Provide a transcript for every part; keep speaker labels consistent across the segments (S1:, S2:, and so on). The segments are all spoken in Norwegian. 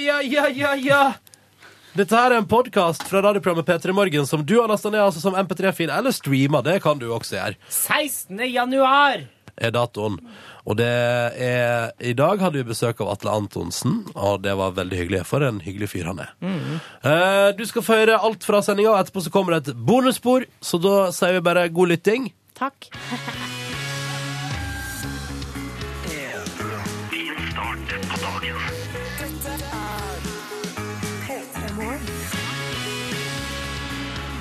S1: ja, ja, ja! Dette her er en podkast fra radioprogrammet P3 Morgen som du har lasta ned altså som MP3-fil eller streama. Det kan du også gjøre.
S2: 16. januar!
S1: er datoen. Og det er I dag hadde vi besøk av Atle Antonsen, og det var veldig hyggelig. For en hyggelig fyr han er. Eh, du skal få høre alt fra sendinga, og etterpå så kommer det et bonusspor. Så da sier vi bare god lytting.
S3: Takk.
S1: Ja,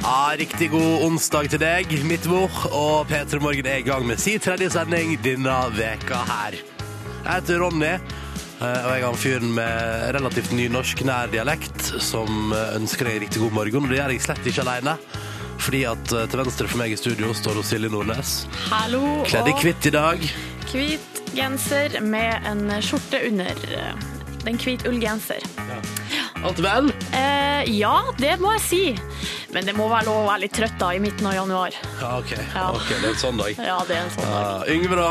S1: Ah, riktig god onsdag til deg, mitt mor. Og P3 Morgen er i gang med sin tredje sending denne veka her. Jeg heter Ronny, eh, og jeg er han fyren med relativt ny norsk nær dialekt som eh, ønsker deg en riktig god morgen. Og det gjør jeg slett ikke aleine. Fordi at eh, til venstre for meg i studio står hun Silje Nordnes.
S3: Hallo
S1: Kledd i
S3: og
S1: hvitt i dag.
S3: hvit genser med en skjorte under. Det er en hvit ullgenser.
S1: Alt vel?
S3: Eh, ja, det må jeg si. Men det må være lov å være litt trøtt da i midten av januar.
S1: Ja, OK.
S3: Ja.
S1: Ok, det er en sånn dag.
S3: Ja, det er en sånn dag.
S1: Ja, Yngve, da?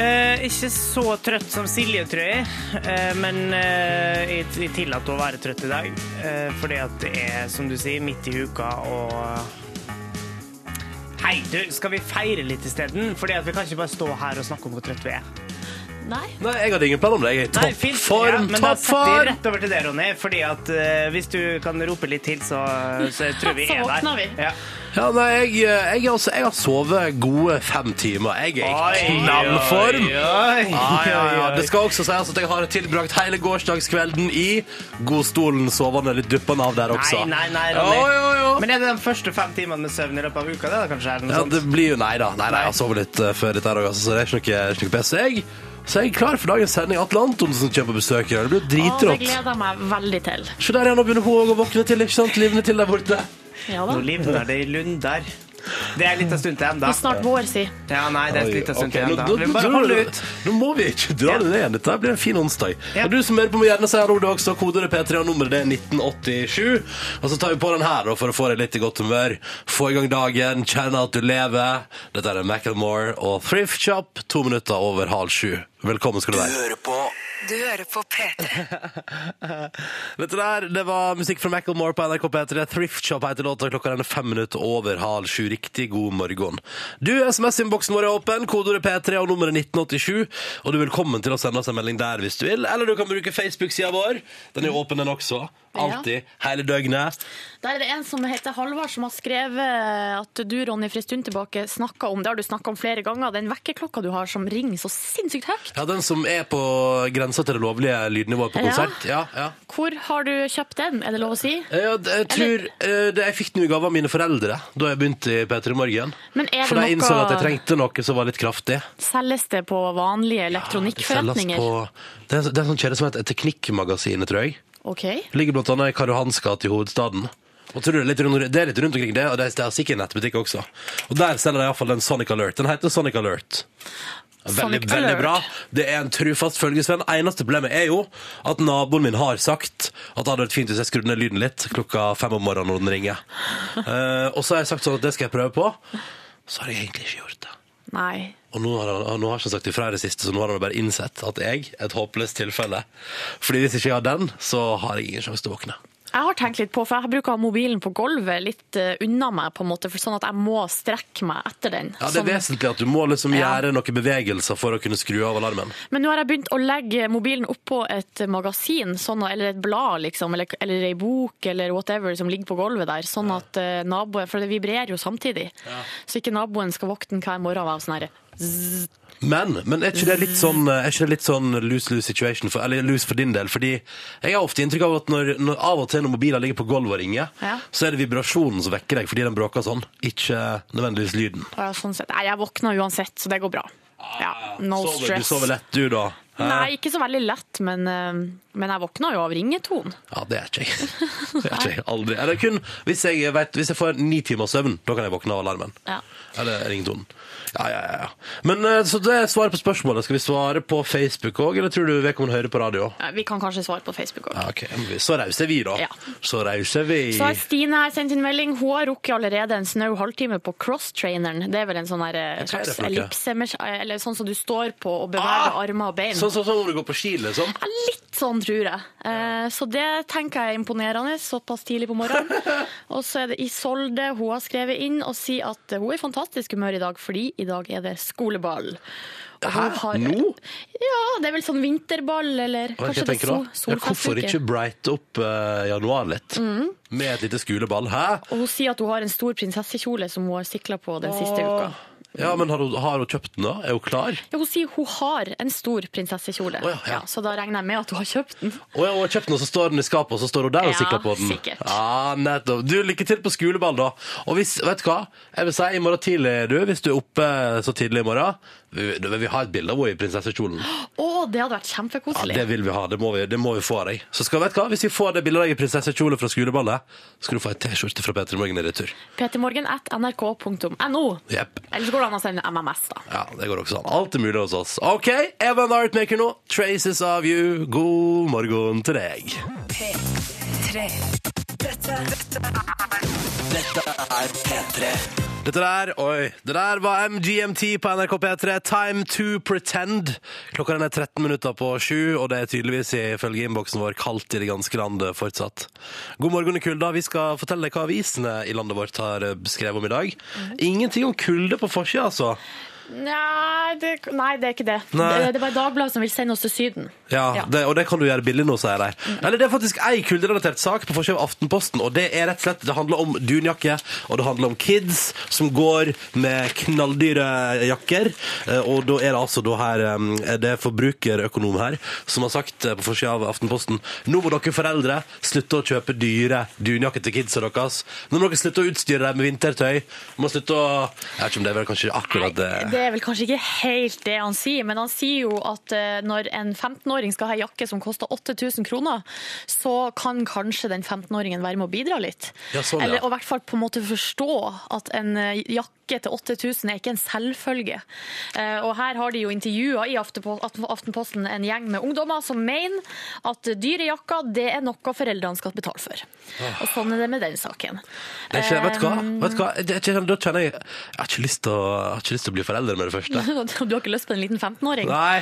S2: Eh, ikke så trøtt som Silje, tror jeg. Eh, men eh, jeg, jeg tillater å være trøtt i dag. Eh, fordi at det er, som du sier, midt i uka og Hei, du, skal vi feire litt isteden? Fordi at vi kan ikke bare stå her og snakke om hvor trøtt vi er.
S3: Nei.
S1: Nei, jeg hadde ingen plan om det. Jeg er i
S2: Nei, fint. Ja,
S1: toppform.
S2: men da setter vi
S1: toppform!
S2: rett over til deg, Ronny. Fordi at eh, hvis du kan rope litt til, så, så tror vi
S3: Så
S2: er der.
S3: våkner vi.
S2: Ja.
S1: Ja, nei, jeg, jeg, jeg, altså, jeg har sovet gode fem timer. Jeg er i knallform.
S2: Oi, oi,
S1: Ja, Ah, ja, ja.
S2: oi.
S1: Det skal også sies at jeg har tilbrakt hele gårsdagskvelden i godstolen, sovende litt duppende av der også.
S2: Nei, nei, nei, Ronny.
S1: Jo, jo, jo.
S2: Men er det de første fem timene med søvn i løpet av uka? Det er da kanskje er det noe
S1: Ja,
S2: sånt?
S1: det blir jo nei da. Nei, nei, jeg har sovet litt eh, før dette her også, så det er ikke noe, ikke noe best. Jeg, så er jeg klar for dagens sending. Atle Antonsen kommer på besøk i dag. Det blir jo
S3: Å, det
S1: dritrått.
S3: gleder jeg meg veldig til.
S1: Se der igjen, nå begynner hun også å våkne til, ikke sant? Livene til der borte.
S3: Ja da.
S2: Nå livner det i lunder. Det er litt av stund til enda.
S3: Det er snart vår, si.
S2: Ja, nei, det er litt av
S1: Ok,
S2: stund til
S1: nå,
S2: enda.
S1: nå,
S2: Men
S1: nå,
S2: Bare
S1: tror
S2: hold
S1: jeg-
S2: ut.
S1: nå må vi ikke dra det ned igjen. Dette blir en fin onsdag.
S2: Ja.
S1: Og du som hører på, må gjerne si hallo, du også. Kodeordet P3 og nummeret det er 1987. Og så tar vi på den her da, for å få deg litt i godt humør. Få i gang dagen, kjenne at du lever. Dette er Macclemore og Thrift Shop, to minutter over halv sju. Velkommen skal du være.
S4: Du hører på P3.
S1: Dette der, det var musikk fra Macklemore på NRK P3. Thrift Shop heter låta. Klokka den er fem minutter over halv sju. Riktig god morgen. Du, SMS-innboksen vår er åpen. Kodeordet P3 og nummeret 1987. Og du er velkommen til å sende oss en melding der hvis du vil. Eller du kan bruke Facebook-sida vår. Den er jo åpen, den også. Alltid. Hele døgnet.
S3: Der er det en som heter Halvard, som har skrevet at du, Ronny, for en stund tilbake snakka om, det har du snakka om flere ganger, den vekkerklokka du har som ringer så sinnssykt høyt.
S1: Ja, den som er på grensa til det lovlige lydnivået på
S3: Ja.
S1: konsert. Ja, ja.
S3: Hvor har du kjøpt den, er det lov å si?
S1: Ja, d- Jeg tror eh, det jeg fikk den i gave av mine foreldre da jeg begynte i P3 Morgen.
S3: Men er
S1: For da
S3: det
S1: jeg innså at jeg
S3: noe
S1: trengte noe som var litt kraftig.
S3: Selges det på vanlige
S1: Det selges
S3: elektronikkforretninger?
S1: på Det er, det er en sånn kjede som heter Teknikkmagasinet, tror jeg.
S3: OK.
S1: Det ligger blant annet i Karl Johans gate i hovedstaden. Og tror du det, er litt rundt, det er litt rundt omkring det, og det er, det er sikkert en nettbutikk også. Og der selger de iallfall den Sonic Alert. Den heter Sonic Alert. Veldig,
S3: Sonic
S1: veldig
S3: Alert.
S1: bra. Det er en trufast følgesvenn. Eneste problemet er jo at naboen min har sagt at det hadde vært fint hvis jeg skrudde ned lyden litt klokka fem om morgenen når den ringer. Eh, og så har jeg sagt sånn at det skal jeg prøve på. Så har jeg egentlig ikke gjort det.
S3: Nei.
S1: Og nå har, han, nå har han ikke sagt ifra i det siste, så nå har han bare innsett at jeg er et håpløst tilfelle. Fordi hvis ikke jeg har den, så har jeg ingen sjanse til å våkne.
S3: Jeg har tenkt litt på, for jeg bruker å ha mobilen på gulvet litt eh, unna meg, på en måte, for sånn at jeg må strekke meg etter den.
S1: Ja, Det er
S3: Sånn-
S1: vesentlig at du må liksom
S3: Ja.
S1: gjøre noen bevegelser for å kunne skru av alarmen.
S3: Men nå har jeg begynt å legge mobilen oppå et magasin, sånn, eller et blad, liksom, eller, eller ei bok, eller whatever, som ligger på gulvet der, sånn at eh, naboen For det vibrerer jo samtidig. Så ikke naboen skal våkne hver morgen av sånn herre
S1: Men, men er ikke det litt sånn, er ikke det litt sånn lose-lose situation, for, eller lose for din del? Fordi jeg har ofte inntrykk av at når, når av og til når mobiler ligger på gulvet og ringer,
S3: Ja.
S1: så er det vibrasjonen som vekker deg fordi den bråker sånn, ikke nødvendigvis lyden.
S3: «Å ja, sånn sett. Nei, jeg våkner uansett, så det går bra. Ja, no
S1: Ah, sover,
S3: stress.
S1: Du sover lett, du, da? Hæ?
S3: Nei, ikke så veldig lett, men, eh, men jeg våkner jo av ringetone.
S1: Ja, det er ikke jeg. Det er ikke jeg aldri. Eller kun hvis jeg, vet, hvis jeg får ni timer søvn, da kan jeg våkne av alarmen.
S3: Ja.
S1: Eller ringetonen. Ja, ja, ja, ja. Men eh, så det er svaret på spørsmålet. Skal vi svare på Facebook òg, eller tror du vedkommende hører på radio?
S3: Ja, Vi kan kanskje svare på Facebook òg.
S1: Ja, ok. Så rause er vi, da.
S3: Ja.
S1: Så rause er vi.
S3: Så har Stine her sendt inn melding. Hun har rukket allerede en snau halvtime på crosstraineren. Det er vel en sånn her, eh,
S1: det for
S3: slags
S1: noe?
S3: ellipse, eller sånn som du står på og beveger
S1: Ah!
S3: armer og bein.
S1: Sånn som sånn, når du går på ski, liksom.
S3: Ja, Litt sånn tror jeg. Eh, Så det tenker jeg er imponerende såpass tidlig på morgenen. Og så er det Isolde hun har skrevet inn og sier at hun er i fantastisk humør i dag fordi i dag er det skoleball. Og hun
S1: Hæ?
S3: har-
S1: Nå?
S3: Ja, det er vel sånn vinterball eller
S1: Hva er det
S3: kanskje
S1: jeg
S3: det er
S1: tenker
S3: sol, Mm.
S1: da? Ja, hvorfor ikke brighte opp eh, januar litt? Med et lite skoleball. Hæ?
S3: Og hun sier at hun har en stor prinsessekjole som hun har sikla på den siste uka.
S1: Ja, men har hun, har hun kjøpt den da? Er hun klar?
S3: Ja, hun sier hun har en stor prinsessekjole,
S1: Å ja, ja.
S3: så da regner jeg med at hun har kjøpt den.
S1: Å ja, hun har kjøpt den, og så står den i skapet, og så står hun der og
S3: Ja,
S1: sikler på den.
S3: sikkert.
S1: Ja, nettopp. Du, lykke til på skoleball, da. Og hvis, vet du hva? Jeg vil si i morgen tidlig, du, hvis du er oppe så tidlig i morgen Vi, du, vi har et bilde av henne i prinsessekjolen.
S3: Å, det hadde vært
S1: Ja,
S3: kjempekoselig.
S1: det vil vi ha. Det må vi, det må vi få av deg. Så skal, vet du hva? Hvis vi får det bildet av deg i prinsessekjole fra skoleballet, skal du få ei T-skjorte fra Peter Morgen i retur.
S3: Ptmorgen at nrk.no.
S1: Jepp.
S3: Eller så går det an å sende MMS, da.
S1: Ja, det går også an. Alt er mulig hos oss. OK, Evan Artmaker nå. 'Traces of You'. God morgen til deg.
S4: P3. Dette, dette
S1: Dette der, oi, det der var MGMT på NRK P3, Time to Pretend. Klokka den er 13 minutter på sju, og det er tydeligvis ifølge innboksen vår kaldt i det ganske landet fortsatt. God morgen i kulda. Vi skal fortelle deg hva avisene i landet vårt har eh, skrevet om i dag. Ingenting om kulde på forsida, altså.
S3: Nei det, nei, det er ikke det.
S1: Nei.
S3: Det, det er bare Dagbladet som vil sende oss til Syden.
S1: Ja,
S3: Ja.
S1: Det, og det kan du gjøre billig nå, sier de. Eller det er faktisk ei kulderelatert sak på forsiden av Aftenposten, og det er rett og slett Det handler om dunjakke, og det handler om kids som går med knalldyre jakker. Eh, Og da er det altså da her em, er Det er forbrukerøkonom her som har sagt eh, på forsida av Aftenposten Nå må dere foreldre slutte å kjøpe dyre dunjakker til kidsa deres. Nå må dere slutte å utstyre dem med vintertøy. Må slutte å Jeg vet ikke om det er vel kanskje akkurat det
S3: Det er vel kanskje ikke helt det han sier, men han sier jo at eh, når en 15-åring skal ha en jakke som koster 8000 kroner, så kan kanskje den 15-åringen være med å bidra litt.
S1: Ja, sånn, ja.
S3: Eller og i hvert fall på en måte forstå at en eh, jakke til 8000 er ikke en selvfølge. Eh, Og her har de jo intervjua i Aftepo- Aften- Aftenposten en gjeng med ungdommer som mener at dyre jakker det er noe foreldrene skal betale for. Og sånn er det med den saken.
S1: Det er Ah. ikke, vet du hva? Vet du hva? Det er ikke, sånn, da kjenner jeg Jeg har ikke lyst til å, jeg har ikke lyst til å bli forelder med det første.
S3: Eh, Du har ikke lyst på en liten 15-åring?
S1: Nei.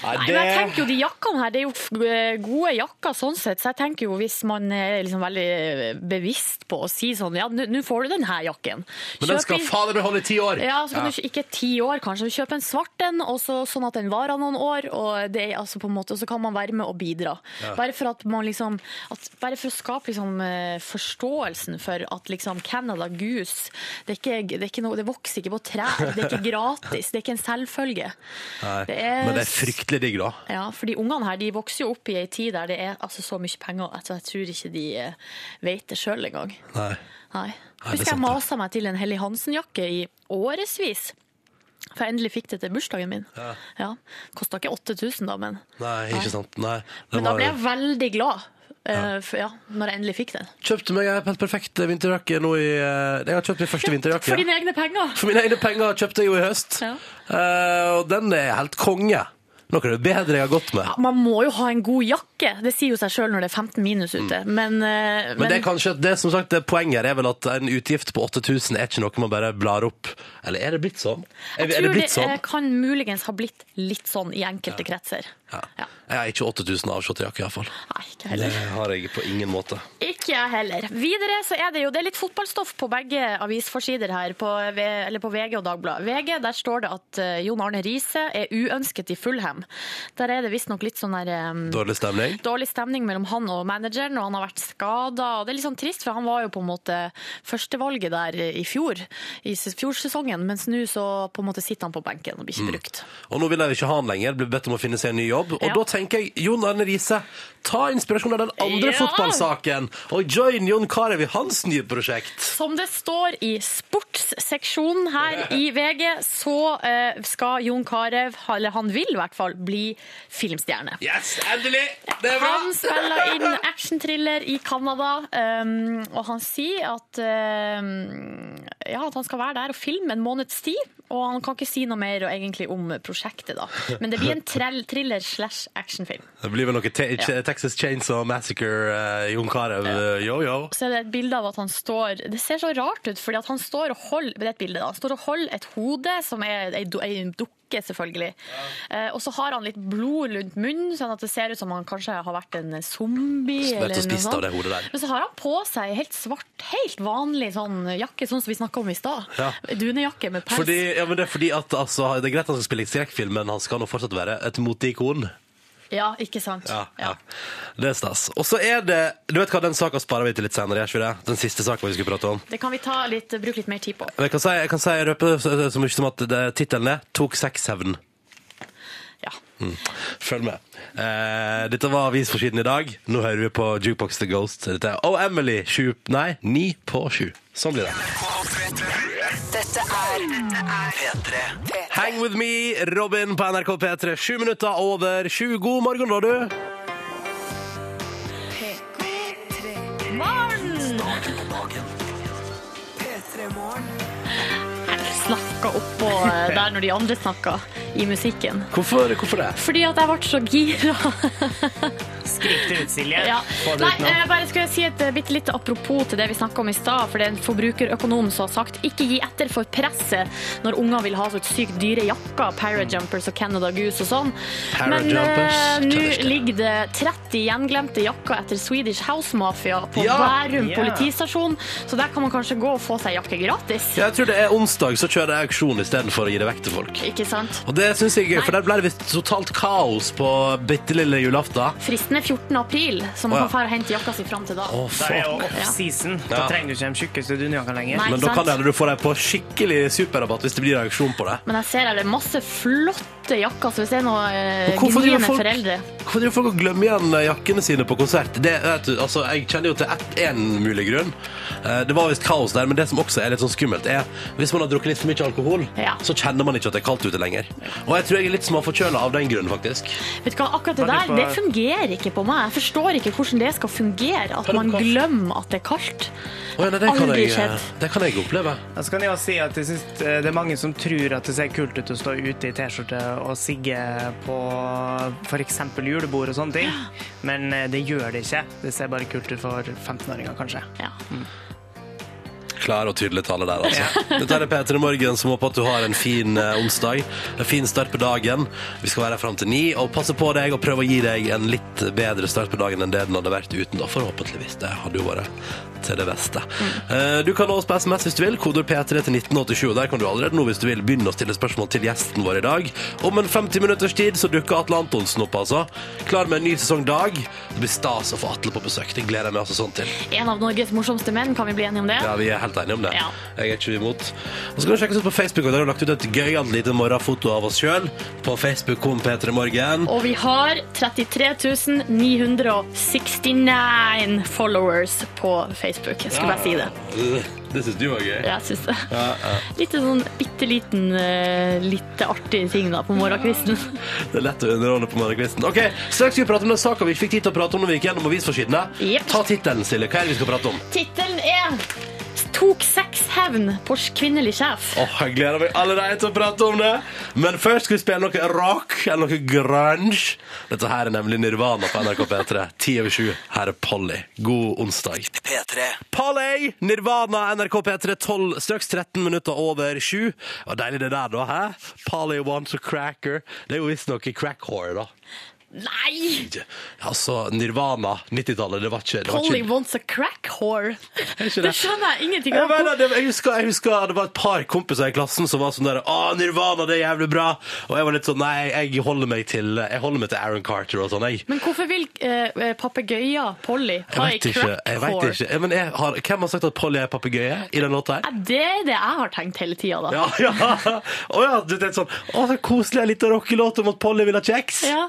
S1: Nei,
S3: Nei,
S1: det
S3: men jeg tenker jo De jakkene her, det er jo f- eh, gode jakker sånn sett, så jeg tenker jo hvis man er liksom veldig eh, bevisst på å si sånn Ja, nå nå får du denne jakken.
S1: Men den
S3: Kjøp
S1: skal
S3: i-
S1: fader meg holde i ti år!
S3: ja, så kan du ikke ikke ti år, kanskje. men Kjøp en svart en, og så, sånn at den varer noen år. Og det er altså på en måte, og så kan man være med og bidra. Bare, for at man liksom, at, bare for å skape liksom, eh, forståelsen for at liksom, Canada Goose det, er ikke, det, er ikke noe, det vokser ikke på trær. Det er ikke gratis. Det er ikke en selvfølge.
S1: Nei.
S3: det er-
S1: Men det er fryktelig digg, da.
S3: Ja, for de ungene her de vokser jo opp i ei tid der det er altså, så mye penger at jeg tror ikke de eh, vet det sjøl engang.
S1: Nei.
S3: Nei.
S1: Nei, det er
S3: Husker jeg
S1: sant, det.
S3: masa meg til en Helly Hansen-jakke i årevis. For jeg endelig fikk det til bursdagen min. Ja. Kosta ikke 8000, da, men,
S1: Nei, ikke sant. Nei. Den
S3: men da
S1: var-
S3: ble jeg veldig glad. eh, for, ja, når jeg endelig fikk den.
S1: Kjøpte meg en helt perfekt vinterjakke nå i eh, Jeg har kjøpt min første vinterjakke.
S3: For dine egne penger!
S1: For mine egne penger kjøpte jeg jo i høst.
S3: Ja.
S1: Eh, og den er helt konge. Noe av det bedre jeg har gått med.
S3: Ja, Man må jo ha en god jakke, det sier jo seg sjøl når det er 15 minus ute. Men, eh,
S1: Mm. Men det er
S3: men-
S1: kanskje det som sagt, det poenget her er vel at en utgift på 8000 er ikke noe man bare blar opp. Eller er det blitt sånn? Er, er
S3: jeg
S1: det
S3: tror det,
S1: blitt sånn?
S3: eh, kan muligens ha blitt litt sånn i enkelte kretser.
S1: Ja.
S3: Ja.
S1: Jeg har ikke 8000 avskjåtte jakker, iallfall.
S3: Nei, ikke
S1: Det
S3: heller.
S1: har jeg på ingen måte.
S3: Ikke jeg heller. Videre så er det jo det er litt fotballstoff på begge avisforsider her, på, V- eller på VG og Dagbladet. VG, der står det at eh, Jon Arne Riise er uønsket i Fulham. Der er det visstnok litt sånn der eh,
S1: Dårlig stemning.
S3: dårlig stemning mellom han og manageren, og han har vært skada. Det er litt sånn trist, for han var jo på en måte førstevalget der i fjor, i s- fjorsesongen, mens nå så på en måte sitter han på benken og blir ikke brukt.
S1: Og nå vil jeg ikke ha han lenger, blir bedt om å finne seg en ny jobb. Og
S3: Ja.
S1: da tenker jeg, Jon Arne Riise, ta inspirasjon av den andre
S3: Ja.
S1: fotballsaken, og join Jon Carew i hans nye prosjekt.
S3: Som det står i sportsseksjonen her i VG, så eh, skal Jon Carew, eller han vil i hvert fall, bli filmstjerne.
S1: Yes, endelig! Det er bra!
S3: Han spiller inn actionthriller i Canada, um, og han sier at, um, ja, at han skal være der og filme en måneds tid. Og han kan ikke si noe mer og egentlig om prosjektet, da. Men det blir en trell, thriller slash actionfilm.
S1: Det blir vel noe te Texas Chainsaw Massacre, eh, Jon Carew, eh, yo yo.
S3: så er det et bilde av at han står Det ser så rart ut, fordi at han står og holder Det er et bilde, da. Han står og holder et hode som er ei do- ei dukke drikke, selvfølgelig. Eh, og så har han litt blod rundt munnen, sånn at det ser ut som han kanskje har vært en zombie.
S1: Vært og
S3: noe
S1: spist av det hodet der.
S3: Men så har han på seg helt svart, helt vanlig sånn jakke, sånn som vi snakka om i stad.
S1: Ja.
S3: Dunejakke med pels.
S1: Fordi, ja, men det er fordi at altså, Det er greit at han skal spille skrekkfilm, men han skal nå fortsatt være et moteikon.
S3: Ja, ikke sant?
S1: Ja, ja. Det er stas. Og så er det Du vet hva, den saka sparer vi til litt senere, gjør ikke vi det? Den siste saka vi skulle prate om.
S3: Det kan vi ta litt, bruke litt mer tid på.
S1: Men Jeg kan si, jeg kan si jeg røper så så mye som at det- tittelen er 'Tok sexhevn'.
S3: Ja.
S1: Mm. Følg med. Eh, dette var avisforsiden i dag. Nå hører vi på Jukebox The Ghost. Dette er Oh Emily, sju, nei, ni på sju. Sånn blir det.
S4: Dette er P3.
S1: Hang with me, Robin på NRK P3. Sju minutter over sju. God morgen, da, du.
S4: P3. P3 Morgen.
S3: Snakka oppå eh, der når de andre snakka, i musikken.
S1: Hvorfor, hvorfor det?
S3: Fordi at jeg ble så gira.
S2: Skrik det ut, Silje.
S3: Ja.
S2: Få det
S3: Nei,
S2: ut nå.
S3: eh, bare skulle jeg si et eh, bitte lite apropos til det vi snakka om i stad. For det er en forbrukerøkonom som har sagt ikke gi etter for presset når unger vil ha så sykt dyre jakker, Parajumpers og Canada Goose og sånn. Men eh,
S1: Parajumpers,
S3: nå
S1: kjenner ikke.
S3: ligger det 30 gjenglemte jakker etter Swedish House Mafia på
S1: Ja!
S3: Bærum
S2: Ja.
S3: politistasjon, så der kan man kanskje gå og få seg jakke gratis.
S1: Jeg tror det er onsdag, så kjører jeg auksjon istedenfor å gi det vekk til folk.
S3: Ikke sant?
S1: Og det syns jeg er gøy, for der ble det visst totalt kaos på bitte lille julaften.
S3: Fristen er 14. april, så
S1: Å,
S3: man
S1: ja.
S3: kan fære og hente jakka si fram til da.
S1: Å,
S2: Da er det jo
S1: fuck.
S2: off-season.
S1: Ja.
S2: Da trenger du ikke de tjukkeste dunjakkene lenger.
S3: Nei.
S1: Men da
S3: sant?
S1: kan det hende du får deg på skikkelig superrabatt hvis det blir auksjon på det.
S3: Men jeg ser her det er masse flotte jakker, så hvis det er noen eh,
S1: Hvorfor driver
S3: gniende
S1: folk-
S3: foreldre
S1: Hvorfor driver folk og glemmer igjen eh, jakkene sine på konsert? Det, vet du, altså, jeg kjenner jo til ett- en mulig grunn. Eh, Det var visst kaos der, men det som også er litt sånn skummelt, er hvis man har drukket litt for mye alkohol,
S3: Ja.
S1: så kjenner man ikke at det er kaldt ute lenger. Og jeg tror jeg er litt småforkjøla av den grunn, faktisk.
S3: Vet du hva, akkurat det
S2: Kan
S3: der,
S2: du få-
S3: det fungerer ikke på meg. Jeg forstår ikke hvordan det skal fungere, at
S1: Kan du
S3: man
S1: kaffe?
S3: glemmer at det er kaldt.
S1: Å, ja, nei, det, kan
S3: Aldri
S1: jeg, eh, det kan jeg oppleve.
S2: Da skal jeg også si at jeg synes eh, det er mange som tror at det ser kult ut å stå ute i T-skjorte og sigge på f.eks. julebord og sånne ting, men eh, det gjør det ikke. Det ser bare kult ut for 15-åringer, kanskje.
S3: Ja.
S1: Mm. Klar og tydelig tale der, altså. Dette er Peter i Morgen, som håper at du har en fin eh, onsdag. En fin start på dagen. Vi skal være her fram til ni, og passe på deg og prøve å gi deg en litt bedre start på dagen enn det den hadde vært uten, da, forhåpentligvis. Det hadde jo vært til det beste. Eh, Du kan nå oss på SMS hvis du vil. Koder P3 til 1987. og Der kan du allerede nå, hvis du vil, begynne å stille spørsmål til gjesten vår i dag. Om en 50 minutters tid så dukker Atle Antonsen opp, altså. Klar med en ny sesong dag. Det blir stas å få Atle på besøk. Det gleder jeg meg altså sånn til.
S3: En av Norges morsomste menn, kan vi bli enige om det?
S1: Ja, vi er helt enige om det.
S3: Ja.
S1: Jeg er ikke imot. Og så kan du sjekke oss ut på Facebook, og der har vi lagt ut et gøyalt lite morgenfoto av oss sjøl. På Facebook kom P3 Morgen.
S3: Og vi har 33 969 followers på Facebook. Jeg skulle bare si det.
S1: Øh, Det syns du var gøy.
S3: Jeg syns det. Litt sånn bitte liten, eh, litt artig ting da på morgenkvisten.
S1: Det er lett å underholde på morgenkvisten. Ok, Straks skal vi prate om den saka vi ikke fikk tid til å prate om når vi gikk gjennom avisforsidene.
S3: Jep.
S1: Ta tittelen, Silje. Hva er det vi skal prate om?
S3: Tittelen er Tok sexhevn på kvinnelig sjef.
S1: Åh, Jeg gleder meg allerede til å prate om det. Men først skal vi spille noe rock eller noe grunge. Dette her er nemlig Nirvana på NRK P3. Ti over sju. Her er Polly. God onsdag. Polly, Nirvana, NRK P3, 12, straks 13 minutter over 7. Og deilig det der, da. hæ? Polly wants a cracker. Det er jo visstnok i crack whore, da.
S3: Nei!
S1: Ikke- Altså, Nirvana, 90-tallet, det var ikke det var
S3: Polly
S1: ikke-
S3: wants a crack whore.
S1: ikke det.
S3: Det skjønner jeg ingenting
S1: Jeg,
S3: av.
S1: mener, det, jeg, husker, jeg husker det var et par kompiser i klassen som var sånn der Å, Nirvana, det er jævlig bra. Og jeg var litt sånn Nei, jeg holder meg til, jeg holder meg til Aaron Carter og sånn, jeg.
S3: Men hvorfor vil eh, papegøya Polly
S1: Jeg
S3: ha ei
S1: vet ikke.
S3: crack
S1: Jeg vet
S3: whore?
S1: ikke. Men jeg har, hvem har sagt at Polly er papegøye i den låta her?
S3: Ja, Det er det jeg har tenkt hele tida, da.
S1: Ja, ja. Å ja, du tenkte sånn Å, så koselig en liten rockelåt om at Polly vil ha kjeks.
S3: Ja.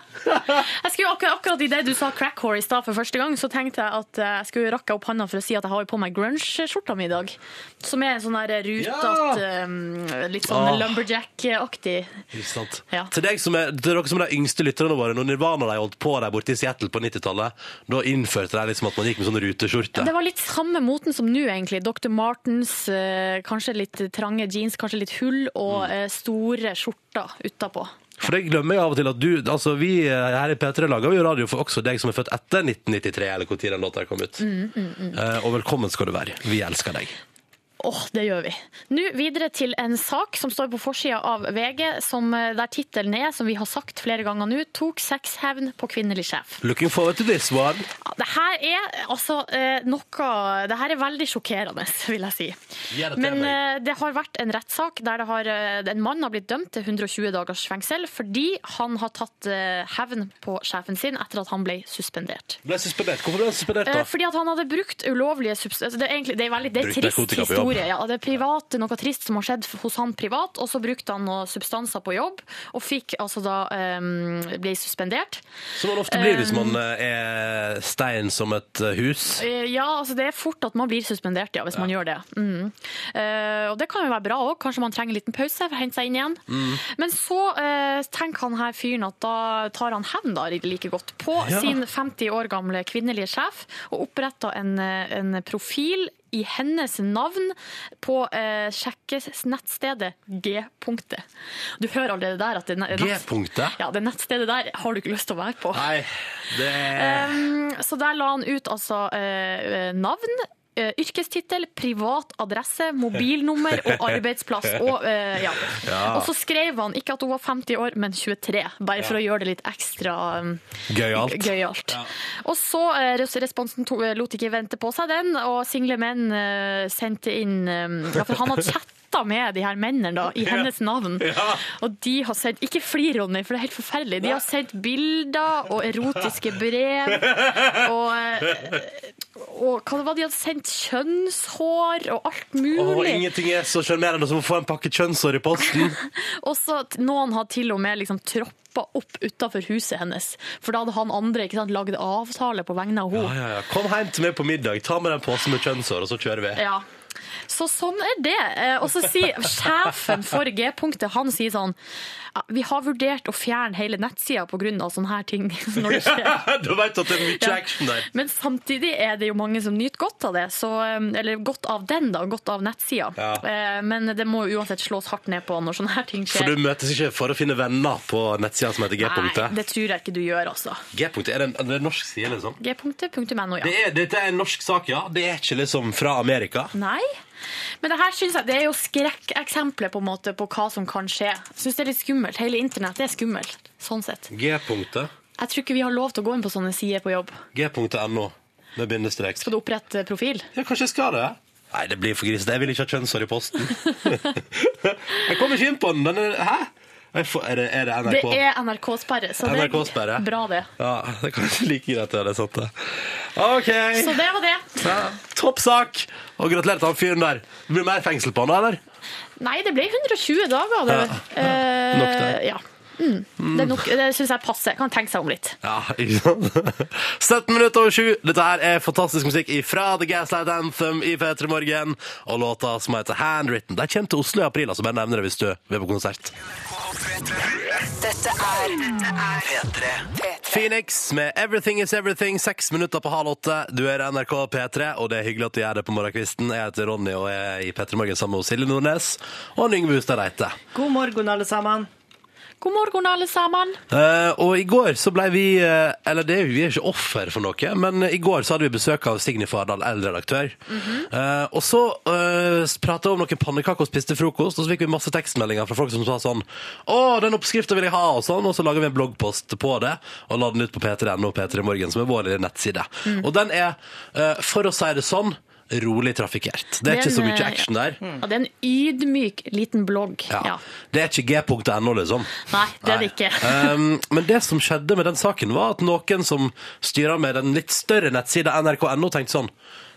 S3: Jeg skulle akkurat, akkurat i det du sa crack whore i stad for første gang, så tenkte jeg at eh, jeg skulle rakke opp handa for å si at jeg har jo på meg grunge-skjorta mi i dag. Som er en sånn der rutete, eh, litt
S1: Åh.
S3: sånn lumberjack-aktig.
S1: Ikke sant?
S3: Ja.
S1: Til, deg som er, til dere som er de yngste lytterne våre, når Nirvana de holdt på der borte i Seattle på 90-tallet, da innførte de liksom at man gikk med sånn ruteskjorte.
S3: Det var litt samme moten som nå, egentlig. Dr. Martens, eh, kanskje litt trange jeans, kanskje litt hull, og eh, store skjorter utapå.
S1: For det glemmer jeg av og til at du Altså, vi eh, her i P3 lager vi jo radio for også deg som er født etter
S3: Mm,
S1: 1993, eller når den låta her kom ut. Eh, og velkommen skal du være. Vi elsker deg.
S3: Åh, det gjør vi. Nå videre til en sak som står på forsida av VG, som, eh, der tittelen er, som vi har sagt flere ganger nå, 'Tok sexhevn på kvinnelig sjef'.
S1: Looking forward to this one.
S3: Ja, Det her er altså eh, noe Det her er veldig sjokkerende, vil jeg si.
S1: Gi det til
S3: Men
S1: meg.
S3: eh, det har vært en rettssak der det har, eh, en mann har blitt dømt til 120 dagers fengsel fordi han har tatt eh, hevn på sjefen sin etter at han ble suspendert.
S1: Ble suspendert. Hvorfor ble han suspendert,
S3: Eh,
S1: da?
S3: Fordi at han hadde brukt ulovlige substanser det, er egentlig- det er veldig det er
S1: Brukt
S3: trist
S1: narkotika på jobb.
S3: historie. Ja, det er privat, noe trist som har skjedd hos han privat, og så brukte han noen substanser på jobb, og fikk altså da eh, ble suspendert.
S1: Som man ofte blir hvis man eh, er stein som et eh, hus.
S3: Eh, Ja, altså det er fort at man blir suspendert, ja, hvis man gjør det. Mm. Eh, og det kan jo være bra òg, kanskje man trenger en liten pause, hente seg inn igjen. Men så eh, tenker han her fyren at da tar han hevn da like godt på
S1: Ja.
S3: sin 50 år gamle kvinnelige sjef, og oppretter en, eh, en profil i hennes navn på eh, sjekkenettstedet G-punktet. Du hører allerede der at det, er nett-
S1: G-punktet?
S3: Ja, det nettstedet der har du ikke lyst til å være på.
S1: Nei, det
S3: Um, så der la han ut altså eh, navn. eh, Yrkestittel, privat adresse, mobilnummer og arbeidsplass. Og, eh, ja. og så skrev han ikke at hun var 50 år, men 23, bare for å gjøre det litt ekstra um,
S1: Gøyalt.
S3: gøyalt. Og så eh, res- responsen to, eh, lot ikke vente på seg den, og single menn eh, sendte inn eh, ja, For han hadde chatta med de her mennene da, i hennes navn. Og de har sendt Ikke flir, Ronny, for det er helt forferdelig. De har sendt bilder og erotiske brev og eh, og hva det var de hadde sendt? Kjønnshår og alt mulig.
S1: Og ingenting er så sjarmerende som å få en pakke kjønnsår i posten.
S3: Og så t- noen har til og med liksom troppa opp utafor huset hennes. For da hadde han andre ikke sant, lagd avtale på vegne av
S1: Ja,
S3: henne.
S1: ja, ja. Kom hjem til meg på middag, ta med den posen med kjønnsår, og så kjører vi.
S3: Ja. Så sånn er det. Eh, Og så sier sjefen for G-punktet han sier sånn «Ja, Vi har vurdert å fjerne hele nettsida pga. sånne her ting. når det skjer.
S1: du veit at det er mye
S3: Ja.
S1: action der.
S3: Men samtidig er det jo mange som nyter godt av det. Så, eh, eller godt av den, da. Godt av nettsida.
S1: Ja.
S3: Eh, Men det må jo uansett slås hardt ned på når sånne her ting
S1: For
S3: skjer.
S1: du møtes ikke for å finne venner på nettsida som heter
S3: Nei,
S1: G-punktet?
S3: det tror jeg ikke du gjør, altså.
S1: G-punktet, er det, en, er det en norsk side, liksom?
S3: G-punktet.no, ja.
S1: Det er, dette er en norsk sak, ja. Det er ikke liksom fra Amerika.
S3: Nei. Men det her synes jeg, det er jo skrekkeksempler på, en måte på hva som kan skje. Jeg synes det er litt skummelt. Hele internett er skummelt. sånn sett.
S1: G-punktet.
S3: Jeg tror ikke vi har lov til å gå inn på sånne sider på jobb.
S1: G.no med bindestrek.
S3: Skal du opprette profil?
S1: Ja, kanskje jeg skal det? Nei, det blir for grisete. Jeg vil ikke ha kjønnsår i posten. jeg kommer ikke inn på den. den er, hæ? Jeg får, er, det, er det
S3: Det
S1: NRK?
S3: er NRK-sperre. så det er
S1: NRK-sperre.
S3: Bra, det.
S1: Ja, det er kanskje like greit å gjøre det sant, det. OK.
S3: Så det var det.
S1: Ja, Topp sak! Og gratulerer til han fyren der. Det blir mer fengsel på han, da, eller?
S3: Nei, det ble 120 dager. Det, Eh,
S1: Nok det.
S3: ja. Mm. Det, er nok, det syns jeg passer. Kan tenke seg om litt.
S1: Ja, ikke sant? 17 minutter over 7. Dette her er fantastisk musikk fra The Gaslight Anthem i P3 Morgen. Og låta som heter Handwritten. De kommer til Oslo i april, altså bare nevner det hvis du vil på konsert.
S4: Dette er P3. P3.
S1: Phoenix med Everything Is Everything, seks minutter på halv åtte. Du er i NRK P3, og det er hyggelig at du gjør det på morgenkvisten. Jeg heter Ronny og er i P3 Morgen sammen med Silje Nordnes og Yngve Hustad Reite.
S2: God morgen, alle sammen.
S3: God morgen, alle sammen.
S1: Eh, og i går så ble vi eh, Eller det, er jo- vi er ikke offer for noe, men i går så hadde vi besøk av Signy Fardal, eldreredaktør. Eh, og så uh, prata vi om noen pannekaker og spiste frokost, og så fikk vi masse tekstmeldinger fra folk som sa sånn Å, den oppskrifta vil jeg ha, og sånn. Og så lager vi en bloggpost på det, og la den ut på p3.no og P3 Morgen, som er vår lille nettside. Og den er, eh, for å si det sånn, rolig trafikkert. Det er ikke så
S3: Den,
S1: mye
S3: eh,
S1: action der.
S3: Ja, det er en ydmyk liten blogg.
S1: Ja.
S3: Ja.
S1: Det er ikke g.no, liksom.
S3: Nei, det er det ikke.
S1: um, men det som skjedde med den saken, var at noen som styrer med den litt større nettsida nrk.no, tenkte sånn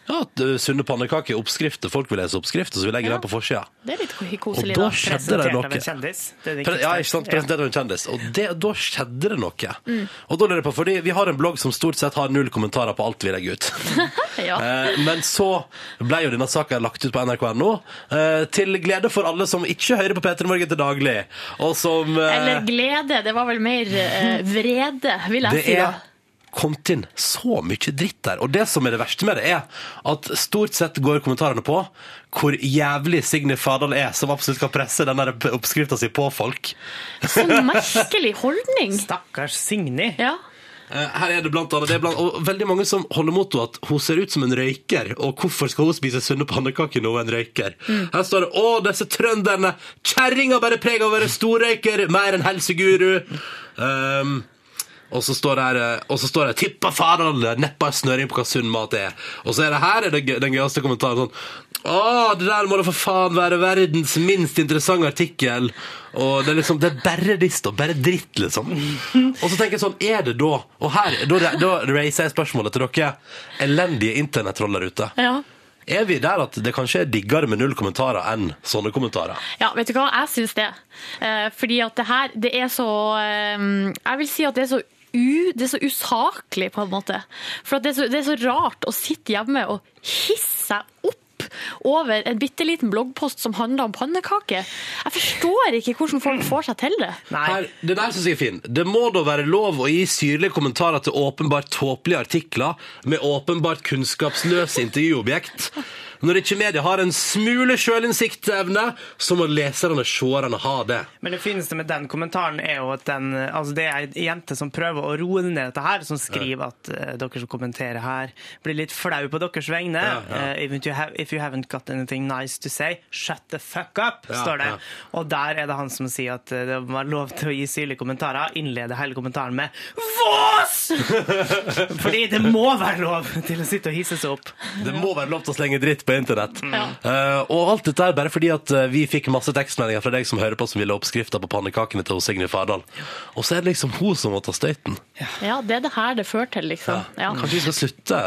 S1: Ja, at, uh, sunne pannekaker er oppskrifter, folk vil lese oppskrifter, så vil jeg legge
S3: Ja.
S1: den på forsida.
S3: Det er litt
S1: Og
S3: koselig,
S1: da
S3: da.
S1: skjedde det
S2: Presentert av
S1: noe.
S2: en kjendis. Det er det
S1: Pre- Ja, ikke sant?
S2: viktigste.
S1: Presentert av en kjendis. Og det, da skjedde det noe.
S3: Mm.
S1: Og da lurer jeg på, fordi vi har en blogg som stort sett har null kommentarer på alt vi legger ut.
S3: Ja.
S1: Eh, Men så ble jo denne saka lagt ut på nrk.no, eh, til glede for alle som ikke hører på P3 Morgen til daglig, og som eh,
S3: Eller glede. Det var vel mer eh, vrede, vil jeg
S1: Det
S3: si. da.
S1: er kommet inn så mye dritt der. Og det som er det verste med det, er at stort sett går kommentarene på hvor jævlig Signe Fadal er, som absolutt skal presse den der oppskrifta si på folk.
S3: Så Sånn merkelig holdning.
S2: Stakkars Signy.
S3: Ja.
S1: Eh, Her er det blant annet det er blant, Og veldig mange som holder motto at hun ser ut som en røyker, og hvorfor skal hun spise sunne pannekaker når hun er en røyker?
S3: Mm.
S1: Her står det 'Å, disse trønderne! Kjerringa bærer preg av å være storrøyker, mer enn helseguru'. Um, og så står det her eh, Og så står det 'Tippa faran! Neppa ei snøring på hva sunn mat er'. Og så er det her er det gøy- den gøyeste kommentaren sånn 'Å, det der må da for faen være verdens minst interessante artikkel'. Og det er liksom Det er bare dist og bare dritt, liksom. Og så tenker jeg sånn Er det da Og her da, da reiser jeg spørsmålet til dere elendige internettroll der ute.
S3: Ja.
S1: Er vi der at det kanskje er diggere med null kommentarer enn sånne kommentarer?
S3: Ja, vet du hva? Jeg syns det. Eh, fordi at det her, det er så eh, Jeg vil si at det er så U, det er så usaklig, på en måte. For at det, er så, det er så rart å sitte hjemme og hisse seg opp over en bitte liten bloggpost som handler om pannekaker. Jeg forstår ikke hvordan folk får seg til det.
S2: Nei.
S1: Her, det der synes jeg er fin. Det må da være lov å gi syrlige kommentarer til åpenbart tåpelige artikler med åpenbart kunnskapsløse intervjuobjekt. Når ikke media har en smule sjølinnsiktsevne, så må leserne og seerne ha det.
S2: Men det fineste med den kommentaren er jo at den, altså det er ei jente som prøver å roe ned dette her, som skriver at eh, dere som kommenterer her, blir litt flau på deres vegne.
S1: Ja, ja.
S2: Eh, if, you have, if you haven't got anything nice to say, shut the fuck up,
S1: Ja,
S2: står det.
S1: ja.
S2: Og der er det han som sier at eh, det var lov til å gi syrlige kommentarer, innleder hele kommentaren med Vås! Fordi det må være lov til å sitte og hisse seg opp.
S1: Det må være lov til å slenge dritt på internett. Eh, og alt dette er bare fordi at eh, vi fikk masse tekstmeldinger fra deg som hører på som ville ha oppskrifter på pannekakene til Signe Fardal. Og så er det liksom hun som må ta støyten.
S3: Ja, Det er det her det fører til, liksom. Ja.
S1: Kanskje vi skal slutte?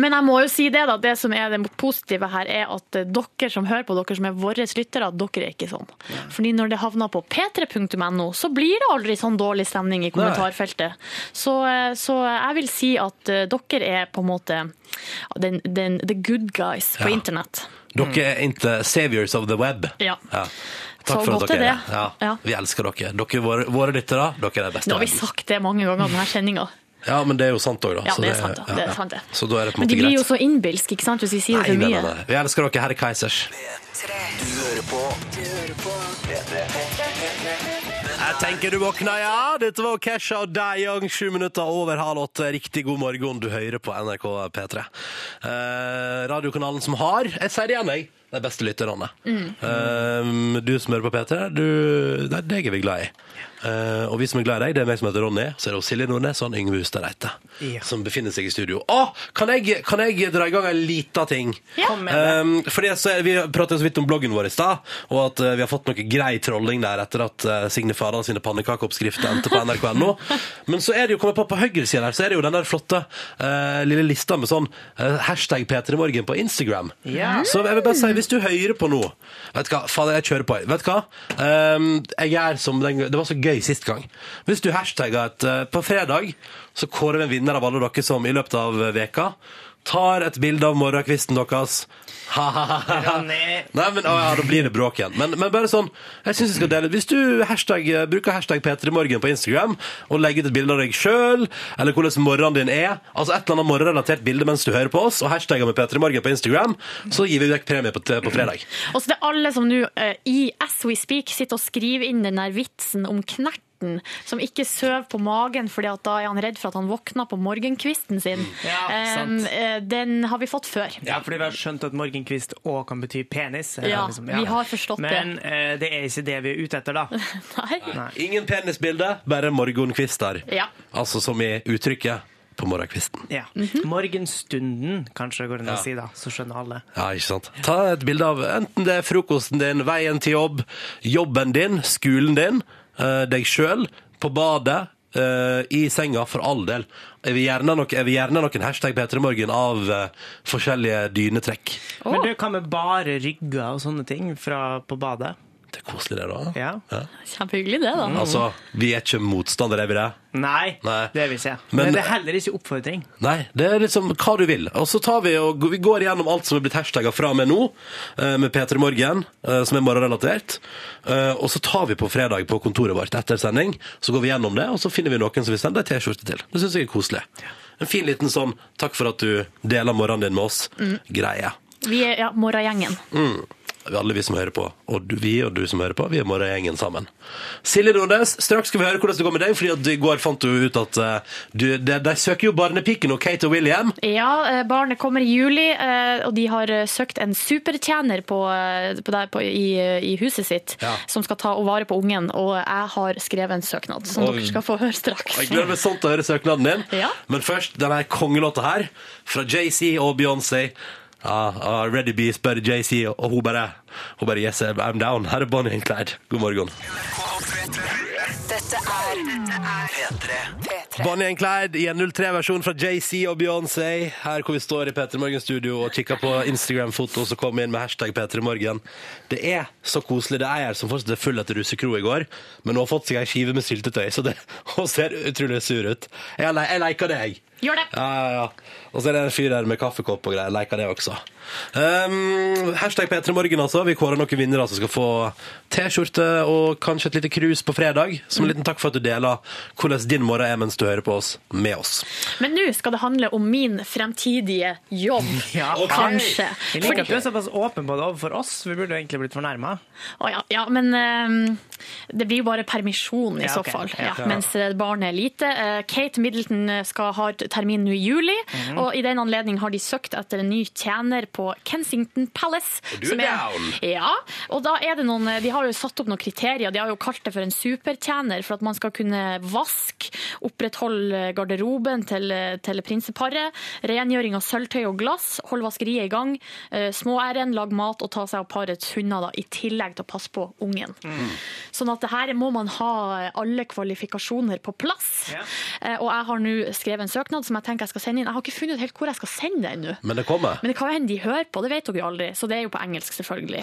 S3: Men jeg må jo si det, da. Det som er det positive her, er at eh, dere som hører på, dere som er våre lyttere, dere er ikke sånn. Fordi når det havner på p3.no, så blir det aldri sånn dårlig stemning i kommentarfeltet. Så, eh, så jeg vil si at eh, dere er på en måte den, den, the good guys på
S1: Ja.
S3: internett.
S1: Dere er ikke saviors of the web.
S3: Mm. Ja.
S1: Takk
S3: Så
S1: for at
S3: godt
S1: dere
S3: er
S1: er det.
S3: det.
S1: Ja.
S3: Ja.
S1: Vi elsker dere. Dere er våre, våre lyttere. Dere er de beste.
S3: Nå har vi
S1: i verden.
S3: sagt det mange ganger i denne sendinga.
S1: Ja, men Altså, det er jo sant òg, da.
S3: Ja,
S1: Så
S3: det er sant, da.
S1: ja,
S3: Det er
S1: ja.
S3: sant, det.
S1: Så da er det på en
S3: Men de
S1: måte
S3: blir jo
S1: greit.
S3: så innbilske, ikke sant, hvis vi sier
S1: Nei,
S3: det for
S1: nei,
S3: mye.
S1: nei, nei. Vi elsker dere, herre Keisers.
S4: Tre. Du hører på P3.
S1: Jeg tenker du våkna, ja. Dette var Kesha og Die Young, sju minutter over halv åtte. Riktig god morgen, du hører på NRK P3. Eh, radiokanalen som har Jeg sier det igjen, jeg. De beste lytterne. Eh, du som hører på P3, du, det er deg er vi glad i. Eh, og vi som er glad i deg, det er meg som heter Ronny, så er det også Silje Nordnes og han Yngve Hustad Reite.
S2: Ja.
S1: Som befinner seg i studio. Å, kan jeg, kan jeg dra i gang en lita ting?
S3: Ja.
S2: Kom med det.
S1: Um, fordi så, Vi pratet så vidt om bloggen vår i stad, og at eh, vi har fått noe grei trolling der etter at eh, Signe Fardal sine pannekakeoppskrifter endte på nrk.no. Men så er det jo kommet på på høyresida der, så er det jo den der flotte eh, lille lista med sånn eh, hashtag P3morgen på Instagram.
S2: Ja.
S1: Så jeg vil bare si, hvis du hører på nå Vet du hva, fader, jeg kjører på. Vet du hva? Um, jeg er som den Det var så gøy sist gang. Hvis du hashtagger et eh, På fredag så kårer vi en vinner av alle dere som i løpet av veka tar et bilde av morgenkvisten deres. Ha-ha-ha.
S2: Ronny.
S1: Nei, men å, ja, da blir det bråk igjen. Men, men bare sånn, jeg synes jeg skal dele Hvis du hashtag, eh, bruker hashtag P3morgen på Instagram og legger ut et bilde av deg sjøl, eller hvordan morgenen din er, altså et eller annet morgenrelatert bilde mens du hører på oss, og hashtagger med P3morgen på Instagram, så gir vi vekk premie på, på fredag.
S3: Og så det er alle som nå eh, i As We Speak sitter og skriver inn den der vitsen om knerten som ikke sover på magen fordi at da er han redd for at han våkner på morgenkvisten sin.
S1: Mm.
S2: Ja,
S3: Eh,
S2: sant.
S3: eh, den har vi fått før.
S2: Ja, fordi vi har skjønt at morgenkvist òg kan bety penis. liksom,
S3: Ja, vi har forstått det.
S2: Men eh, det er ikke det vi er ute etter, da.
S3: Nei.
S1: Ingen penisbilde, bare morgenkvister.
S3: Ja.
S1: Altså som i uttrykket på morgenkvisten.
S2: Ja.
S3: Mhm.
S2: Morgenstunden, kanskje går det an å si, da. Så skjønner alle.
S1: Ja, ikke sant? Ta et bilde av enten det er frokosten din, veien til jobb, jobben din, skolen din, eh, deg sjøl, på badet, eh, i senga, for all del. Jeg vil gjerne nok- jeg vil gjerne noen hashtag P3morgen av eh, forskjellige dynetrekk.
S2: Men du, hva med bare rygger og sånne ting fra på badet?
S1: Det er koselig, det, da.
S2: Ja.
S3: Kjempehyggelig det, da.
S1: Altså, vi er ikke motstandere, er vi det?
S2: Nei,
S1: Nei.
S2: det vil ikke jeg.
S1: Men-
S2: Men, det er heller ikke oppfordring.
S1: Nei, det er liksom hva du vil. Og så tar vi og vi går gjennom alt som er blitt hashtagga fra og med nå, eh, med P3 Morgen, eh, som er morgenrelatert. Eh, Og så tar vi på fredag på kontoret vårt etter sending, så går vi gjennom det, og så finner vi noen som vi sender ei T-skjorte til. Det syns jeg er koselig. En fin liten sånn 'takk for at du deler morgenen din med oss'-greie.
S3: Vi er ja, morgengjengen.
S1: alle vi som hører på, og du, vi og du som hører på, vi er morgengjengen sammen. Silje Nordnes, straks skal vi høre hvordan det går med deg, fordi at i går fant du ut at eh, du, de, de søker jo barnepiken og Kate og William.
S3: Ja, eh, barnet kommer i juli, eh, og de har eh, søkt en supertjener på, eh, på der, på, i, eh, i huset sitt,
S1: Ja.
S3: som skal ta og vare på ungen, og jeg har skrevet en søknad, som
S1: Oi.
S3: dere skal få høre straks.
S1: Og Jeg gleder meg sånn til å høre søknaden din.
S3: Ja.
S1: Men først denne kongelåta her, fra JC og Beyoncé. Ja, ja, Ready B spør JC, og hun bare, hun bare Yes, I'm down. Her er Bonnie and Clyde. God morgen.
S5: Dette er
S4: P3.
S5: P3.
S1: Bonnie and Clyde i en 03-versjon fra JC og Beyoncé. Her hvor vi står i P3 Morgen studio og kikker på Instagram-foto som kom inn med hashtag P3 Morgen. Det er så koselig. Det er ei her som fortsatt er full etter russekro i går, men hun har fått seg ei skive med syltetøy, så det, hun ser utrolig sur ut. Jeg, le- jeg leker det, jeg.
S3: Gjør det.
S1: Ja, ja, ja. Og så er det en fyr der med kaffekopp og greier. Leker det også. Um, hashtag P3morgen, altså. Vi kårer noen vinnere som skal få T-skjorte og kanskje et lite krus på fredag. Som en liten takk for at du deler hvordan din morgen er mens du hører på oss, med oss.
S3: Men nå skal det handle om min fremtidige jobb,
S2: Ja, ok.
S3: kanskje.
S2: Jeg liker at du er såpass åpen på det overfor oss. Vi burde jo egentlig blitt fornærma.
S3: Å ja, ja, men eh, det blir jo bare permisjon i
S2: Ja,
S3: så
S2: ok.
S3: fall,
S2: Ja.
S3: ja, mens eh, barnet er lite. Eh, Kate Middleton skal ha et termin nå i juli,
S2: Mhm.
S3: og i den anledning har de søkt etter en ny tjener på Kensington Palace.
S1: du er
S3: som
S1: down.
S3: Ja, og da er det noen, eh, de har jo satt opp noen kriterier, de har jo kalt det for en supertjener, for at man skal kunne vaske, opprettholde garderoben til, eh, til prinseparet, rengjøring av sølvtøy og glass, holde vaskeriet i gang, eh, små æren, lage mat og ta seg av parets hunder, da, i tillegg til å passe på ungen.
S1: Mm.
S3: Sånn at det her må man ha eh, alle kvalifikasjoner på plass.
S2: Ja.
S3: Eh, Og jeg har nå skrevet en søknad som jeg tenker jeg skal sende inn. Jeg har ikke funnet ut helt hvor jeg skal sende den nå.
S1: Men det kommer.
S3: Men det kan jo hende de hører på, det vet dere jo aldri. Så det er jo på engelsk, selvfølgelig.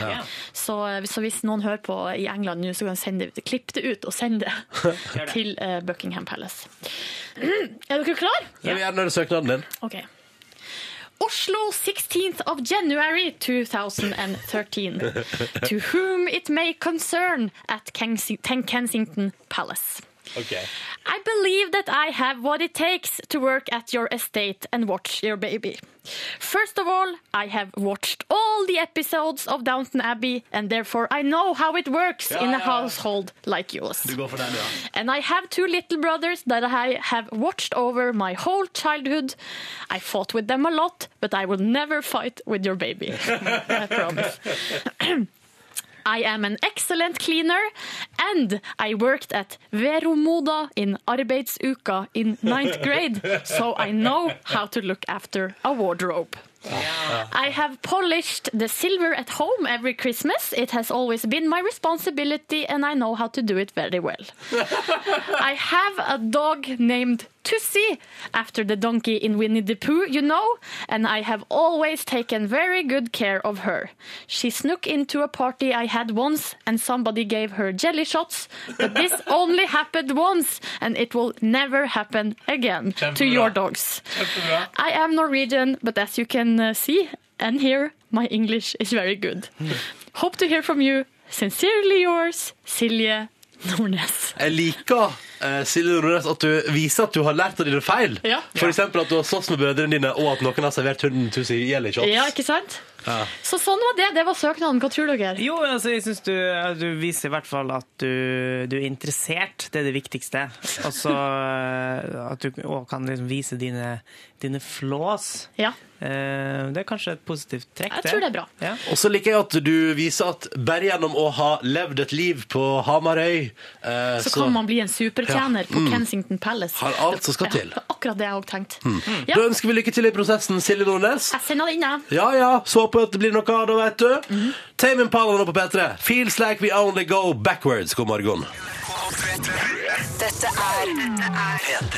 S3: Så, eh, så hvis noen hører på i England nå, så kan de sende det, klipp det ut og send det til eh, Buckingham Palace. er dere klare?
S1: Jeg vil gjerne høre søknaden din.
S3: OK. Oslo 16th of January 2013. To whom it may concern at Kensing- Kensington Palace. I believe that I have what it takes to work at your estate and watch your baby. First of all, I have watched all the episodes of Downton Abbey, and therefore I know how it works in a household like yours.
S1: går for den, ja.
S3: And I have two little brothers that I have watched over my whole childhood. I fought with them a lot, but I will never fight with your baby. I promise. I am an excellent cleaner, and I worked at Veromoda in Arbeidsuka in ninth grade, so I know how to look after a wardrobe. I have polished the silver at home every Christmas. It has always been my responsibility, and I know how to do it very well. I have a dog named Tussie, after the donkey in Winnie the Pooh, you know, and I have always taken very good care of her. She snuck into a party I had once, and somebody gave her jelly shots, but this only happened once, and it will never happen again to your dogs. I am Norwegian, but as you can uh, see and hear, my English is very good.
S1: Hmm.
S3: Hope to hear from you. Sincerely yours, Silje Nordnes.
S1: Jeg liker eh, Silje Nordnes at du viser at du har lært av dine feil.
S3: Ja.
S1: For eksempel at du har slåss med brødrene dine, og at noen har servert hunden til seg i jelly shots.
S3: Ja, ikke sant? Så sånn var det. Det var søknaden. Hva tror dere?
S2: Jo, altså, jeg synes du, du viser i hvert fall at du, du er interessert. Det er det viktigste. Og så eh, at du også kan liksom vise dine, dine flås.
S3: Ja,
S2: Eh, Det er kanskje et positivt trekk.
S3: jeg tror det er bra.
S2: Ja.
S1: Og så liker jeg at du viser at bare gjennom å ha levd et liv på Hamarøy, eh,
S3: Så kan man bli en supertjener på Kensington Palace.
S1: Mm. Har alt som skal til. Mm.
S3: Ja, det er akkurat det jeg òg tenkte. Ja,
S1: Da ønsker vi lykke til i prosessen, Silje Nordnes.
S3: jeg sender det inn, jeg.
S1: Ja ja, så håper jeg at det blir noe av det, vet du.
S3: Mhm.
S1: Tame Impala nå på P3. Feels like we only go backwards. God morgen.
S5: Dette er
S4: P3.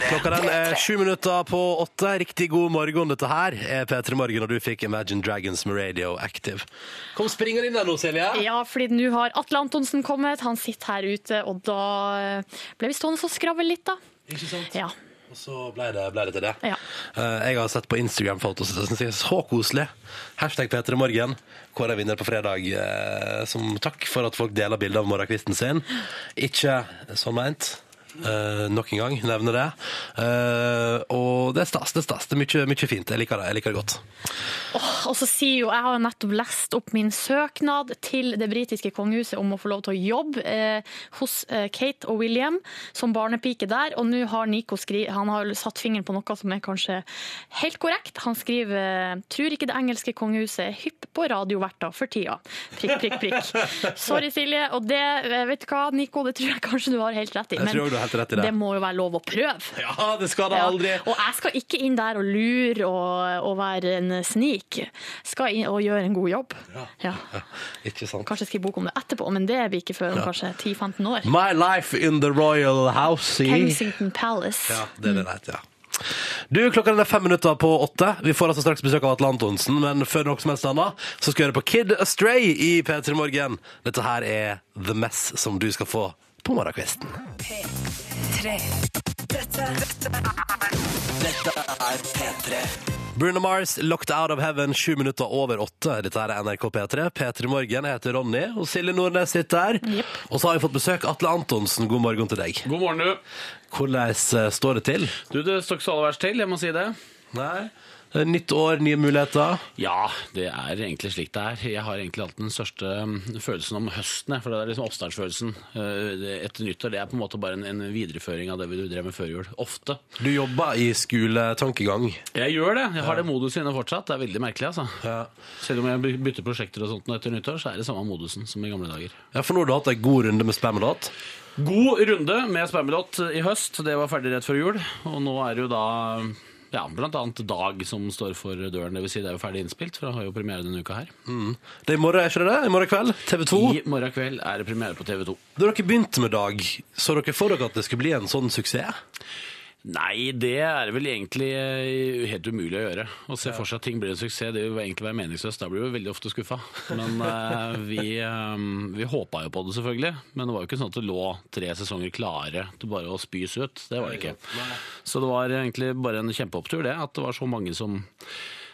S1: Klokka den er sju minutter på åtte. Riktig god morgen, dette her er P3 Morgen, og du fikk Imagine Dragons med Radio Active. Kom springende inn der nå, Silje.
S3: Ja, fordi nå har Atle Antonsen kommet. Han sitter her ute, og da eh, ble vi stående og skravle litt, da.
S1: Ikke sant?
S3: Ja.
S1: Og så ble det, ble det til det.
S3: Ja.
S1: Eh, jeg har sett på Instagram-foto, så synes jeg er så koselig. Hashtag P3morgen. Kåre vinner på fredag, eh, som takk for at folk deler bilder av morgenkvisten sin. Ikke sånn meint. eh, nok en gang nevne det. Eh, og det er stas, det er stas. Det er mye, mye fint. Jeg liker det, jeg liker det godt.
S3: Og så sier jo, Jeg har jo nettopp lest opp min søknad til det britiske kongehuset om å få lov til å jobbe eh, hos eh, Kate og William som barnepike der. Og nå har Nico skri han har satt fingeren på noe som er kanskje helt korrekt. Han skriver tror ikke det engelske kongehuset er hypp på radioverter for tida. Prikk, prikk, prikk. Sorry, Silje. Og det, eh, vet du hva, Nico, det tror jeg kanskje du har helt rett i.
S1: Jeg tror du har helt rett i det.
S3: det må jo være lov å prøve.
S1: Ja, det skal det
S3: Ja.
S1: aldri!
S3: Og jeg skal ikke inn der og lure og, og være en snik. Skal inn og gjøre en god jobb. Ja.
S1: Ikke sant.
S3: Kanskje jeg skriver bok om det etterpå, men det blir ikke før om kanskje 10-15 år.
S1: My life in the royal house. see?
S3: Kensington Palace.
S1: Ja, det er det det heter, ja. Du, klokka den er fem minutter på åtte. Vi får altså straks besøk av Atle Antonsen, men før noe som helst annet, så skal vi høre på Kid Astray i P3 Morgen. Dette her er The Mess, som du skal få på morgenkvisten. Bruno Mars, Locked Out of Heaven, sju minutter over åtte. Dette her er NRK P3. P3 Morgen, jeg heter Ronny, og Silje Nordnes sitter her. Og så har vi fått besøk. Atle Antonsen, god morgen til deg.
S6: God morgen, du.
S1: Hvordan eh, står det til?
S6: Du, Det står ikke så aller verst til, jeg må si det.
S1: Nei. Nytt år, nye muligheter.
S6: Ja, det er egentlig slik det er. Jeg har egentlig hatt den største um, følelsen om høsten. jeg, For det er liksom oppstartsfølelsen eh, det- etter nyttår. Det er på en måte bare en, en videreføring av det vi drev med før jul. Ofte.
S1: Du jobber i skoletankegang.
S6: Jeg gjør det. Jeg har det moduset inne fortsatt. Det er veldig merkelig, altså. Selv om jeg by- bytter prosjekter og sånt nå etter nyttår, så er det samme modusen som i gamle dager.
S1: Ja, for nå har du hatt en god runde med spammelåt.
S6: God runde med Spammelott i høst. Det var ferdig rett før jul. Og nå er det jo da ja, blant annet Dag som står for døren. Det vil si det er jo ferdig innspilt, for han har jo premiere denne uka her.
S1: Mm. Det er i morgen, er ikke det det? I morgen kveld? TV 2.
S6: I morgen kveld er det premiere på TV 2.
S1: Da dere begynte med Dag, så dere for dere at det skulle bli en sånn suksess?
S6: Nei, det er vel egentlig eh, helt umulig å gjøre. Å se for seg at ting blir en suksess, det vil jo egentlig være meningsløst. Da blir vi veldig ofte skuffa. Men eh, vi, eh, vi håpa jo på det, selvfølgelig. Men det var jo ikke sånn at det lå tre sesonger klare til bare å spys ut. Det var det ikke. Så det var egentlig bare en kjempeopptur, det. At det var så mange som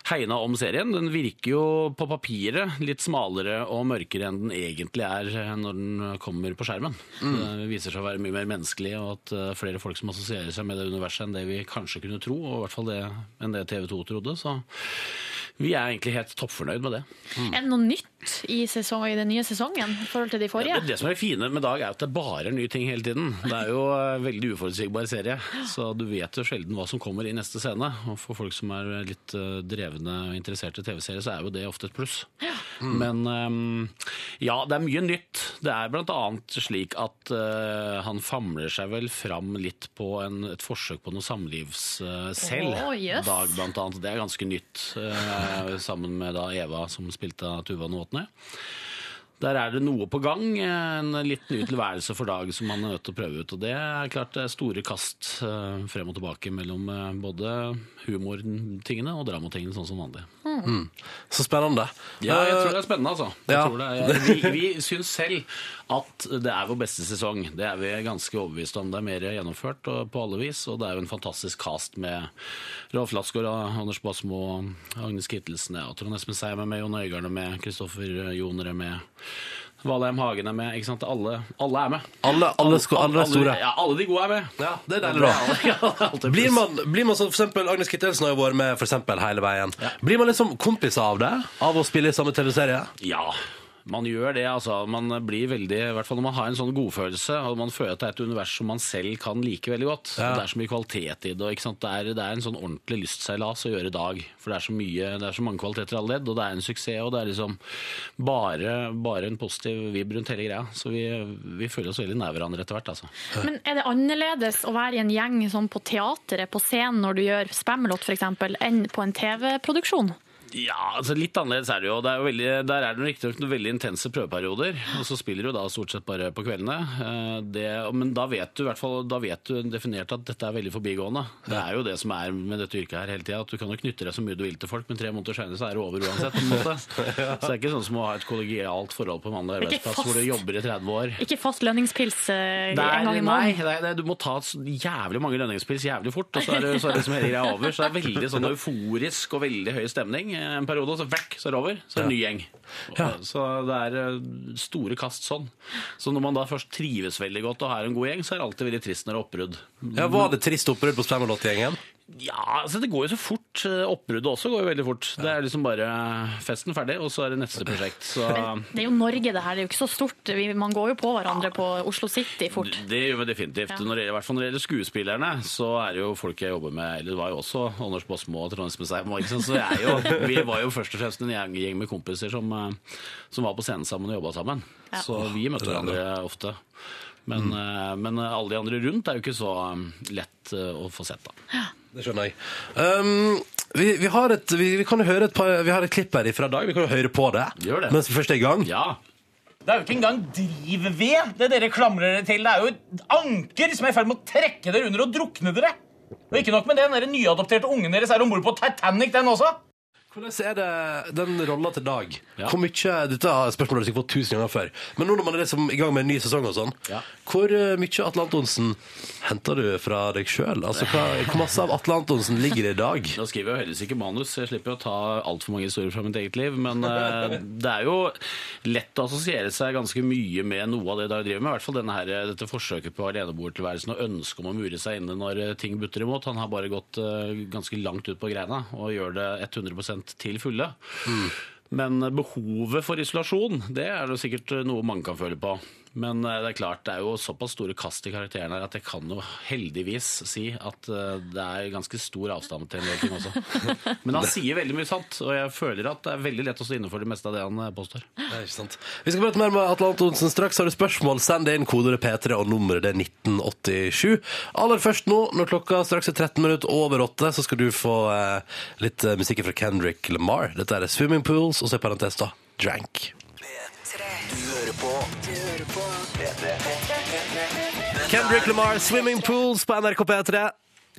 S6: hegna om serien. Den virker jo på papiret litt smalere og mørkere enn den egentlig er eh, når den kommer på skjermen. Eh, Det viser seg å være mye mer menneskelig, og at eh, flere folk som assosierer seg med det universet enn det vi kanskje kunne tro, og i hvert fall det, enn det TV 2 trodde. Så vi er egentlig helt toppfornøyd med det.
S3: Er det noe nytt i, sesong, i den nye sesongen i forhold til de
S6: Ja,
S3: forrige?
S6: det, det som er det fine med Dag, er at det bare er nye ting hele tiden. Det er jo eh, veldig uforutsigbar serie, så du vet jo sjelden hva som kommer i neste scene. Og for folk som er litt eh, drevne og interessert i TV-serier, så er jo det ofte et pluss. Mm. Men eh, ja, det er mye nytt. Det er blant annet slik at eh, han famler seg vel fram litt på en, et forsøk på noe eh, samlivsselv.
S3: Å, jøss.
S6: Dag, blant annet. Det er ganske nytt, eh, sammen med da Eva som spilte av Tuva Nåtne. Der er det noe på gang. En litt ny tilværelse for Dag som han er nødt til å prøve ut. Og det er klart det er store kast eh, frem og tilbake mellom eh, både humortingene og dramatingene, sånn som vanlig.
S1: Så spennende.
S6: Ja, jeg tror
S1: Eh,
S6: det er spennende, altså. Jeg
S1: Ja.
S6: tror det er, vi vi syns selv at det er vår beste sesong. Det er vi ganske overbevist om. Det er mer gjennomført og, på alle vis, og det er jo en fantastisk cast med Rolf Latsgaard, og Anders Basmo, og Agnes Kittelsen ja, og Trond Espen Seim er med, Jon Øigarden er med, Kristoffer Joner er med. Valheim Hagen er med. ikke sant? Alle, alle er med.
S1: Eh, Alle, alle, sko- alle er store.
S6: Ja, alle de gode er med.
S1: Ja, det er deilig, da.
S6: Ja, det er alltid
S1: Blir
S6: pluss.
S1: man, blir man sånn, for eksempel, Agnes Kittelsen har jo vært med for eksempel, hele veien. Blir man liksom kompiser av det? Av å spille i samme TV-serie?
S6: Ja, man gjør det. altså. Man blir veldig, i hvert fall når man har en sånn godfølelse, og man føler at det er et univers som man selv kan like veldig godt. Og Det er så mye kvalitet i det. og Ikke sant? Det, er, det er en sånn ordentlig lystseilas å gjøre i dag. For det er så mye, det er så mange kvaliteter i alle ledd, og det er en suksess. Og det er liksom bare, bare en positiv vib rundt hele greia. Så vi, vi føler oss veldig nær hverandre etter hvert, altså.
S3: Men er det annerledes å være i en gjeng sånn på teateret, på scenen, når du gjør Spamelot f.eks., enn på en TV-produksjon?
S6: Ja, altså litt annerledes er det jo. Det er jo veldig, der er det riktignok noen veldig intense prøveperioder. Og så spiller du da stort sett bare på kveldene. Eh, Det, men da vet du i hvert fall da vet du definert at dette er veldig forbigående. Det er jo det som er med dette yrket her hele tida. At du kan jo knytte deg så mye du vil til folk, men tre måneder seinere så er det over uansett. På en måte. Så det er ikke sånn som å ha et kollegialt forhold på en vanlig
S3: Ikke
S6: arbeidsplass hvor du
S3: fast.
S6: jobber i 30 år.
S3: Ikke fast lønningspils eh,
S6: Det er-
S3: en gang i
S6: nei,
S3: måneden?
S6: nei, nei, du må ta så jævlig mange lønningspils jævlig fort, og så er det, så er det liksom hele greia over. Så det er veldig sånn euforisk og veldig høy stemning. en periode, og så vekk, så er det over. Så er det en ny gjeng. Og- Så det er eh, store kast sånn. Så når man da først trives veldig godt og har en god gjeng, så er det alltid veldig trist når det er oppbrudd.
S1: Ja, Var det trist oppbrudd på Spam og Lott-gjengen?
S6: Ja, altså det går jo så fort. Eh, Oppbruddet også går jo veldig fort. Det er liksom bare festen ferdig, og så er det neste prosjekt. Så
S3: Det er jo Norge, det her. Det er jo ikke så stort. Vi, man går jo på hverandre på Oslo City fort.
S6: det gjør vi definitivt.
S3: Ja.
S6: Når det, I hvert fall når det gjelder skuespillerne, så er det jo folk jeg jobber med Eller det var jo også Anders Baasmo og Trondheim Spesheim. og ikke sant, Så jeg er jo, vi var jo først og fremst en gjeng, gjeng med kompiser som, eh, som var på scenen sammen og jobba sammen.
S3: Ja.
S6: Så vi møtte hverandre ofte. Men, eh, men alle de andre rundt er jo ikke så eh, lett eh, å få sett, da.
S1: Det skjønner jeg. Um, vi, vi, har et, vi, vi kan jo høre et, par, vi har et klipp her fra Dag. Vi kan jo høre på det,
S6: Gjør det.
S1: mens vi først er i gang.
S6: Ja,
S7: Det er jo ikke engang drivved det dere klamrer dere til. Det er jo et anker som er i ferd med å trekke dere under og drukne dere. Og ikke nok med det, den der nyadopterte ungen deres er om bord på Titanic, den også.
S1: Hvordan er det den rolla til Dag?
S6: Ja.
S1: Hvor mye, Dette har spørsmålet du sikkert fått tusen ganger før. Men nå når man er liksom i gang med en ny sesong, og sånn,
S6: Ja.
S1: hvor eh, mye Atle Antonsen henter du fra deg sjøl? Altså, hva- hvor masse av Atle Antonsen ligger det i Dag?
S6: Da skriver jeg jo heldigvis ikke manus, så jeg slipper jo å ta altfor mange historier fra mitt eget liv. Men eh, det er jo lett å assosiere seg ganske mye med noe av det Dag driver med. I hvert fall denne her, dette forsøket på aleneboertilværelsen og ønsket om å mure seg inne når eh, ting butter imot. Han har bare gått eh, ganske langt ut på greina og gjør det 100 til fulle.
S7: Mm.
S6: Men behovet for isolasjon, det er jo sikkert noe mange kan føle på. Men eh, det er klart, det er jo såpass store kast i karakteren her at jeg kan jo heldigvis si at eh, det er ganske stor avstand til en del ting også. Men han sier veldig mye sant, og jeg føler at det er veldig lett å stå innenfor det meste av det han eh, påstår.
S1: Det er ikke sant. Vi skal prate mer med Atle Antonsen straks. Har du spørsmål, send det inn kodeordet P3 og nummeret det er 1987. Aller først nå, når klokka straks er 13 minutter over 8, så skal du få eh, litt eh, musikk fra Kendrick Lamar. Dette er Swimming Pools, og så i parentes da, Drank.
S5: P3.
S4: Du hører på P3.
S1: Kendrick Lamar, Swimming Pools på NRK P3.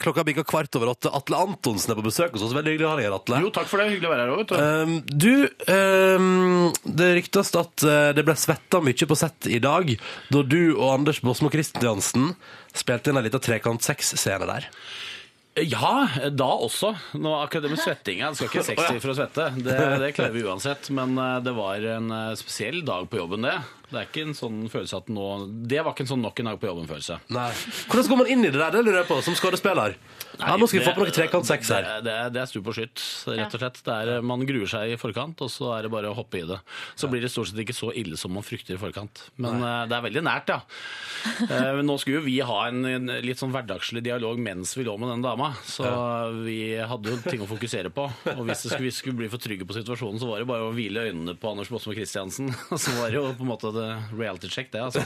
S1: Klokka bikker kvart over åtte. Atle Antonsen er på besøk hos oss. Veldig hyggelig å ha deg her, Atle.
S6: Jo, takk for det. Hyggelig å være her òg, vet du.
S1: Um, du, um, det ryktes at eh, det ble svetta mye på sett i dag da du og Anders Båsmo Christiansen spilte inn en liten trekant seks-scene der.
S6: Eh, Ja, da også. Nå akkurat det med svettinga. Det skal ikke sexy for å svette. Det, det klarer vi uansett. Men eh, det var en eh, spesiell dag på jobben, det. Det er ikke en sånn følelse at nå Det var ikke en sånn nok en dag på jobben-følelse.
S1: Hvordan går man inn i det der, det lurer jeg på, som skådespiller? Ja, nå skal vi få på noe trekant seks her.
S6: Det, det, det er stup og skytt, rett og slett. Det er, man gruer seg i forkant, og så er det bare å hoppe i det. Så blir det stort sett ikke så ille som man frykter i forkant. Men eh, det er veldig nært, ja. Eh, men nå skulle jo vi ha en, en litt sånn hverdagslig dialog mens vi lå med den dama, så vi hadde jo ting å fokusere på. Og hvis det skulle, vi skulle bli for trygge på situasjonen, så var det bare å hvile øynene på Anders Båsmo Christiansen. Og så var det jo på en måte det reality check, det, altså.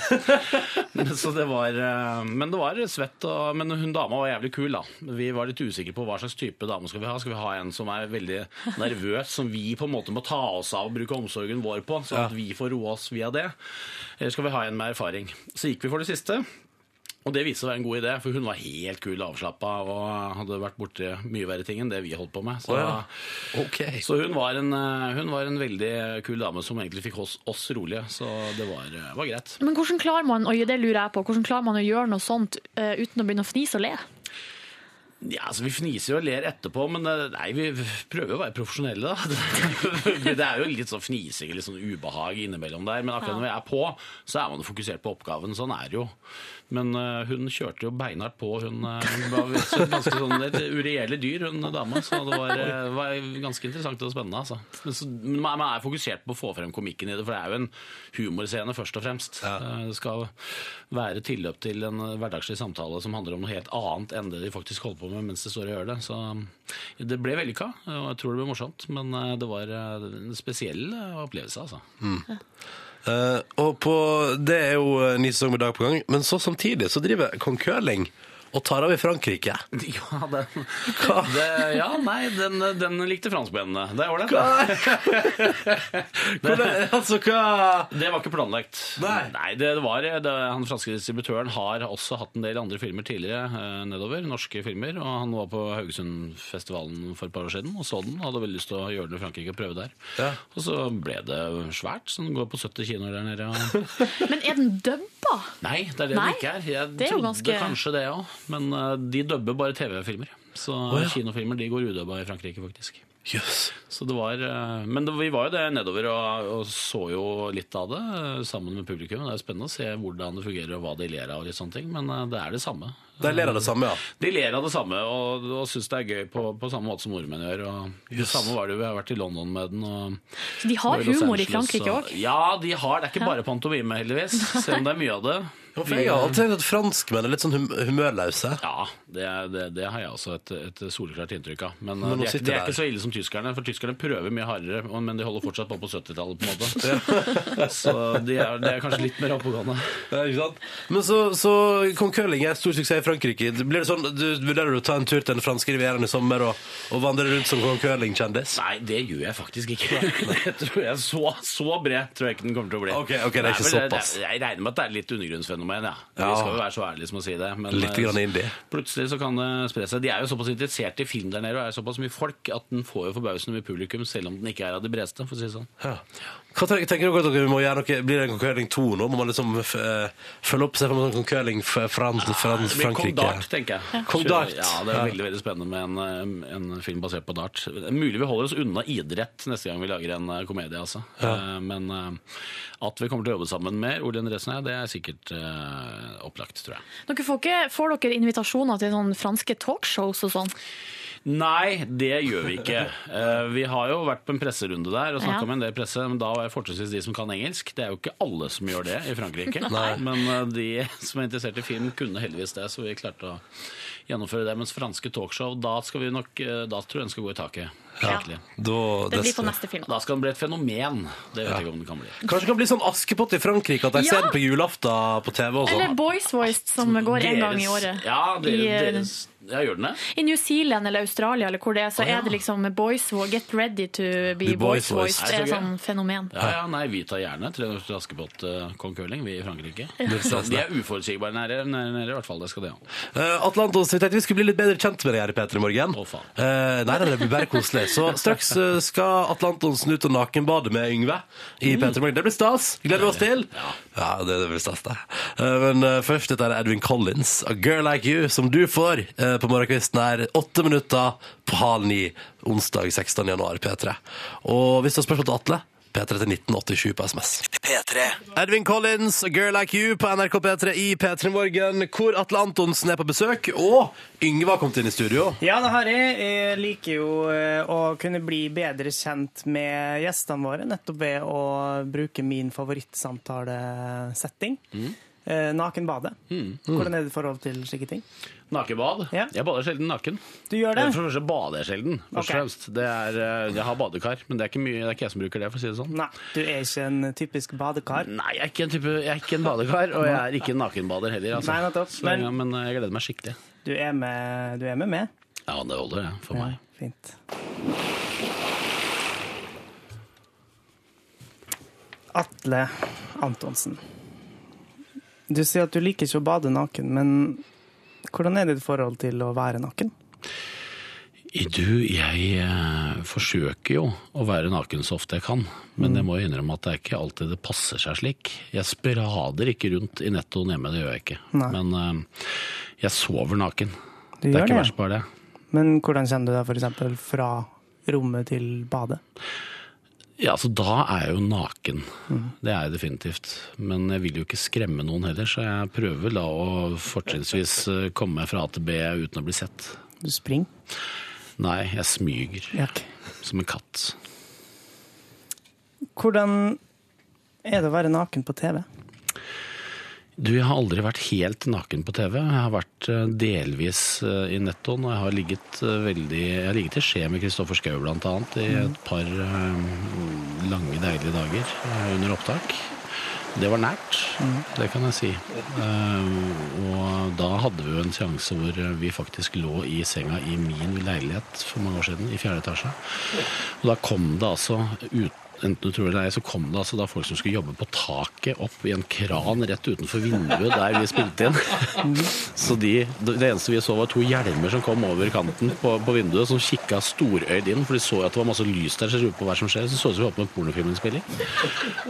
S6: Men Så det var, eh, men det var svett, og, men hun dama var jævlig kul da. Vi var litt usikre på hva slags type dame skal vi ha. Skal vi ha en som er veldig nervøs, som vi på en måte må ta oss av og bruke omsorgen vår på, sånn at vi får roe oss via det? Eller skal vi ha en med erfaring? Så gikk vi for det siste. Og det viste seg å være en god idé, for hun var helt kul og avslappa og hadde vært borti mye verre ting enn det vi holdt på med. Så,
S1: Å Ok.
S6: så hun, var en, eh, hun var en veldig kul dame som egentlig fikk oss, oss rolige, så det var, eh, var greit.
S3: Men hvordan klarer man og det lurer jeg på, hvordan klarer man å gjøre noe sånt eh, uten å begynne å fnise og le?
S6: Ja, altså Vi fniser jo og ler etterpå, men eh, nei, vi prøver jo å være profesjonelle, da. Det er jo litt sånn fnising litt sånn ubehag innimellom der, men akkurat når vi er på, så er man jo fokusert på oppgaven. Sånn er det jo. Men eh, hun kjørte jo beinhardt på, hun, eh, hun var så ganske sånn et uregjerlig dyr, hun dama. Så det var, eh, var ganske interessant og spennende, altså. Men, så, men man man er fokusert på å få frem komikken i det, for det er jo en humorscene først og fremst. Eh, Det skal være tilløp til en eh, hverdagslig samtale som handler om noe helt annet enn det de faktisk holder på med mens de står og gjør det. Så eh, det ble vellykka, og jeg tror det ble morsomt. Men eh, det var eh, en spesiell eh, opplevelse, altså.
S1: Eh, og på, det er jo eh, ny sesong med Dag på gang, men så samtidig så driver Kong Curling og tar av i Frankrike.
S6: Ja, den, det, ja nei, den, den likte franskmennene. Det er ålreit.
S1: Hvordan, altså, hva
S6: Det var ikke planlagt.
S1: Nei.
S6: det var det, Han franske distributøren har også hatt en del andre filmer tidligere eh, nedover. Norske filmer. Og han var på Haugesundfestivalen for et par år siden og så den. Hadde veldig lyst til å gjøre den i Frankrike og prøve der.
S1: Ja.
S6: Og så ble det svært, så den går på 70 kinoer der nede. Og...
S3: Men er den dubba?
S6: Nei, det er det
S3: Nei,
S6: det ikke er. Jeg
S3: det er jo
S6: trodde
S3: ganske-
S6: kanskje det òg, men eh, de dubber bare TV-filmer. Så
S1: ja.
S6: kinofilmer de går udubba i Frankrike, faktisk. Jøss. Så det var, eh, men det, vi var jo det nedover og, og så jo litt av det eh, sammen med publikum. Det er jo spennende å se hvordan det fungerer og hva de ler av. og litt sånne ting, Men eh, det er det samme.
S1: De ler av det samme, ja.
S6: De ler av det samme og, og syns det er gøy på, på samme måte som nordmenn gjør. Og det samme var det jo, Vi har vært i London med den. Og,
S3: Så de har
S6: og i Los
S3: humor i
S6: Angeles,
S3: Frankrike
S6: og-
S3: òg.
S6: Ja, de har. Det er ikke bare pantomime, heldigvis. Selv om det er mye av det.
S1: Ja, for Jeg har alltid tenkt at franskmenn er litt sånn hum humørløse.
S6: Ja, det, er- det, det har jeg også et, et soleklart inntrykk av. Men,
S1: Men nå
S6: eh, de, er, ikke-
S1: sitter
S6: de er
S1: der.
S6: ikke så ille som tyskerne, for tyskerne prøver mye hardere, og- men de holder fortsatt på på 70-tallet, på en måte. så de er, de er kanskje litt mer oppegående.
S1: Ja, ikke sant? Men så, så Kong Curling er stor suksess i Frankrike. Blir det sånn, du, Vurderer du å ta en tur til den franske rivieraen i sommer og, og vandre rundt som Kong Curling-kjendis?
S6: Nei, det gjør jeg faktisk ikke. Det tror jeg så, så bred tror jeg ikke den kommer til å bli.
S1: Ok, ok, det er ikke
S6: vel,
S1: såpass.
S6: det er- Jeg regner med at det er litt undergrunnsfenomen, ja.
S1: Ja.
S6: Vi skal jo være så ærlige som å si det. Men
S1: Litt
S6: eh,
S1: grann indie.
S6: plutselig så kan det spre seg. De er jo såpass interessert i film der nede, og er såpass mye folk, at den får jo forbausende mye publikum, selv om den ikke er av de bredeste, for å si det sånn.
S1: Ja. Hva tenker, tenker dere at dere må gjøre noe? Blir det en Kong Curling 2 nå? Må man liksom f eh, følge opp seg for en Kong Curling fra
S6: Det blir Kong
S1: Frankrike?
S6: Dart, tenker jeg.
S1: Kong Dart.
S6: Ja, Det er veldig veldig spennende med en, eh, en film basert på dart. Mulig vi holder oss unna idrett neste gang vi lager en eh, komedie, altså. Eh, Men eh, at vi kommer til å jobbe sammen mer, Ole Andresen og jeg, det er sikkert eh, opplagt, tror jeg.
S3: Dere får, ikke, får dere invitasjoner til sånne franske talkshows og sånn?
S6: Nei, det gjør vi ikke. Eh, Vi har jo vært på en presserunde der og snakka
S3: Ja.
S6: med en del presse, men da var jeg fortrinnsvis de som kan engelsk. Det er jo ikke alle som gjør det i Frankrike. Men eh, de som er interessert i film, kunne heldigvis det, så vi klarte å gjennomføre det. Mens franske talkshow, da skal vi nok eh, Da tror jeg den skal gå i taket. Skikkelig.
S1: Da,
S3: Det blir på neste film.
S6: Da skal den bli et fenomen. Det vet jeg ikke om den kan bli.
S1: Kanskje det kan bli sånn Askepott i Frankrike, at de
S3: Ja!
S1: ser den på julaften på TV og
S3: Eller
S1: sånn.
S3: Boys Voiced, som går én gang i
S6: Deres-
S3: året.
S6: Ja,
S3: I, eh,
S6: dere, deres, ja, gjør den det?
S3: I New Zealand eller Australia eller hvor det er, så er det liksom boys wo- Get ready to be
S1: Be boys
S3: boys
S1: voiced.
S3: voiced. Det er
S6: Er det så gøy?
S3: sånn fenomen.
S6: Ja, ja, nei, vi tar gjerne 300 Askepott, eh, kong curling, vi i Frankrike. De er uforutsigbare nære, nære, nære, i hvert fall. Det skal de ha.
S1: Eh, Atle Antonsen, vi tenkte vi skulle bli litt bedre kjent med deg her i P3 Morgen.
S6: Å, faen.
S1: Eh, nei, nei, det blir bare koselig. Så straks eh, skal Atle Antonsen ut og nakenbade med Yngve i
S6: Mm.
S1: P3 Morgen. Det blir stas. Gleder vi oss til. Ja, det, det blir stas, det. Eh, men eh, først, dette er Edwin Collins, A Girl Like You, som du får eh, på morgenkvisten her. Åtte minutter på halv ni onsdag 16. januar, P3. Og hvis du har spørsmål til Atle, P3 til 1987 på SMS.
S4: P3
S1: Edvin Collins, Girl Like You på NRK P3 i P3 Morgen, hvor Atle Antonsen er på besøk, og Yngve har kommet inn i studio.
S2: Ja, det har jeg. Jeg liker jo eh, å kunne bli bedre kjent med gjestene våre, nettopp ved å bruke min favorittsamtalesetting. Eh, Nakenbadet. Hvordan er ditt forhold til slike ting?
S6: Nakebad?
S2: Ja.
S6: Jeg bader sjelden naken.
S2: Du gjør det?
S6: Eh, For det første bader jeg sjelden. Først og
S2: Ok.
S6: fremst. Det er, eh, jeg har badekar, men det er, ikke mye, det er ikke jeg som bruker det, for å si det sånn.
S2: Nei, du er ikke en typisk badekar.
S6: Nei, jeg er ikke en, type, jeg er ikke en badekar, og jeg er ikke en nakenbader heller. Altså.
S2: Nei, nettopp.
S6: Så, ja, men eh, jeg gleder meg skikkelig.
S2: Du er med, du er med. med.
S6: Ja, det holder, det, for meg.
S2: Fint. Atle Antonsen. Du sier at du liker ikke å bade naken, men hvordan er ditt forhold til å være naken?
S6: I Du, jeg eh, forsøker jo å være naken så ofte jeg kan, men
S2: Mm.
S6: jeg må jo innrømme at det er ikke alltid det passer seg slik. Jeg sprader ikke rundt i nettoen hjemme, det gjør jeg ikke.
S2: Nei.
S6: Men eh, jeg sover naken.
S2: Du
S6: det er
S2: gjør
S6: ikke
S2: det,
S6: verst bare det.
S2: men hvordan kommer du deg f.eks. fra rommet til badet?
S6: Ja, altså da er jeg jo naken. Det er jeg definitivt. Men jeg vil jo ikke skremme noen heller, så jeg prøver da å fortrinnsvis eh, komme meg fra A til B uten å bli sett.
S2: Du springer.
S6: Nei, jeg smyger som en katt.
S2: Hvordan er det å være naken på TV?
S6: Du, jeg har aldri vært helt naken på TV. Jeg har vært eh, delvis eh, i nettoen, og jeg har ligget eh, veldig Jeg har ligget i skje med Kristoffer Schou blant annet i et par eh, lange, deilige dager eh, under opptak. Det var nært, det kan jeg si. Eh, Og da hadde vi jo en seanse hvor eh, vi faktisk lå i senga i min leilighet for mange år siden, i fjerde etasje. Og da kom det altså ut Enten du tror det eller ei, så kom det altså da folk som skulle jobbe på taket opp i en kran rett utenfor vinduet der vi spilte inn. Så de, det eneste vi så var to hjelmer som kom over kanten på, på vinduet, som kikka storøyd inn, for de så jo at det var masse lys der, så de lurte på hva som skjer. Så så det ut som vi holdt på med pornofilminnspilling.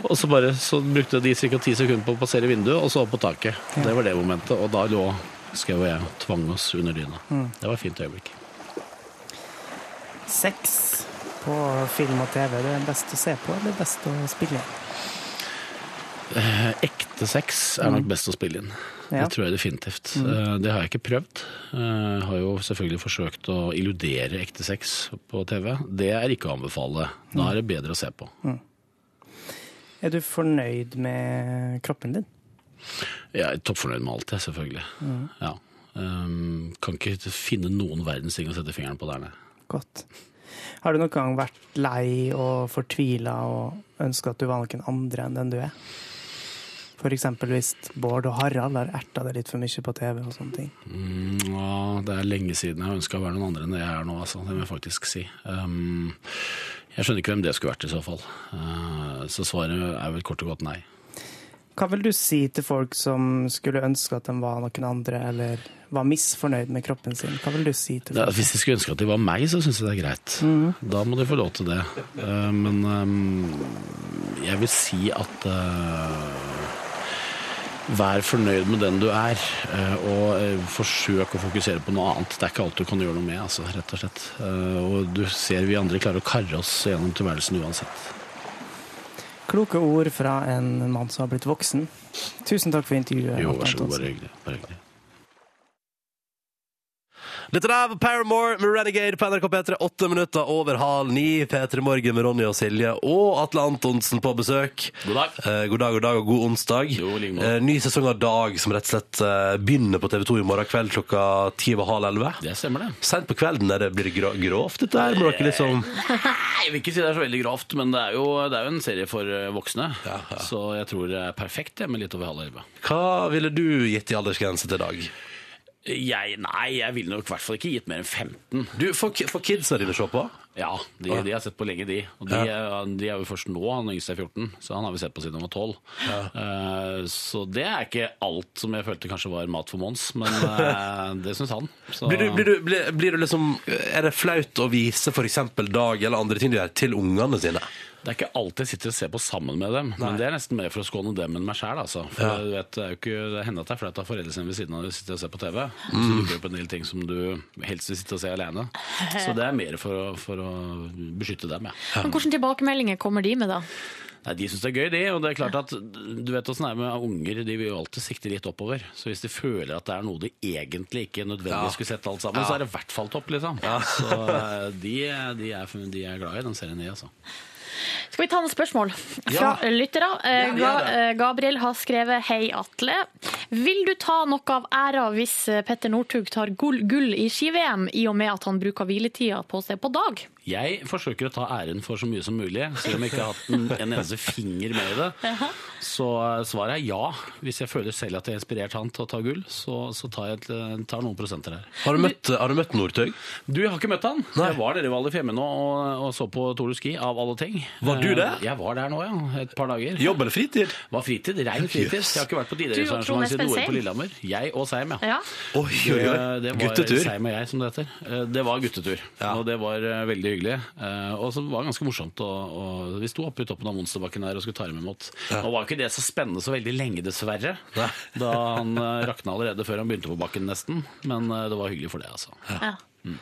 S6: Og så bare, så brukte de ca. ti sekunder på å passere vinduet, og så opp på taket. Det var det momentet. Og da lå Skau og jeg og tvang oss under dyna. Det var et fint øyeblikk.
S2: Sex på film og TV? Det er best å se på, eller best å spille?
S6: Ekte sex er nok best å spille inn.
S2: Ja.
S6: Det tror jeg definitivt. Eh, Det har jeg ikke prøvd. Eh, Har jo selvfølgelig forsøkt å illudere ekte sex på TV. Det er ikke å anbefale. Da er det bedre å se på.
S2: Er du fornøyd med kroppen din?
S6: Jeg er toppfornøyd med alt, jeg, selvfølgelig. Ja. Um, kan ikke finne noen verdens ting å sette fingeren på der nede.
S2: Godt. Har du noen gang vært lei og fortvila og ønska at du var noen andre enn den du er? For eksempel hvis Bård og Harald har erta deg litt for mye på TV og sånne ting.
S6: Mm, ja, det er lenge siden jeg har ønska å være noen andre enn det jeg er nå, altså. Det må jeg faktisk si. Um, jeg skjønner ikke hvem det skulle vært i så fall. Uh, så svaret er vel kort og godt nei.
S2: Hva vil du si til folk som skulle ønske at de var noen andre, eller var misfornøyd med kroppen sin? Hva vil du si til
S6: Det,
S2: folk?
S6: hvis de skulle ønske at de var meg, så syns jeg det er greit. Da må de få lov til det. Eh, men ehm, jeg vil si at eh, Vær fornøyd med den du er, eh, og eh, forsøk å fokusere på noe annet. Det er ikke alt du kan gjøre noe med, altså, rett og slett. Eh, og du ser vi andre klarer å karre oss gjennom tilværelsen uansett.
S2: Kloke ord fra en mann som har blitt voksen. Tusen takk for intervjuet.
S6: Jo,
S2: Morten
S6: vær så god,
S2: Antonsen.
S6: bare hyggelig. Bare hyggelig.
S1: Dette der var Paramore med Renegade på NRK P3. Åtte minutter over halv ni. P3 Morgen med Ronny og Silje og Atle Antonsen på besøk.
S6: God dag.
S1: Eh, god dag, god dag og god onsdag.
S6: Jo, i like måte.
S1: eh, ny sesong av Dag som rett og slett eh, begynner på TV 2 i morgen kveld klokka ti over halv elleve.
S6: Det stemmer, det.
S1: Sent på kvelden er det, blir det gro grovt, dette her? Må dere liksom
S6: Eh. Nei, jeg vil ikke si det er så veldig grovt, men det er jo, det er jo en serie for eh, voksne. Så jeg tror det er perfekt, det, med litt over halv elleve.
S1: Hva ville du gitt i aldersgrense til Dag?
S6: Jeg, nei, jeg ville nok i hvert fall ikke gitt mer enn 15.
S1: Du, Får ki- får kidsa dine se på?
S6: Ja, de, de har jeg sett på lenge, de. Og de, er- de er jo først nå, han yngste er 14, så han har vi sett på siden han var 12. Eh, så det er ikke alt som jeg følte kanskje var mat for Mons, men eh, det syns han. Så,
S1: Blir du, blir, du, blir, blir du liksom Er det flaut å vise f.eks. Dag eller andre ting du gjør, til ungene sine?
S6: Det er ikke alltid jeg sitter og ser på sammen med dem, men det er nesten mer for å skåne dem enn meg sjæl. Altså. For
S1: Ja.
S6: du vet, Det er jo ikke, det hender at det er flaut å ha foreldrene sine ved siden av deg og sitte og se på TV. Så
S1: Mm.
S6: dukker det opp en del ting som du helst vil sitte og se alene. Så det er mer for å, for å beskytte dem, ja.
S3: Men Hvilke tilbakemeldinger kommer de med, da?
S6: Nei, De syns det er gøy, de. Og det er klart at du vet åssen det er med unger. De vil jo alltid sikte litt oppover. Så hvis de føler at det er noe de egentlig ikke nødvendigvis skulle sett alt sammen, så er det i hvert fall topp, liksom. Så eh, de, de, er, de er glad i den serien, de, altså.
S3: Skal vi ta noen spørsmål fra lyttere? Eh, Ga- eh, Gabriel har skrevet 'Hei, Atle'. Vil du ta noe av æra hvis eh, Petter Northug tar gull, gull i ski-VM, i og med at han bruker hviletida på seg på dag?
S6: Jeg forsøker å ta æren for så mye som mulig, selv om jeg ikke har hatt en, en eneste finger med i det. Så eh, svaret er ja. Hvis jeg føler selv at jeg har inspirert han til å ta gull, så, så tar jeg et, eh, tar noen prosenter her.
S1: Har du møtt, har du møtt Northug?
S6: Du, jeg har ikke møtt han. Jeg var nede i Val di Fiemme nå og, og så på Tour de Ski, av alle ting.
S1: Var du det?
S6: Eh, Jeg var der nå, ja. Et par dager.
S1: Jobb eller fritid?
S6: Var fritid, rein fritid.
S1: Jøss.
S6: Jeg har ikke vært på
S3: Du og Trond
S6: idrettsarrangement
S3: Espen
S6: siden OL
S3: Seim?
S6: på Lillehammer. Jeg og Seim, ja. Eh,
S3: Ja.
S1: Oi, oi,
S6: Det,
S1: oi.
S6: det var
S1: Guttetur.
S6: Seim og jeg, som det heter. Eh, Det var guttetur,
S1: Ja.
S6: og det var eh, veldig hyggelig. Eh, Og så var det ganske morsomt. Og, og vi sto oppe i toppen av monsterbakken der og skulle ta dem imot. Nå var ikke det så spennende så veldig lenge, dessverre. Da han eh, rakna allerede før han begynte på bakken, nesten. Men eh, det var hyggelig for det, altså.
S3: Ja.
S1: Mm.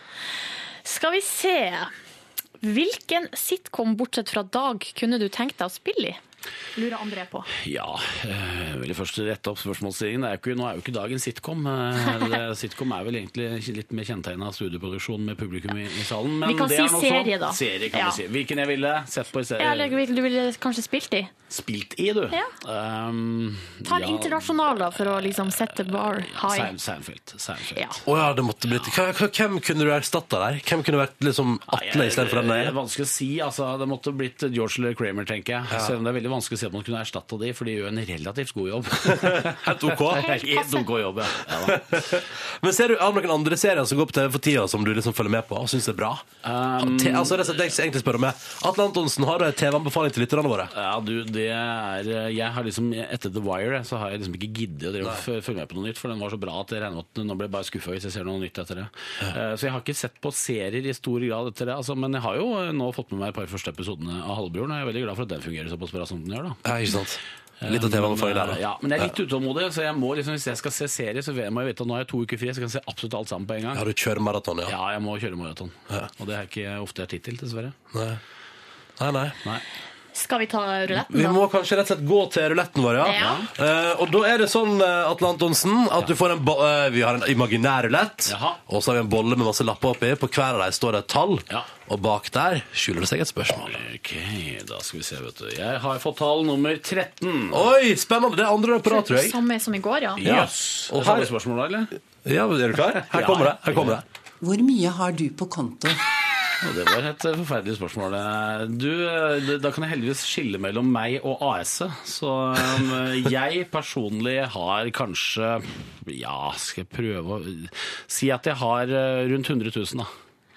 S3: Skal vi se Hvilken sitcom bortsett fra Dag kunne du tenkt deg å spille i? Lurer André på.
S6: Ja, eh, jeg vil først rette opp spørsmålsstillingen. Det er jo ikke, nå er jo ikke dagen sitcom. Eh, Det, sitcom er vel egentlig litt mer kjennetegna av studieproduksjon med publikum i, i salen. Men
S3: Vi kan
S6: det
S3: si
S6: er nå så.
S3: serie, da.
S6: Serie kan
S3: Ja.
S6: vi si. Hvilken jeg ville sett på i
S1: Eh.
S3: Ja, Eller
S6: serie.
S3: vil- du ville kanskje spilt i?
S6: Spilt i, du.
S3: Ja.
S6: Um,
S3: Ta en
S6: ja,
S3: internasjonal, da, for å liksom sette bar high.
S6: Sein- Seinfeld. Seinfeld.
S3: Ja.
S1: Å ja, det måtte blitt Hva- hva- Hvem kunne du erstatta der? Hvem kunne vært liksom Atle istedenfor den
S6: Det er
S1: der?
S6: vanskelig å si. Altså, det måtte blitt George eller Kramer, tenker jeg. Selv om det er veldig vanskelig å si at man kunne erstatta de, for de gjør en relativt god jobb.
S1: Helt ok.
S6: Helt OK jobb, ja. ja da.
S1: Men ser du har du noen andre serier som går på TV for tida, som du liksom følger med på og syns er bra?
S6: Um,
S1: Te- altså, det er det jeg egentlig spør om. jeg. Atle Antonsen, har du en TV-anbefaling til lytterne våre?
S6: Ja, du, det er Jeg har liksom Etter The Wire så har jeg liksom ikke giddet å drive og f- følge med på noe nytt, for den var så bra at jeg regner med at nå blir jeg bare skuffa hvis jeg ser noe nytt etter det. Eh, Så jeg har ikke sett på serier i eh, stor grad etter det, altså, men jeg har jo nå fått med meg et par første episodene av Halvbroren, og jeg er veldig glad for at den fungerer såpass bra som som den gjør, da.
S1: Ja, ikke sant? Litt av temaet får jeg der, da.
S6: Um, Ja, men jeg er litt utålmodig, så jeg må liksom, hvis jeg skal se serie, så må jeg vite at nå har jeg to uker fri, så jeg kan se absolutt alt sammen på en gang.
S1: Ja, du kjører maraton, ja.
S6: Ja, jeg må kjøre maraton. Og det er ikke ofte jeg har tid til, dessverre.
S1: Nei. nei, nei.
S6: Nei.
S3: Skal vi ta ruletten,
S1: Vi
S3: da?
S1: må kanskje rett og slett gå til ruletten vår, ja.
S3: Ja.
S1: Eh, og da er det sånn, eh, Atle Antonsen, at du får en bo- eh, Vi har en imaginær rulett,
S6: Jaha.
S1: og så har vi en bolle med masse lapper oppi. På hver av dem står det et tall,
S6: Ja.
S1: og bak der skjuler det seg et spørsmål.
S6: Ok, da skal vi se, vet du. Jeg har fått tall nummer 13.
S1: Oi, spennende! Det er andre år på rad, tror jeg.
S3: Samme som i går, ja.
S1: Ja.
S6: Yes.
S1: Og
S6: Det er
S1: her-
S6: samme spørsmål, da, eller?
S1: Ja, men Er du klar? Her kommer det. her kommer det.
S8: Hvor mye har du på konto?
S6: Ja, det var et eh, forferdelig spørsmål. Eh, Du, eh, det- da kan jeg heldigvis skille mellom meg og AS-et. Så eh, jeg personlig har kanskje Ja, skal jeg prøve å si at jeg har eh, rundt 100 000, da.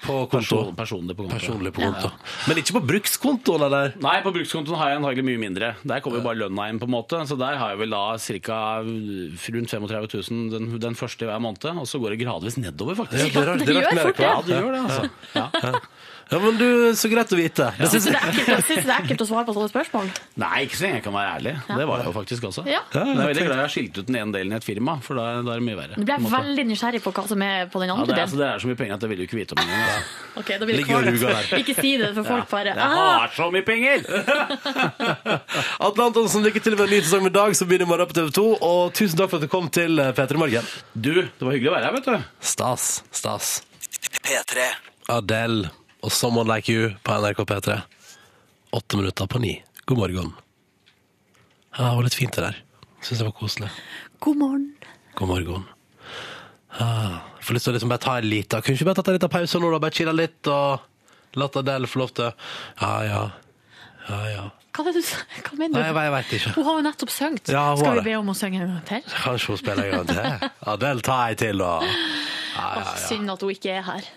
S1: På
S6: Person,
S1: konto.
S6: personlig på konto.
S1: Personlig på konto. Men ikke på brukskontoen, eller?
S6: Nei, på brukskontoen har jeg antagelig mye mindre. Der kommer jo bare lønna inn, på en måte. Så der har jeg vel da ca. rundt 35 000 den, den første hver måned. Og så går det gradvis nedover,
S1: Ja,
S6: faktisk.
S1: det er rart- det er
S3: gjør
S1: rart med
S3: fort det.
S1: reklam.
S6: Ja, det gjør det, altså. Ja.
S1: Ja, men du, Så greit å vite. Det synes
S3: Syns du det er ekkelt, synes du det er ekkelt å svare på sånne spørsmål?
S6: Nei, ikke så lenge jeg kan være ærlig. Det var jeg jo faktisk også.
S3: Ja.
S6: Men jeg er veldig glad jeg har skilt ut den ene delen i et firma, for da, da er det mye verre.
S3: Nå ble
S6: på en
S3: jeg
S6: måte.
S3: veldig nysgjerrig på hva som er på den
S6: ja, det,
S3: andre
S6: er, altså,
S3: delen.
S6: det er så mye penger at jeg vil jo ikke vite om det engang. altså.
S3: Ok, da blir det
S1: Ligger og ruger
S3: kvalmt. Ikke si det, for folk bare
S6: Jeg
S3: ah,
S6: har så mye penger!
S1: Atle Antonsen, lykke til med en ny sesong med Dag, som begynner i morgen på TV 2. Og tusen takk for at du kom til eh, P3 Morgen.
S6: Du, det var hyggelig å være her, vet du.
S1: Stas. Stas.
S4: P3.
S1: Adele og Someone Like You på NRK P3. Åtte minutter på ni. God morgen. Ja, det var litt fint det der. Syns det var koselig.
S3: God morgen.
S1: God morgen. Ah, jeg får lyst til å liksom bare ta en liten Kunne ikke bare tatt en liten pause nå, da? Bare chille litt og latt Adele få lov til Ja, ja. Ja, ja.
S3: Hva, er det du, sa? hva
S1: Nei, jeg,
S3: mener du?
S1: vet- jeg veit ikke.
S3: Hun har jo nettopp sunget.
S1: Ja, hun har
S3: Skal
S1: det.
S3: vi be om å synge en gang til?
S1: Kanskje hun spiller en gang til. Adele, ta ei til, da.
S3: Åh, Synd at hun ikke er her.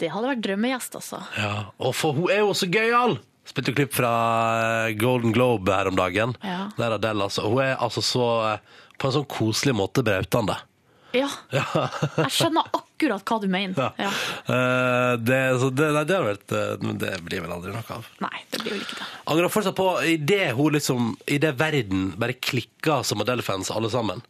S3: Det hadde vært drømmegjest, altså.
S1: Ja, og for hun er jo så gøyal! Spilte jo klipp fra eh, Golden Globe her om dagen.
S3: Ja.
S1: Der er Adele, altså. Hun er altså så eh, på en sånn koselig måte brautende.
S3: Ja. Jeg skjønner akkurat hva du mener. Ja.
S1: Eh, det, så det, nei, det, har vært, eh, men det blir vel aldri noe av.
S3: Nei, det blir vel ikke det.
S1: Angrer fortsatt på idet hun liksom Idet verden bare klikka som Adele-fans alle sammen,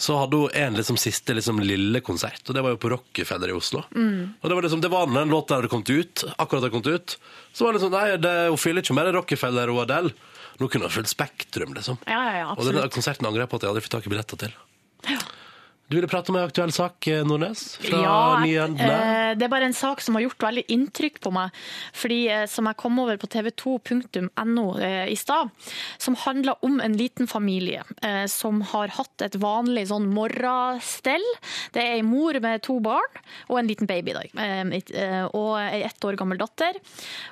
S1: så hadde hun en liksom siste liksom lille konsert, og det var jo på Rockefeller i Oslo.
S3: Mm.
S1: Og det var liksom Det var når den låta hadde kommet ut, akkurat hadde kommet ut, så var det liksom Nei, det, hun fyller ikke mer Rockefeller og Adele. Nå kunne hun fylt Spektrum, liksom.
S3: Ja, ja, ja,
S1: og den der
S3: absolutt.
S1: konserten angrer jeg på at jeg aldri fikk tak i billetter til. Du ville prate om ei aktuell sak, eh, Nordnes? Fra
S3: jeg-
S1: Nyhendene?
S3: eh, det er bare en sak som har gjort veldig inntrykk på meg. Fordi eh, Som jeg kom over på tv2.no eh, i stad. Som handler om en liten familie eh, som har hatt et vanlig sånn morgenstell. Det er ei mor med to barn og en liten baby i dag. eh, et- eh, Og ei ett år gammel datter.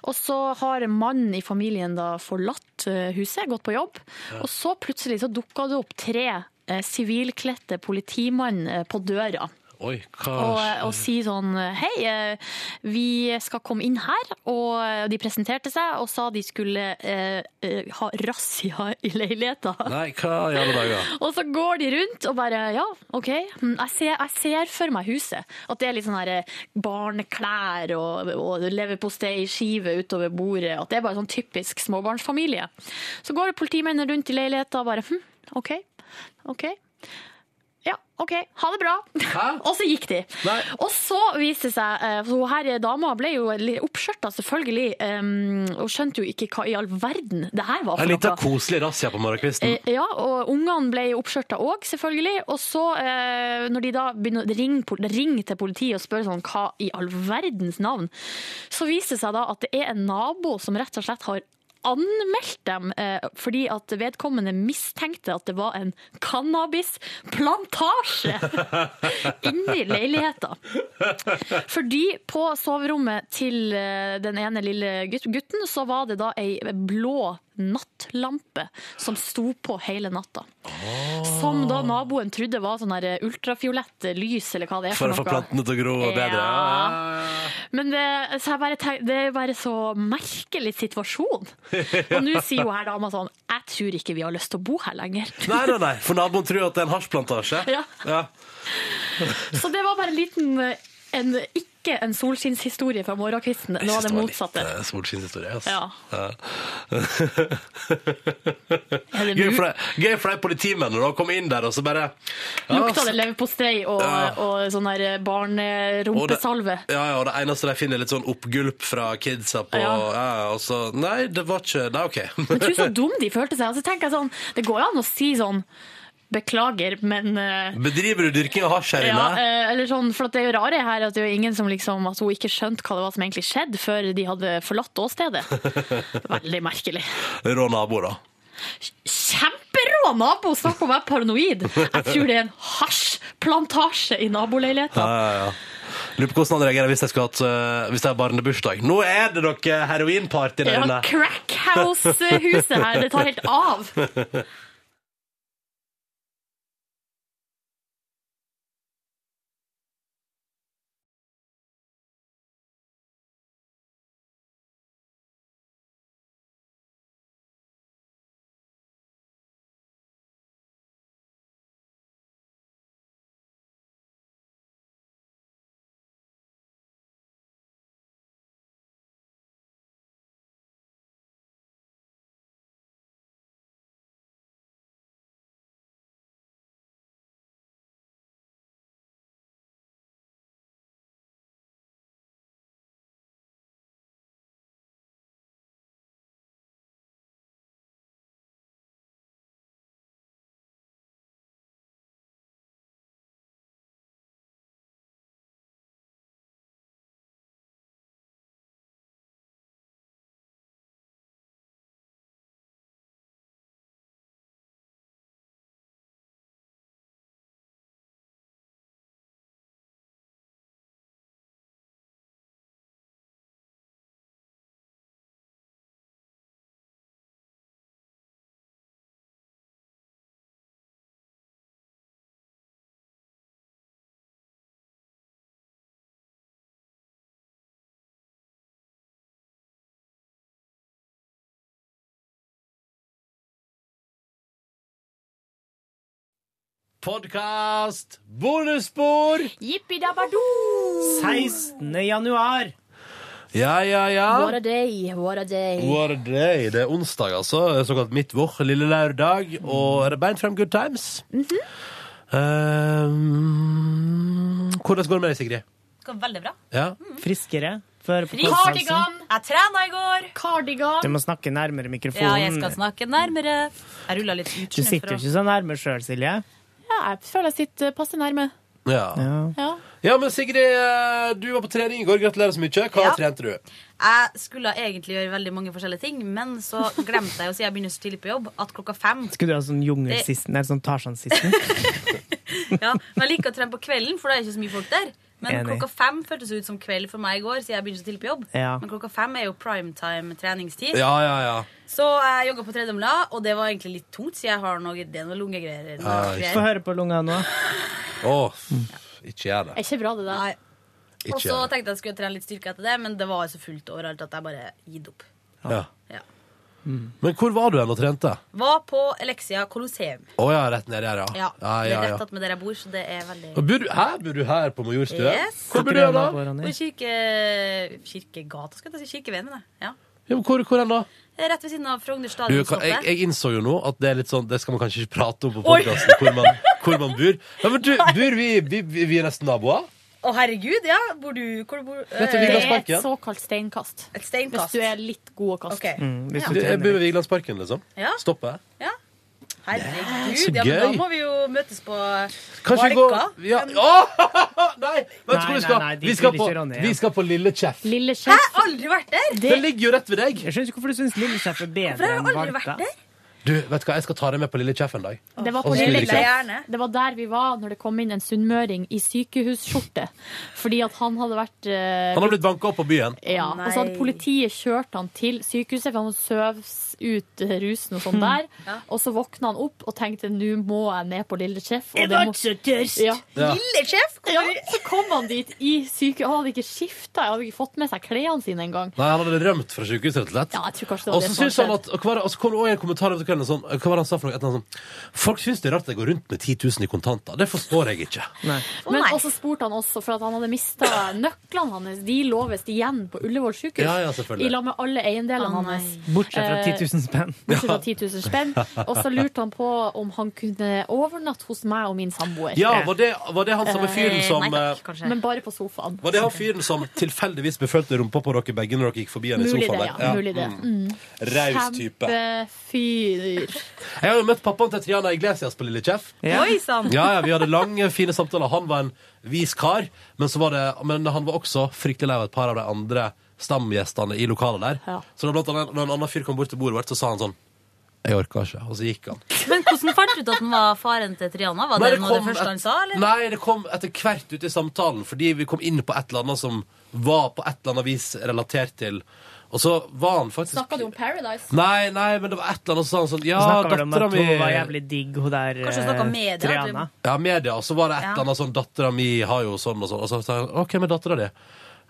S3: Og så har mannen i familien da forlatt eh, huset, gått på jobb. Og så plutselig så dukka det opp tre eh, sivilkledte politimann eh, på døra
S1: Oi, hva
S3: og, og si sånn Hei, eh, vi skal komme inn her. Og de presenterte seg og sa de skulle eh, eh, ha razzia i leiligheta.
S1: Nei, hva i alle dager?
S3: Og så går de rundt og bare Ja, OK. mm, Jeg ser, jeg ser for meg huset. At det er litt sånn her eh, barneklær og, og leverposteiskive utover bordet. At det er bare sånn typisk småbarnsfamilie. Så går det politimennene rundt i leiligheta og bare Hm, OK. OK. Ja, OK. Ha det bra. og så gikk de.
S1: Nei.
S3: Og så viste det seg eh, for Hun her dama ble jo litt oppskjørta, selvfølgelig. Um, hun skjønte jo ikke hva i all verden det her var
S1: En
S3: for
S1: liten
S3: noe.
S1: koselig razzia på morgenkvisten.
S3: Eh, Ja, og ungene ble oppskjørta òg, selvfølgelig. Og så, eh, når de da begynner å ringe, pol- ringe til politiet og spørre sånn, hva i all verdens navn, så viser det seg da at det er en nabo som rett og slett har anmeldt dem eh, fordi at vedkommende mistenkte at det var en cannabisplantasje inni leiligheta. Fordi på soverommet til eh, den ene lille gut- gutten, så var det da ei blå nattlampe som sto på hele natta. Som da naboen trodde var sånn her ultrafiolett lys, eller hva det er
S1: For
S3: for,
S1: å få
S3: noe.
S1: plantene til å gro bedre.
S3: Ja. Men det, så jeg bare tenk, det er bare så merkelig situasjon. Og nå sier jo her dama sånn Jeg tror ikke vi har lyst til å bo her lenger.
S1: Nei, nei, nei, for naboen tror at det er en hasjplantasje.
S3: Ja.
S1: Ja.
S3: Så det var bare en liten eh, en, ikke en solskinnshistorie fra morgenkvisten. Det var det motsatte.
S1: Litt, eh, solskinnshistorie, ass.
S3: Ja. Er det
S1: Gøy
S3: mu-
S1: for deg, gøy for deg politimennene å komme inn der og så bare ja,
S3: Lukta det leverpostei og,
S1: Ja.
S3: og sånn
S1: og
S3: der
S1: det-
S3: barnerumpesalve?
S1: Ja, ja, og det eneste de finner er litt sånn oppgulp fra kidsa på ja.
S3: Ja.
S1: ja, og så Nei, det var ikke Nei, OK.
S3: Men tro så dum de følte seg. Altså, tenker jeg sånn, det går jo an å si sånn Beklager, men eh,
S1: Bedriver du dyrking av hasj her
S3: ja,
S1: inne?
S3: eh, eller sånn, for at Det er jo rare her at det er jo ingen som liksom, at hun ikke skjønte hva det var som egentlig skjedde, før de hadde forlatt åstedet. Veldig merkelig.
S1: Rå nabo, da.
S3: Kjemperå nabo! Snakk om å være paranoid. Jeg tror det er en hasjplantasje i naboleiligheten.
S1: Ja, ja, ja. Lurer på hvordan han reagerer hvis jeg skulle hatt eh, Hvis jeg har barnebursdag. Nå er det dere heroinparty der
S3: Ja,
S1: inne!
S3: Crackhouse-huset her, det tar helt av.
S1: Podkast! Bonusspor!
S3: Jippi dabadoo!
S2: 16. januar.
S1: Ja, ja, ja.
S3: What a day, what a day.
S1: What a day. Det er onsdag, altså. Såkalt midtvår, lille lørdag. Og er det beint frem good times?
S3: Mhm.
S1: Ehm, hvordan går det med deg, Sigrid?
S9: Det går veldig bra.
S1: Ja.
S3: Mm.
S2: Friskere. Før på konferansen.
S9: Cardigan! Jeg trena i går.
S2: Du
S3: Cardigan.
S2: må snakke nærmere mikrofonen.
S9: Ja, jeg skal snakke nærmere. Jeg rulla litt ut.
S2: Du sitter jo ikke så nærme sjøl, Silje.
S3: Ja, jeg føler jeg sitter passe nærme.
S1: Ja. ja.
S3: Ja.
S1: men Sigrid, eh, du var på trening i går. Gratulerer så mye. Hva
S9: Ja.
S1: trente du?
S9: Jeg skulle egentlig gjøre veldig mange forskjellige ting, men så glemte jeg å si jeg begynner så tidlig på jobb at klokka fem
S2: Skulle du ha sånn jungelsisten, eller sånn Tarzan-sisten?
S9: Ja, men Jeg liker å trene på kvelden, for da er det ikke så mye folk der. Men
S2: Enig.
S9: klokka fem føltes ut som kveld for meg i går, siden jeg begynte så tidlig på jobb.
S2: Ja.
S9: Men klokka fem er jo primetime treningstid.
S1: Ja, ja, ja.
S9: Så jeg jogga på tredemølla, og det var egentlig litt tungt, siden jeg har noe, det er noe lungegreier. noe
S1: Ja, ikke
S2: Få
S9: greier.
S2: høre på lunga nå.
S1: Å, f-
S3: Mm.
S1: ikke gjør det.
S3: Er ikke bra, det der.
S9: Nei. Og
S1: Ikke
S9: så
S1: gjør det.
S9: tenkte jeg at jeg skulle trene litt styrke etter det, men det var så fullt overalt at jeg bare gitt opp.
S1: Ja.
S9: Ja.
S2: Mm.
S1: Men hvor var du hen og trente?
S9: Var på Elexia Colosseum.
S1: Å ja, rett nedi her, ja.
S9: Ja,
S1: ja, ja,
S9: Det
S1: ja.
S9: er rett attmed der jeg bor, så det er veldig
S1: Og Bor du, her bor du her på Majorstua?
S9: Yes.
S1: Hvor bor du hen da?
S9: Og i kirke... Kirkegata, skal jeg si. Kirkeveien, mener jeg. Ja.
S1: Ja, men hvor, hvor hen da?
S9: Rett ved siden av Frogner
S1: Du, kan- jeg,
S9: stadionshoppet.
S1: jeg innså jo nå at det er litt sånn, det skal man kanskje ikke prate om på podcasten, hvor, man- hvor man bor. Ja, men du, bor vi, vi, vi vi er nesten naboer?
S9: Å, herregud, ja! Bor du Hvor bor
S1: Rett ved
S9: Eh,
S3: Det er
S1: Vigelandsparken.
S3: et såkalt steinkast.
S9: Et
S3: Hvis
S9: steinkast.
S3: du er litt god å kaste.
S9: OK.
S2: Mm, Hvis
S9: Ja.
S2: du
S1: Du, jeg bor
S2: trener
S1: ved Vigelandsparken, liksom.
S9: Ja.
S1: Stoppe.
S9: Ja.
S1: så
S9: Herregud. Ja, men da
S1: gøy.
S9: må vi jo møtes på
S1: Kanskje vi går
S9: Valka.
S1: ja. Åh, Nei, vet du
S2: Nei,
S1: hvor vi
S2: nei,
S1: skal?
S2: nei, dit
S1: vi, skal
S2: vil
S1: på,
S2: ikke Ronny, ja.
S1: vi skal på Lille Kjeff.
S3: Lille
S9: Jeg
S3: sjef.
S9: har aldri vært der!
S1: Det ligger jo rett ved deg.
S2: Jeg skjønner ikke hvorfor du syns Lillesjef er
S9: For
S2: bedre
S9: jeg
S2: enn
S9: har aldri
S2: Valka.
S9: vært der.
S1: Du, vet du hva, jeg skal ta deg med på Lille Kjeff en dag.
S3: Det var, på
S1: Og så
S3: Lille
S1: vil jeg
S3: Kjeff.
S9: gjerne.
S3: det var der vi var når det kom inn en sunnmøring i sykehusskjorte. Fordi at han hadde vært eh,
S1: Han har blitt banka opp på byen.
S3: ja. Og så hadde
S9: Nei.
S3: politiet kjørt han til sykehuset, for han søvs ut eh, rusen og sånn der.
S1: Mm.
S3: Og så våkna han opp og tenkte nå må jeg ned på Lille Sjef. Og det må...
S2: så tørst!
S3: ja.
S1: Ja.
S9: Lille sjef!
S3: ja, så kom han dit i syke... Han hadde ikke skifta, han hadde ikke fått med seg klærne sine engang.
S1: Nei, han hadde rømt fra sykehuset, rett og slett.
S3: Ja, jeg tror kanskje det
S1: Og
S3: var
S1: så
S3: det som
S1: synes han
S3: skjedde.
S1: at, og hva er det- og så kom det også en kommentar vet du hva, eller noe sånt. Hva var det han sa for noe? Et eller annet sånt. Folk syns det er rart at jeg går rundt med 10 000 i kontanter. Det forstår jeg ikke.
S10: Men også spurte han også for at han hadde mista nøklene hans. De lå visst igjen på Ullevål sykehus.
S1: Ja, ja, selvfølgelig.
S10: I lag med alle eiendelene hans.
S11: Bortsett fra 10
S10: Eh,
S11: 000 spenn.
S10: Bortsett fra 10 000 spenn. Og så lurte han på om han kunne overnatte hos meg og min samboer.
S1: Ja, var det, var det han samme fyren som eh,
S10: Men bare på sofaen.
S1: Var det han fyren som tilfeldigvis befølte rumpa på dere begge når dere gikk forbi han i
S10: Mulig det,
S1: sofaen der?
S10: ja. Mulig det.
S1: Mm.
S10: Mm.
S1: Raus type.
S10: Kjempefyr.
S1: Jeg har jo møtt pappaen til Triana Iglesias på Lille Kjeff.
S10: Ja. Oi, sann.
S1: Ja, ja, vi hadde lange, fine samtaler. Han var en vis kar, men, så var det, men han var også fryktelig lei av et par av de andre stamgjestene i lokalet der. Så da blant annet, når en annen fyr kom bort til bordet vårt, så sa han sånn Jeg orker ikke. Og så gikk han.
S9: Men hvordan fant du ut at han var faren til Triana? Var
S1: Nei,
S9: det, noe av
S1: kom
S9: det første han
S1: et-
S9: sa? Eller?
S1: Nei, det kom etter hvert ut i samtalen, fordi vi kom inn på et eller annet som var på et eller annet vis relatert til Og så var han faktisk
S10: Snakka du om Paradise?
S1: Nei, nei, men det var et eller annet som sa han sånn Ja,
S11: Snakka vel om
S1: dattera
S11: at
S1: mi
S11: hun var jævlig digg, hun der
S9: Kanskje hun snakket om media,
S11: eh, Triana.
S1: Ja, media. Og så var det et eller annet sånn Dattera mi har jo sånn og sånn. Og så sa jeg OK, men dattera di?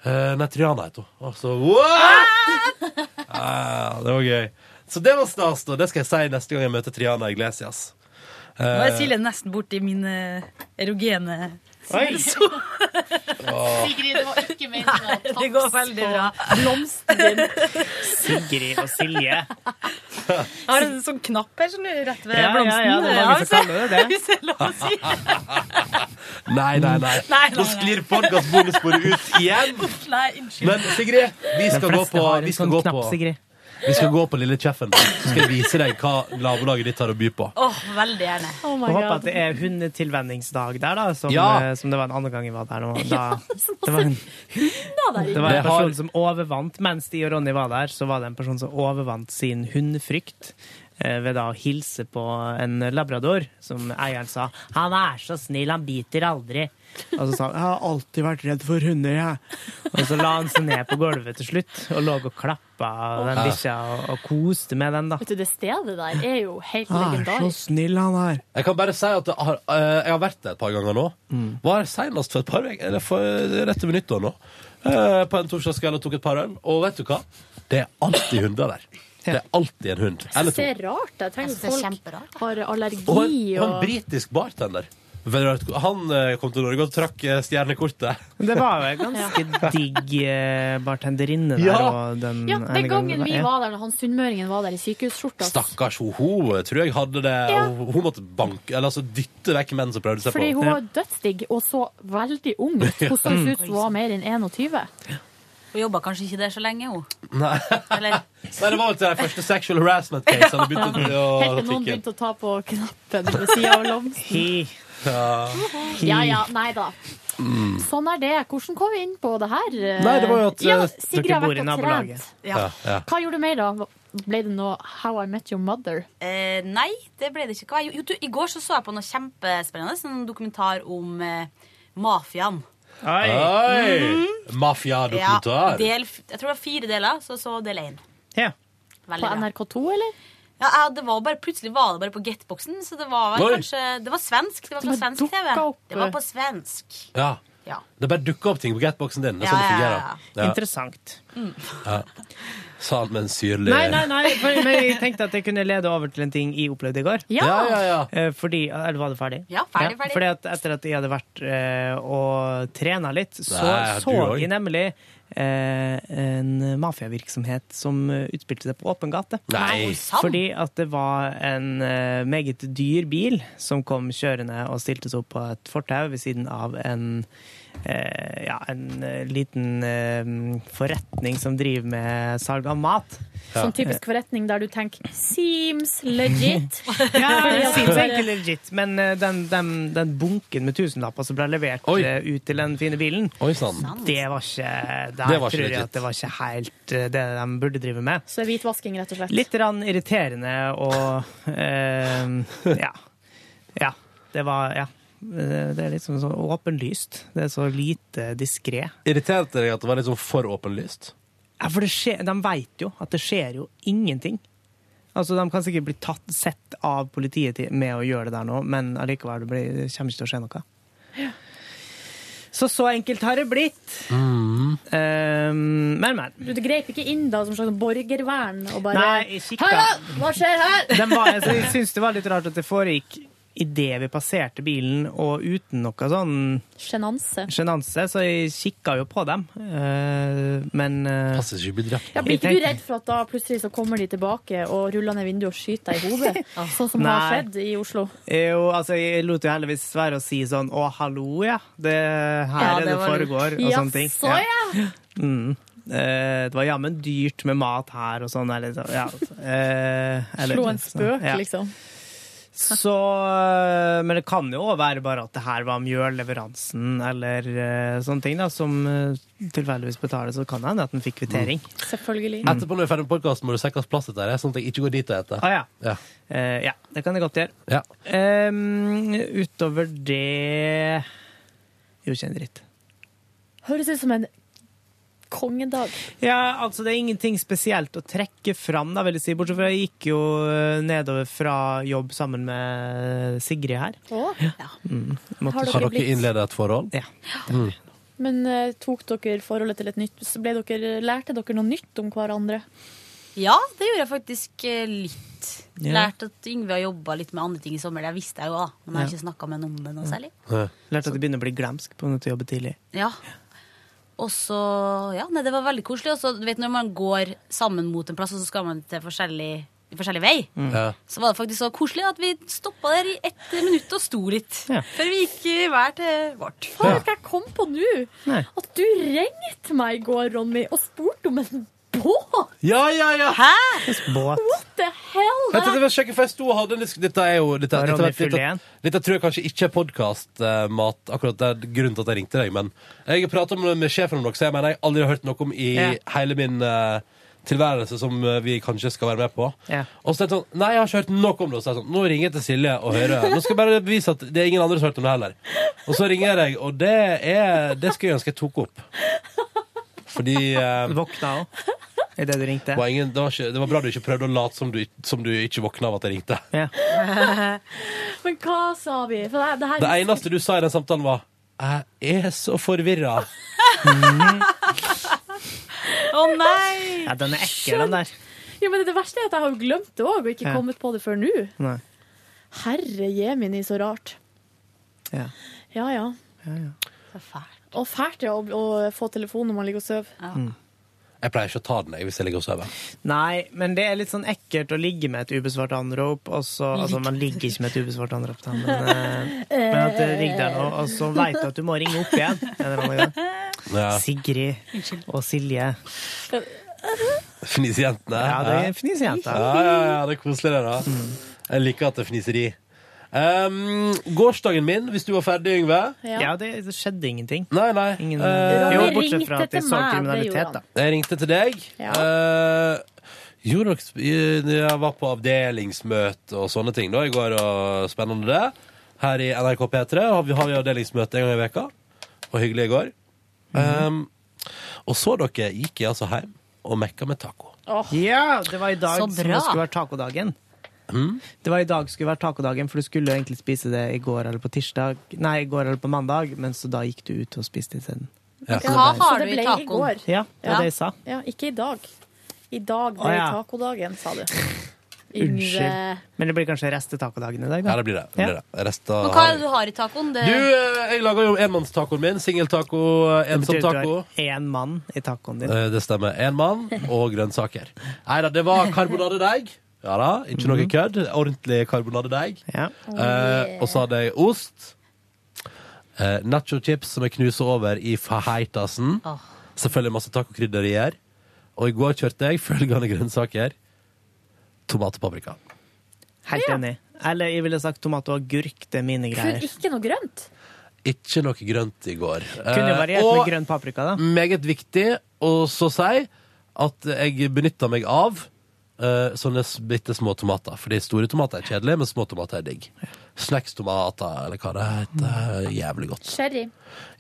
S1: Eh, nei, Triana heter hun. Og så What?! Ja, det var gøy. Så det var stas, da. Det skal jeg si neste gang jeg møter Triana Iglesias. Eh,
S9: Nå er Silje nesten borti min eh, erogene
S1: Oi.
S9: Så-
S1: åh.
S10: Sigrid, det var ikke meningen.
S9: Nei, det går veldig bra.
S11: Sigrid og Silje.
S9: Jeg har en sånn knapp her som er rett ved
S11: Ja, ja,
S9: blomsten. altså.
S11: ja, det er mange som kaller det det.
S9: Hvis jeg lov å si.
S1: Nei, nei, nei.
S9: Nei, nei,
S1: Nå sklir podkastbonussporet ut igjen.
S9: Nei, unnskyld.
S1: Men Sigrid, vi
S11: De
S1: skal gå
S11: fleste
S1: på,
S11: har en
S1: vi skal
S11: sånn
S1: gå
S11: knapp,
S1: på,
S11: Sigrid.
S1: vi skal gå på Lille Kjeffen. Så skal jeg vise deg hva nabolaget ditt har å by på.
S9: Åh, veldig gjerne.
S10: Oh
S11: Jeg håper at det er hundetilvenningsdag der, da, som,
S1: Ja.
S11: eh, som det var en annen gang jeg var der nå.
S10: Ja, sånn
S11: Da, det var en, det var
S1: Det
S11: en
S1: har-
S11: person som overvant Mens de og Ronny var der, så var det en person som overvant sin hundefrykt eh, ved da å hilse på en labrador, som eieren sa 'Han er så snill, han biter aldri'. Og så sa han 'Jeg har alltid vært redd for hunder, jeg'. Og så la han seg ned på gulvet til slutt, og lå og klappa den bikkja og, og koste med den, da.
S10: Vet du, det stedet der er jo helt
S11: Han er Ah, så
S10: legendarisk.
S11: snill, han er.
S1: Jeg kan bare si at det har, eh, jeg har vært der et par ganger nå. Var senest for et par uker, eller for det er rett over nyttår nå. Eh, På en torsdagskveld og tok et par øl. Og vet du hva? Det er alltid hunder der. Det er alltid en hund. Eller
S10: Det
S1: to.
S10: er rart. Jeg
S9: Jeg
S10: tenker
S9: synes Altså, det er
S10: folk har allergi
S1: Og en, og en
S10: og
S1: britisk bartender. Veldig rart. Han eh, kom til Norge og trakk eh, stjernekortet.
S11: Men Det var jo en ganske digg eh, bartenderinne der.
S1: Ja.
S11: Og den,
S10: Ja,
S11: ene
S10: den gangen vi
S11: ja.
S10: var der, når han sunnmøringen var der i sykehusskjorta.
S1: Stakkars, hun, hun tror jeg hadde det
S10: Ja.
S1: hun, hun måtte banke, eller altså dytte vekk menn som prøvde seg
S10: Fordi
S1: på
S10: hun var dødsdigg og så veldig ung ut. Hun så
S1: Mm.
S10: ut som hun var mer enn 21.
S9: Hun jobba kanskje ikke der så lenge, hun.
S1: Nei.
S9: Eller
S1: Nei, det var jo til de første sexual harassment-casene. begynte å- å
S10: Helt til noen
S1: tikke inn.
S10: begynte å ta på knappen ved sida av lomsen.
S11: Hi.
S10: Ja ja, nei da. Sånn er det. Hvordan kom vi inn på det her?
S1: Mm. Nei, det var jo at,
S10: ja,
S1: eh,
S10: Sigrid
S11: dere
S10: har
S11: bor
S10: vært
S11: i
S10: og
S11: nabolaget.
S10: trent.
S1: Ja, ja.
S10: Hva gjorde du mer, da? Ble det noe How I Met Your Mother?
S9: Eh, nei, det ble det ikke. Hva- Jo, jo, du, I går så, så jeg på noe kjempespennende. En dokumentar om eh, mafiaen.
S11: Oi.
S1: Oi!
S9: Ja,
S1: Mafia-dokumentar.
S9: del, f- jeg tror det var fire deler, så så del én.
S11: Ja.
S9: Veldig
S10: På
S9: bra.
S10: NRK2, eller?
S9: Ja, ja, det var bare, plutselig var det bare på Getboxen, så det var vel
S1: Oi.
S9: kanskje Det var svensk. Det var
S10: Det
S9: på
S10: bare
S9: svensk TV.
S10: dukket opp.
S9: Det var på svensk.
S1: Ja.
S9: Ja.
S1: Det bare dukker opp ting på getboxen din. Det er
S9: Ja,
S1: sånn det
S9: ja, ja,
S1: fungerer. Ja.
S11: Interessant.
S1: Sa han med en syrlig
S11: Nei, nei, nei, for, men jeg tenkte at jeg kunne lede over til en ting jeg opplevde i går.
S1: Ja, ja, ja.
S11: Eh, Fordi, eller var det ferdig?
S9: Ja, ferdig, ferdig.
S11: Fordi at etter at jeg hadde vært eh, og trena litt, så
S1: Nei,
S11: så
S1: du også.
S11: jeg nemlig eh, en mafiavirksomhet som eh, utspilte seg på åpen gate.
S1: Nei.
S9: Sann.
S11: Fordi at det var en eh, meget dyr bil som kom kjørende og stilte seg opp på et fortau ved siden av en eh, ja, en eh, liten eh, forretning som driver med salg av mat.
S10: Sånn typisk forretning der du tenker Seems legit.
S11: Ja,
S10: Fordi
S11: det synes
S10: at det
S11: jeg
S10: bare-
S11: ikke legit, men eh, den, den, den bunken med tusenlapper som ble levert
S1: Oi.
S11: eh, ut til den fine bilen,
S1: Oi sann.
S11: det var ikke Der
S1: Det var ikke
S11: tror jeg
S1: legit.
S11: at det var ikke helt eh, det de burde drive med.
S10: Så er hvitvasking, rett og slett.
S11: Litt rann irriterende og eh, ja. ja. Det var Ja. Det er litt sånn så åpenlyst. Det er så lite diskré.
S1: Irriterte deg at det var litt sånn for åpenlyst?
S11: Ja, for det skjer, de veit jo at det skjer jo ingenting. Altså, De kan sikkert bli tatt, sett av politiet til- med å gjøre det der nå, men allikevel det blir, det kommer ikke til å skje noe. Så så enkelt har det blitt. Ehm, men, men.
S10: Du greip ikke inn da som slags borgervern og bare
S11: Nei, ikke.
S10: Hallo, hva skjer her?
S11: Den var, altså, jeg syns det var litt rart at det foregikk idet vi passerte bilen, og uten noe sånn
S10: Sjenanse.
S11: sjenanse, så jeg kikka jo på dem. Eh, men
S1: Passer ikke å bli drept.
S10: Ja, blir ikke du redd for at da plutselig så kommer de tilbake og ruller ned vinduet og skyter deg i hodet? Sånn som har
S11: Ah. Nei.
S10: skjedd i Oslo.
S11: Jo, altså, jeg lot jo heldigvis være å si sånn 'å, hallo, ja', det her
S10: Ja,
S11: er
S10: det
S11: det
S10: var lurt.
S11: foregår, og sånne ting.
S10: Jaså, ja.
S11: Mm. Eh, det var jammen dyrt med mat her og sånn. Eller, så- ja. eh, eller-
S10: Slå en spøk,
S11: ja.
S10: liksom.
S11: Så, eh, men det kan jo også være bare at det her var mjølleveransen eller eh, sånne ting da, som eh, tilfeldigvis betales, så kan det hende at den fikk kvittering.
S10: Mm. Selvfølgelig.
S1: Etterpå når vi er ferdig med podkasten, må du sjekke hvilken plass dette er, sånn at jeg ikke går dit og etter.
S11: Ah, ja.
S1: Ja.
S11: Eh, ja, det kan jeg godt gjøre.
S1: Ja.
S11: Em, utover det Jo, ikke en dritt.
S10: Høres ut som en kongedag.
S11: Ja, altså det er ingenting spesielt å trekke fram, da, vil jeg si. Bortsett fra jeg gikk jo eh, nedover fra jobb sammen med Sigrid her. Mm. Måtte-
S10: Har dere Har dere blitt- innledet
S1: et forhold?
S11: Ja.
S1: Mm.
S10: Men eh, tok dere forholdet til et nytt så ble dere, Lærte dere noe nytt om hverandre?
S9: Ja, det gjorde jeg faktisk eh, litt.
S11: Ja.
S9: Lært at Yngve har jobba litt med andre ting i sommer. Det visste jeg jo, da. Men jeg
S11: Ja.
S9: har ikke snakka med noen om det noe særlig.
S11: Lærte at det begynner å bli glemsk på grunn av at du jobber tidlig.
S9: Ja. Og så Ja, nei, det var veldig koselig. Og så, du vet når man går sammen mot en plass, og så skal man til forskjellig, forskjellig vei,
S11: Mm.
S1: Ja.
S9: så var det faktisk så koselig at vi stoppa der i ett minutt og sto litt. Før vi gikk eh, hver til vårt.
S10: Hva er det jeg kom på nå?
S11: Nei.
S10: At du ringte meg i går, Ronny, og spurte om en båt!
S1: Ja, ja, ja!
S10: Hæ?
S11: Båt.
S10: What the hell?
S1: Vent, vent, vent, sjekke, for jeg sto og hadde en disk- Dette er jo Dette, dette,
S11: Var Ronny
S1: dette,
S11: full igjen?
S1: dette, dette tror jeg kanskje ikke er podkastmat, akkurat det er grunnen til at jeg ringte deg, men jeg har prata med, med sjefen om dere, så jeg mener jeg aldri har hørt noe om i
S11: Ja.
S1: hele min eh, tilværelse som eh, vi kanskje skal være med på.
S11: Ja.
S1: Og så tenkte jeg sånn Nei, jeg har ikke hørt noe om det. Og så er jeg sånn, nå ringer jeg til Silje og hører. Nå skal jeg bare bevise at det er ingen andre som har hørt om det heller. Og så ringer jeg deg, og det er Det skulle jeg ønske jeg tok opp. Fordi eh,
S11: Våkna òg, idet du ringte.
S1: var ingen, det, var ikke, det var bra du ikke prøvde å late som du, som du ikke våkna av at jeg ringte.
S10: Men hva sa vi? For det, det her
S1: Det eneste du sa i den samtalen, var 'Jeg er så forvirra'.
S9: Å nei!
S11: Ja, den er ekkel, den der.
S10: Ja, men det verste er at jeg har jo glemt det òg, og ikke
S11: Ja.
S10: kommet på det før nå.
S11: Nei.
S10: Herre jemini, så rart.
S11: Ja.
S10: Ja, ja. Og fælt det å, å få telefon når man ligger og sover.
S1: Jeg pleier ikke å ta den jeg, hvis jeg ligger og sover.
S11: Nei, men det er litt sånn ekkelt å ligge med et ubesvart anrop, og så Altså, man ligger ikke med et ubesvart anrop, da, men, eh, men at det ringte deg nå, og så veit du at du må ringe opp igjen. en eller annen gang. Sigrid og Silje.
S1: Fnisejentene.
S11: Ja, det er fnisejenta.
S1: Ja, ja, ja, det er koselig, det, da. Jeg liker at det er fniseri. Um, gårsdagen min, hvis du var ferdig, Yngve
S11: Ja, det, det skjedde ingenting.
S1: Nei, nei.
S11: Ingen,
S1: Eh,
S11: jo,
S1: Ronny
S11: bortsett fra
S1: ringte
S11: at jeg
S1: til
S11: så
S1: meg, det
S11: kriminalitet, da.
S1: Jeg ringte til deg.
S11: Ja.
S1: Eh, jo, dere sp- jeg var på avdelingsmøte og sånne ting da i går, og spennende det. Her i NRK P3 har vi, har vi avdelingsmøte en gang i veka og hyggelig i går. Um, og så dere gikk jeg altså hjem og mekka med taco.
S11: Ja, det var i dag
S1: Så
S11: som
S1: bra.
S11: det skulle være tacodagen.
S1: Mm.
S11: Det var i dag skulle være tacodagen, for du skulle jo egentlig spise det i går eller på tirsdag Nei, i går eller på mandag, men så da gikk du ut og spiste isteden.
S1: Ja.
S11: Så
S10: Hva
S11: det-
S10: har du i tacoen?
S11: Ja, det var det jeg sa.
S10: Ja, ikke i dag. I dag
S11: Å,
S10: ble det
S11: ja.
S10: tacodagen, sa du.
S11: Unnskyld. Men det blir kanskje restetacodagen i dag, da?
S1: Ja, det blir det. det, blir det. Resten
S9: Men hva
S1: har-
S9: er det du har i tacoen? Det...
S1: Du, eh, jeg laga jo enmannstacoen min. Singeltaco, eh, ensom taco.
S11: Én mann i tacoen din.
S1: Eh, Det stemmer. Én mann og grønnsaker. Nei da, det var karbonadedeig. Ja da, ikke noe kødd. Ordentlig karbonadedeig.
S11: Oh,
S1: Eh, og så hadde jeg ost. Eh, Nachochips som jeg knuser over i faheitasen. Selvfølgelig masse tacokrydder i her. Og i går kjørte jeg følgende grønnsaker. Tomat og paprika.
S11: Helt enig. Eller jeg ville sagt tomat og agurk. Det er mine
S10: Kun
S11: greier.
S10: ikke noe grønt.
S1: Ikke noe grønt i går.
S11: Kunne
S1: Eh,
S11: variert
S1: og
S11: med grønn paprika, da.
S1: meget viktig å så si at jeg benytter meg av eh, sånne bitte små tomater. Fordi store tomater er kjedelige, men små tomater er digg. Snackstomater, eller hva det heter.
S11: Mm.
S1: er Jævlig godt.
S10: Sherry.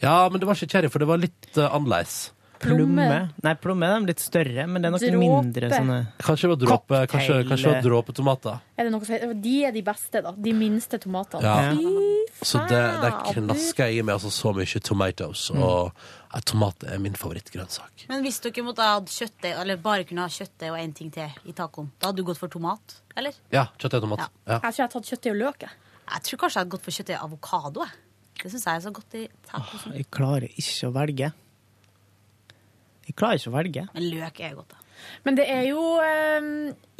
S1: Ja, men det var ikke cherry, for det var litt uh, annerledes.
S11: Plomme. Nei, plomme er de litt større, men det er nok
S10: Dråpe.
S11: mindre sånne
S1: Kanskje det var dråpe, kanskje,
S11: Cocktail.
S1: kanskje det var dråpetomater.
S10: Er det noe som heter? De er de beste, da. De minste tomatene.
S1: Ja.
S10: Fy
S1: Så det,
S11: Ah,
S1: det knasker jeg i meg altså så mye tomatoes.
S11: Mm.
S1: Og eh, tomat er min favorittgrønnsak.
S9: Men hvis dere måtte ha hatt kjøttdeig, eller bare kunne ha kjøttdeig og én ting til i tacoen, da hadde du gått for tomat, eller?
S1: Ja, kjøttdeig og tomat. Ja.
S10: Jeg tror jeg har tatt kjøttdeig og løk. jeg.
S9: Jeg tror kanskje jeg hadde gått for kjøttdeig og avokado. jeg. Det syns jeg er så godt i tacosen.
S11: Jeg klarer ikke å velge. Jeg klarer ikke å velge.
S9: Men løk er jo godt, da.
S10: Men det er jo eh,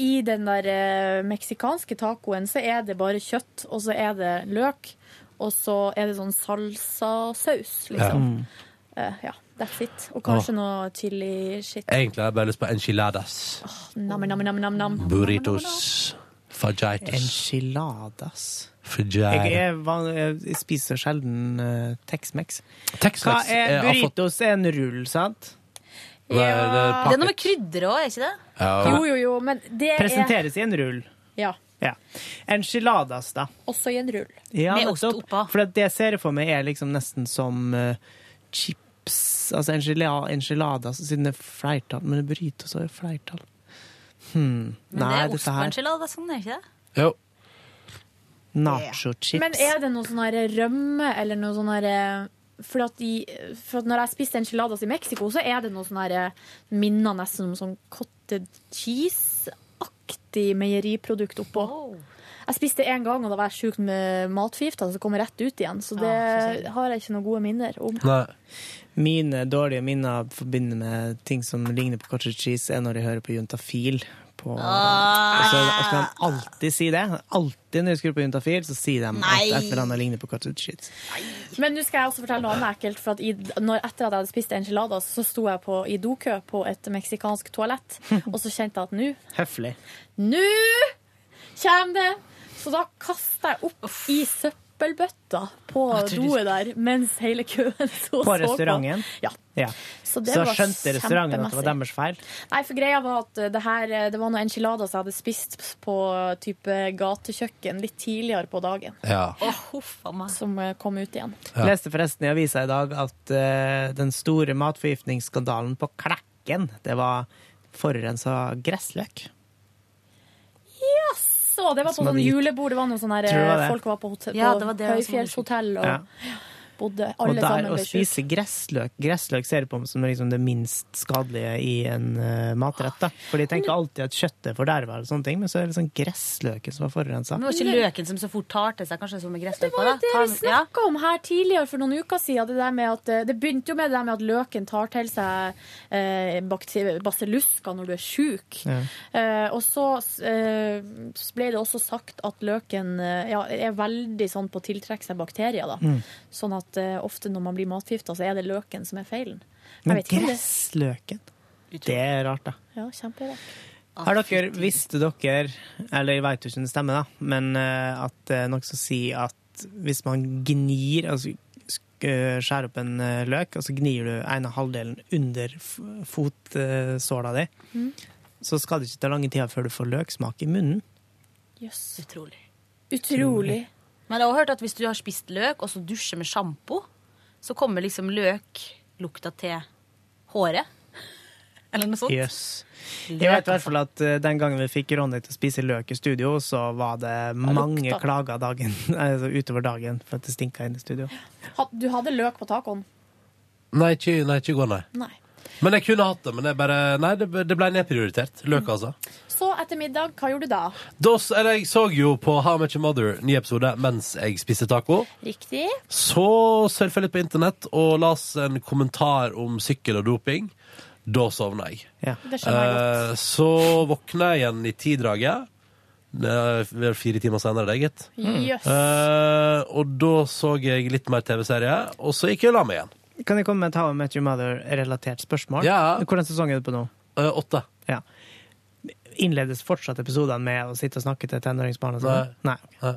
S10: I den der eh, meksikanske tacoen så er det bare kjøtt, og så er det løk, og så er det sånn salsasaus, liksom. Eh, ja, that's it. Og kanskje
S1: Åh.
S10: noe chili shit.
S1: Egentlig har jeg bare lyst på enchiladas.
S10: Nam, nam, nam, nam, nam.
S1: Burritos. Fajitas.
S11: Enchiladas. Jeg,
S1: Fajai.
S11: er van- jeg spiser sjelden eh, Tex-Mex.
S1: Tex-Mex
S11: Hva
S1: er-
S11: er
S1: eh, har fått- eh,
S11: burritos? Er en rull, sant?
S10: Ja.
S9: Det er noe med krydderet òg, er ikke det?
S10: Jo, jo, jo, men det er
S11: Presenteres i en rull.
S10: Ja,
S11: Ja. Enchiladas, da.
S10: også i en rull.
S11: Ja,
S9: Med ost
S11: nettopp.
S9: oppå.
S11: For at det jeg ser for meg, er liksom nesten som eh, chips Altså enchila- enchiladas, siden det er flertall. Men det burritos er jo flertall. Hmm.
S9: Men
S11: Nei,
S9: det er ost
S11: dette
S9: på
S11: her
S9: enchilada, sånn, er det ikke det?
S1: Jo.
S11: Nacho chips.
S10: Men er det noe sånn her rømme eller noe sånn her for at, de, for at når jeg spiste enchiladas i Mexico, så er det noe sånn her minner nesten om sånn cottage cheese-aktig meieriprodukt oppå. Jeg spiste en gang, og da var jeg sjukt med matforgifta, så kom jeg rett ut igjen. Ah, Så det har jeg ikke noen gode minner om.
S1: Nei.
S11: Mine dårlige minner forbinder med ting som ligner på cottage cheese, er når jeg hører på Juntafil. På,
S9: Ah.
S11: og så skal han alltid si det. Alltid når jeg skrur på Juntafil, så sier de
S9: Nei.
S11: at et eller annet ligner på cottage cheese.
S10: Men nå skal jeg også fortelle noe annet ekkelt. For at i, når, etter at jeg hadde spist enchiladas, så sto jeg på, i dokø på et meksikansk toalett, og så kjente jeg at nå
S11: Høflig.
S10: Nå kommer det! Så da kaster jeg opp i søppelbøtta på doet der, mens hele køen så
S11: På
S10: så
S11: restauranten?
S10: Ja.
S11: Ja.
S10: Så det
S11: Så
S10: var
S11: skjønte restauranten at det var deres
S10: kjempemessig.
S11: feil.
S10: Nei, for greia var at det her eh, Det var noen enchiladas jeg hadde spist på type gatekjøkken litt tidligere på dagen,
S1: Ja.
S9: Å, huffa meg.
S10: som eh, kom ut igjen.
S11: Jeg leste forresten i avisa i dag at eh, den store matforgiftningsskandalen på Klekken, det var forurensa gressløk.
S10: Så det var på
S11: Som
S10: sånn
S11: hadde gitt-
S10: julebord. Det var noen sånne her, eh,
S11: Tror det var det.
S10: folk var på, hotell,
S9: Ja, det
S10: på
S9: var det som var
S10: høyfjellshotell og
S11: Ja.
S10: bodde
S11: Og
S10: alle
S11: der
S10: sammen
S11: å
S10: ble syke.
S11: spise gressløk Gressløk ser jeg på som liksom det minst skadelige i en eh, matrett. da. For de tenker alltid at kjøttet forderver, og sånne ting, men så er det liksom gressløken som er forurensa.
S9: Men det var ikke løken som så fort tar til seg, kanskje som med gressløk på
S10: var
S9: da?
S10: jo det
S9: Tar-
S10: vi snakka om her tidligere for noen uker siden. Det, der med at, eh, det begynte jo med det der med at løken tar til seg eh, bakte- basillusker når du er sjuk.
S11: Ja.
S10: Eh, og så eh, så ble det også sagt at løken eh, ja, er veldig sånn på å tiltrekke seg bakterier. Da. Sånn at eh, ofte når man blir matforgifta, så er det løken som er feilen. Jeg
S11: Men
S10: vet ikke om det
S11: gressløken, det er rart, da.
S10: ja, kjemperart.
S11: Har dere, visste dere, eller jeg veit jo ikke om det stemmer, da, men eh, at det er noe som sier at hvis man gnir altså sk- eh, skjærer opp en eh, løk, og så gnir du ene halvdelen under fotsåla di, så skal det ikke ta lange tida før du får løksmak i munnen.
S10: Jøss.
S9: Utrolig.
S10: Utrolig.
S9: Men jeg har også hørt at hvis du har spist løk, og så dusjer med sjampo, så kommer liksom løklukta til håret. Eller noe sånt.
S11: Jøs. Jeg vet i hvert fall at eh, den gangen vi fikk Ronny til å spise løk i studio, så var det mange
S9: lukta.
S11: klager dagen, altså utover dagen for at det stinka inne i studio.
S10: Ha- Du hadde løk på tacoen?
S1: Nei, ikke, nei, ikke i går, nei.
S10: Nei.
S1: Men jeg kunne hatt det, men det, er bare, nei, det, det ble nedprioritert.
S9: Mm.
S1: Løk, altså.
S10: Så etter middag, hva gjorde du da?
S1: Da, s- eller, jeg så jo på How Much a Mother, ny episode, mens jeg spiste taco.
S10: Riktig.
S1: Så surfa jeg litt på internett og las en kommentar om sykkel og doping. Da sovna jeg.
S11: Ja.
S10: Det skjønner jeg godt.
S1: Eh, så våkna jeg igjen i tidraget. Eh, vel Fire timer senere, det, gitt.
S10: Jøss.
S1: Eh, og da så jeg litt mer TV-serie, og så gikk jeg og la meg igjen.
S11: Kan jeg komme med et How I Met Your Mother-relatert spørsmål?
S1: Ja.
S11: Hvordan sesong er du på nå?
S1: Eh, åtte.
S11: Ja. Innledes fortsatt episodene med å sitte og snakke til tenåringsbarn? og sånn? Nei.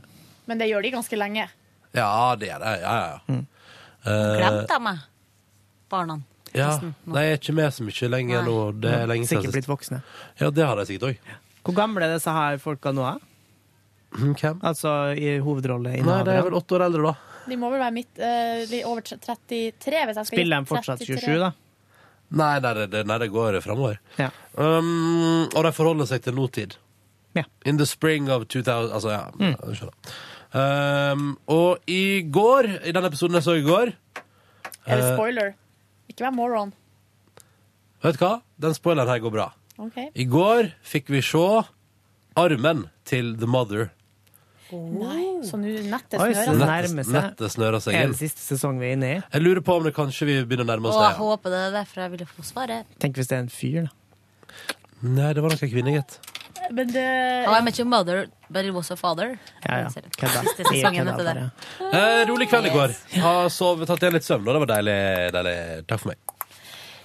S10: Men det gjør de ganske lenge.
S1: Ja, det er det. Ja, ja, ja.
S11: Mm.
S1: Eh,
S9: Glemte jeg meg, barna.
S1: ja.
S9: Nesten.
S1: Nei, jeg er ikke med så mye lenger
S9: Nei.
S1: nå. Det er lenge siden
S11: Sikkert
S1: sist.
S11: blitt voksne.
S1: Ja, det har de sikkert òg.
S11: Hvor gamle er disse her folka nå? er?
S1: Hvem?
S11: Altså
S1: Nei, de
S11: i
S1: er vel
S11: hovedrolleinnehavere?
S1: åtte år eldre, da.
S10: De må vel være midt, eh, de er over tre- 33, hvis jeg skal
S11: Spiller
S10: gjette.
S11: de fortsatt
S10: 33.
S11: 27, da?
S1: Nei, nei, det- det, nei det går framover.
S11: Ja.
S1: Um, og de forholder seg til nåtid.
S11: Ja. Mm.
S1: In the spring of 2000 Altså, ja. jeg skjønner. Um, og i går, i den episoden jeg så i går
S10: Er det
S1: eh,
S10: spoiler? Ikke vær moron.
S1: Vet du hva? Den spoileren her går bra.
S10: Ok.
S1: I går fikk vi se armen til The Mother.
S10: Nei, så nå nettet
S11: Oi, så
S10: snører.
S11: det
S10: seg.
S11: nærmer seg.
S1: Nettet snører seg
S11: Er
S1: inn.
S11: det siste sesong vi er inne i?
S1: Jeg lurer på om det kanskje vi begynner å nærme
S9: Og
S1: oss
S9: jeg
S1: det.
S9: håper det er derfor jeg ville få svaret.
S11: Tenk hvis det er en fyr, da.
S1: Nei, det var nok en kvinne, gitt.
S10: Men eh, det
S9: How I Met Your Mother, But It Was A Father.
S1: Ja, ja. Kødda.
S9: Siste
S1: Jeg
S9: sesongen
S1: kødda
S9: heter det.
S1: Eh, rolig kveld i går. Har sovet, tatt igjen litt søvn, og det var deilig. deilig. Takk for meg.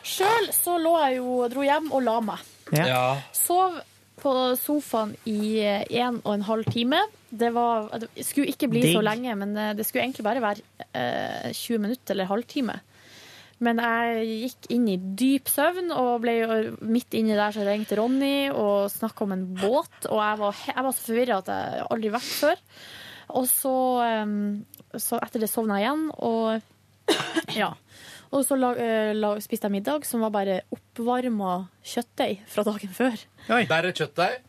S10: Sjøl så lå jeg jo dro hjem og la meg.
S1: Ja.
S10: Sov på sofaen i eh, en og en halv time. Det, var, det skulle ikke bli så
S9: Digg.
S10: lenge, men eh, det skulle egentlig bare være eh, 20 minutter eller halvtime. Men jeg gikk inn i dyp søvn, og ble, og midt inni der så ringte Ronny og snakka om en båt. Og jeg var, he- jeg var så forvirra at jeg aldri vært før. Og så, em, så etter det sovna jeg igjen, og ja. Og så la, eh, la, spiste jeg middag som var bare oppvarma kjøttdeig fra dagen før.
S1: Bare kjøttdeig?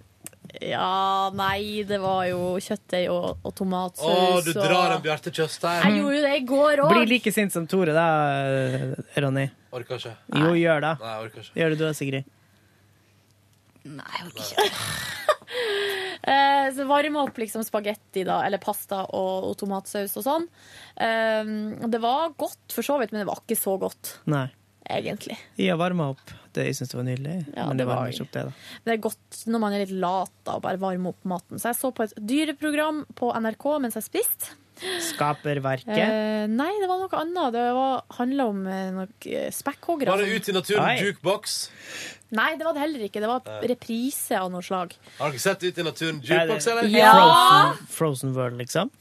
S10: Ja, nei, det var jo kjøttdeig og, og
S1: Å,
S10: tomatsaus.
S1: du
S10: og-
S1: drar en Bjarte Tjøstheim.
S10: Jeg gjorde jo det i går
S11: Bli
S10: òg.
S11: like sint som Tore, da, Ronny.
S1: Orker ikke.
S11: Jo, gjør det.
S1: Nei, orker ikke.
S11: Gjør det du da, Sigrid.
S10: Eh, så varma opp liksom spagetti, da, eller pasta og, og tomatsaus og sånn. Eh, og det var godt for så vidt, men det var ikke så godt,
S11: Nei.
S10: egentlig.
S11: Jeg har varma opp. Det, jeg syns det var nydelig. men det varmer ikke opp, det, da.
S10: Men det er godt når man er litt lat da, og bare varmer opp maten. Så jeg så på et dyreprogram på NRK mens jeg spiste.
S11: Skaperverket.
S10: Eh, nei, det var noe annet. Det handla om eh, noe spekkhoggere. sånn.
S1: Bare ut i naturen, jukebox.
S10: Nei, det var det heller ikke. Det var reprise av noe slag.
S1: Har dere sett Ut i naturen, jukebox,
S11: Er det
S1: eller?
S10: Ja!
S11: Frozen, Frozen World, liksom?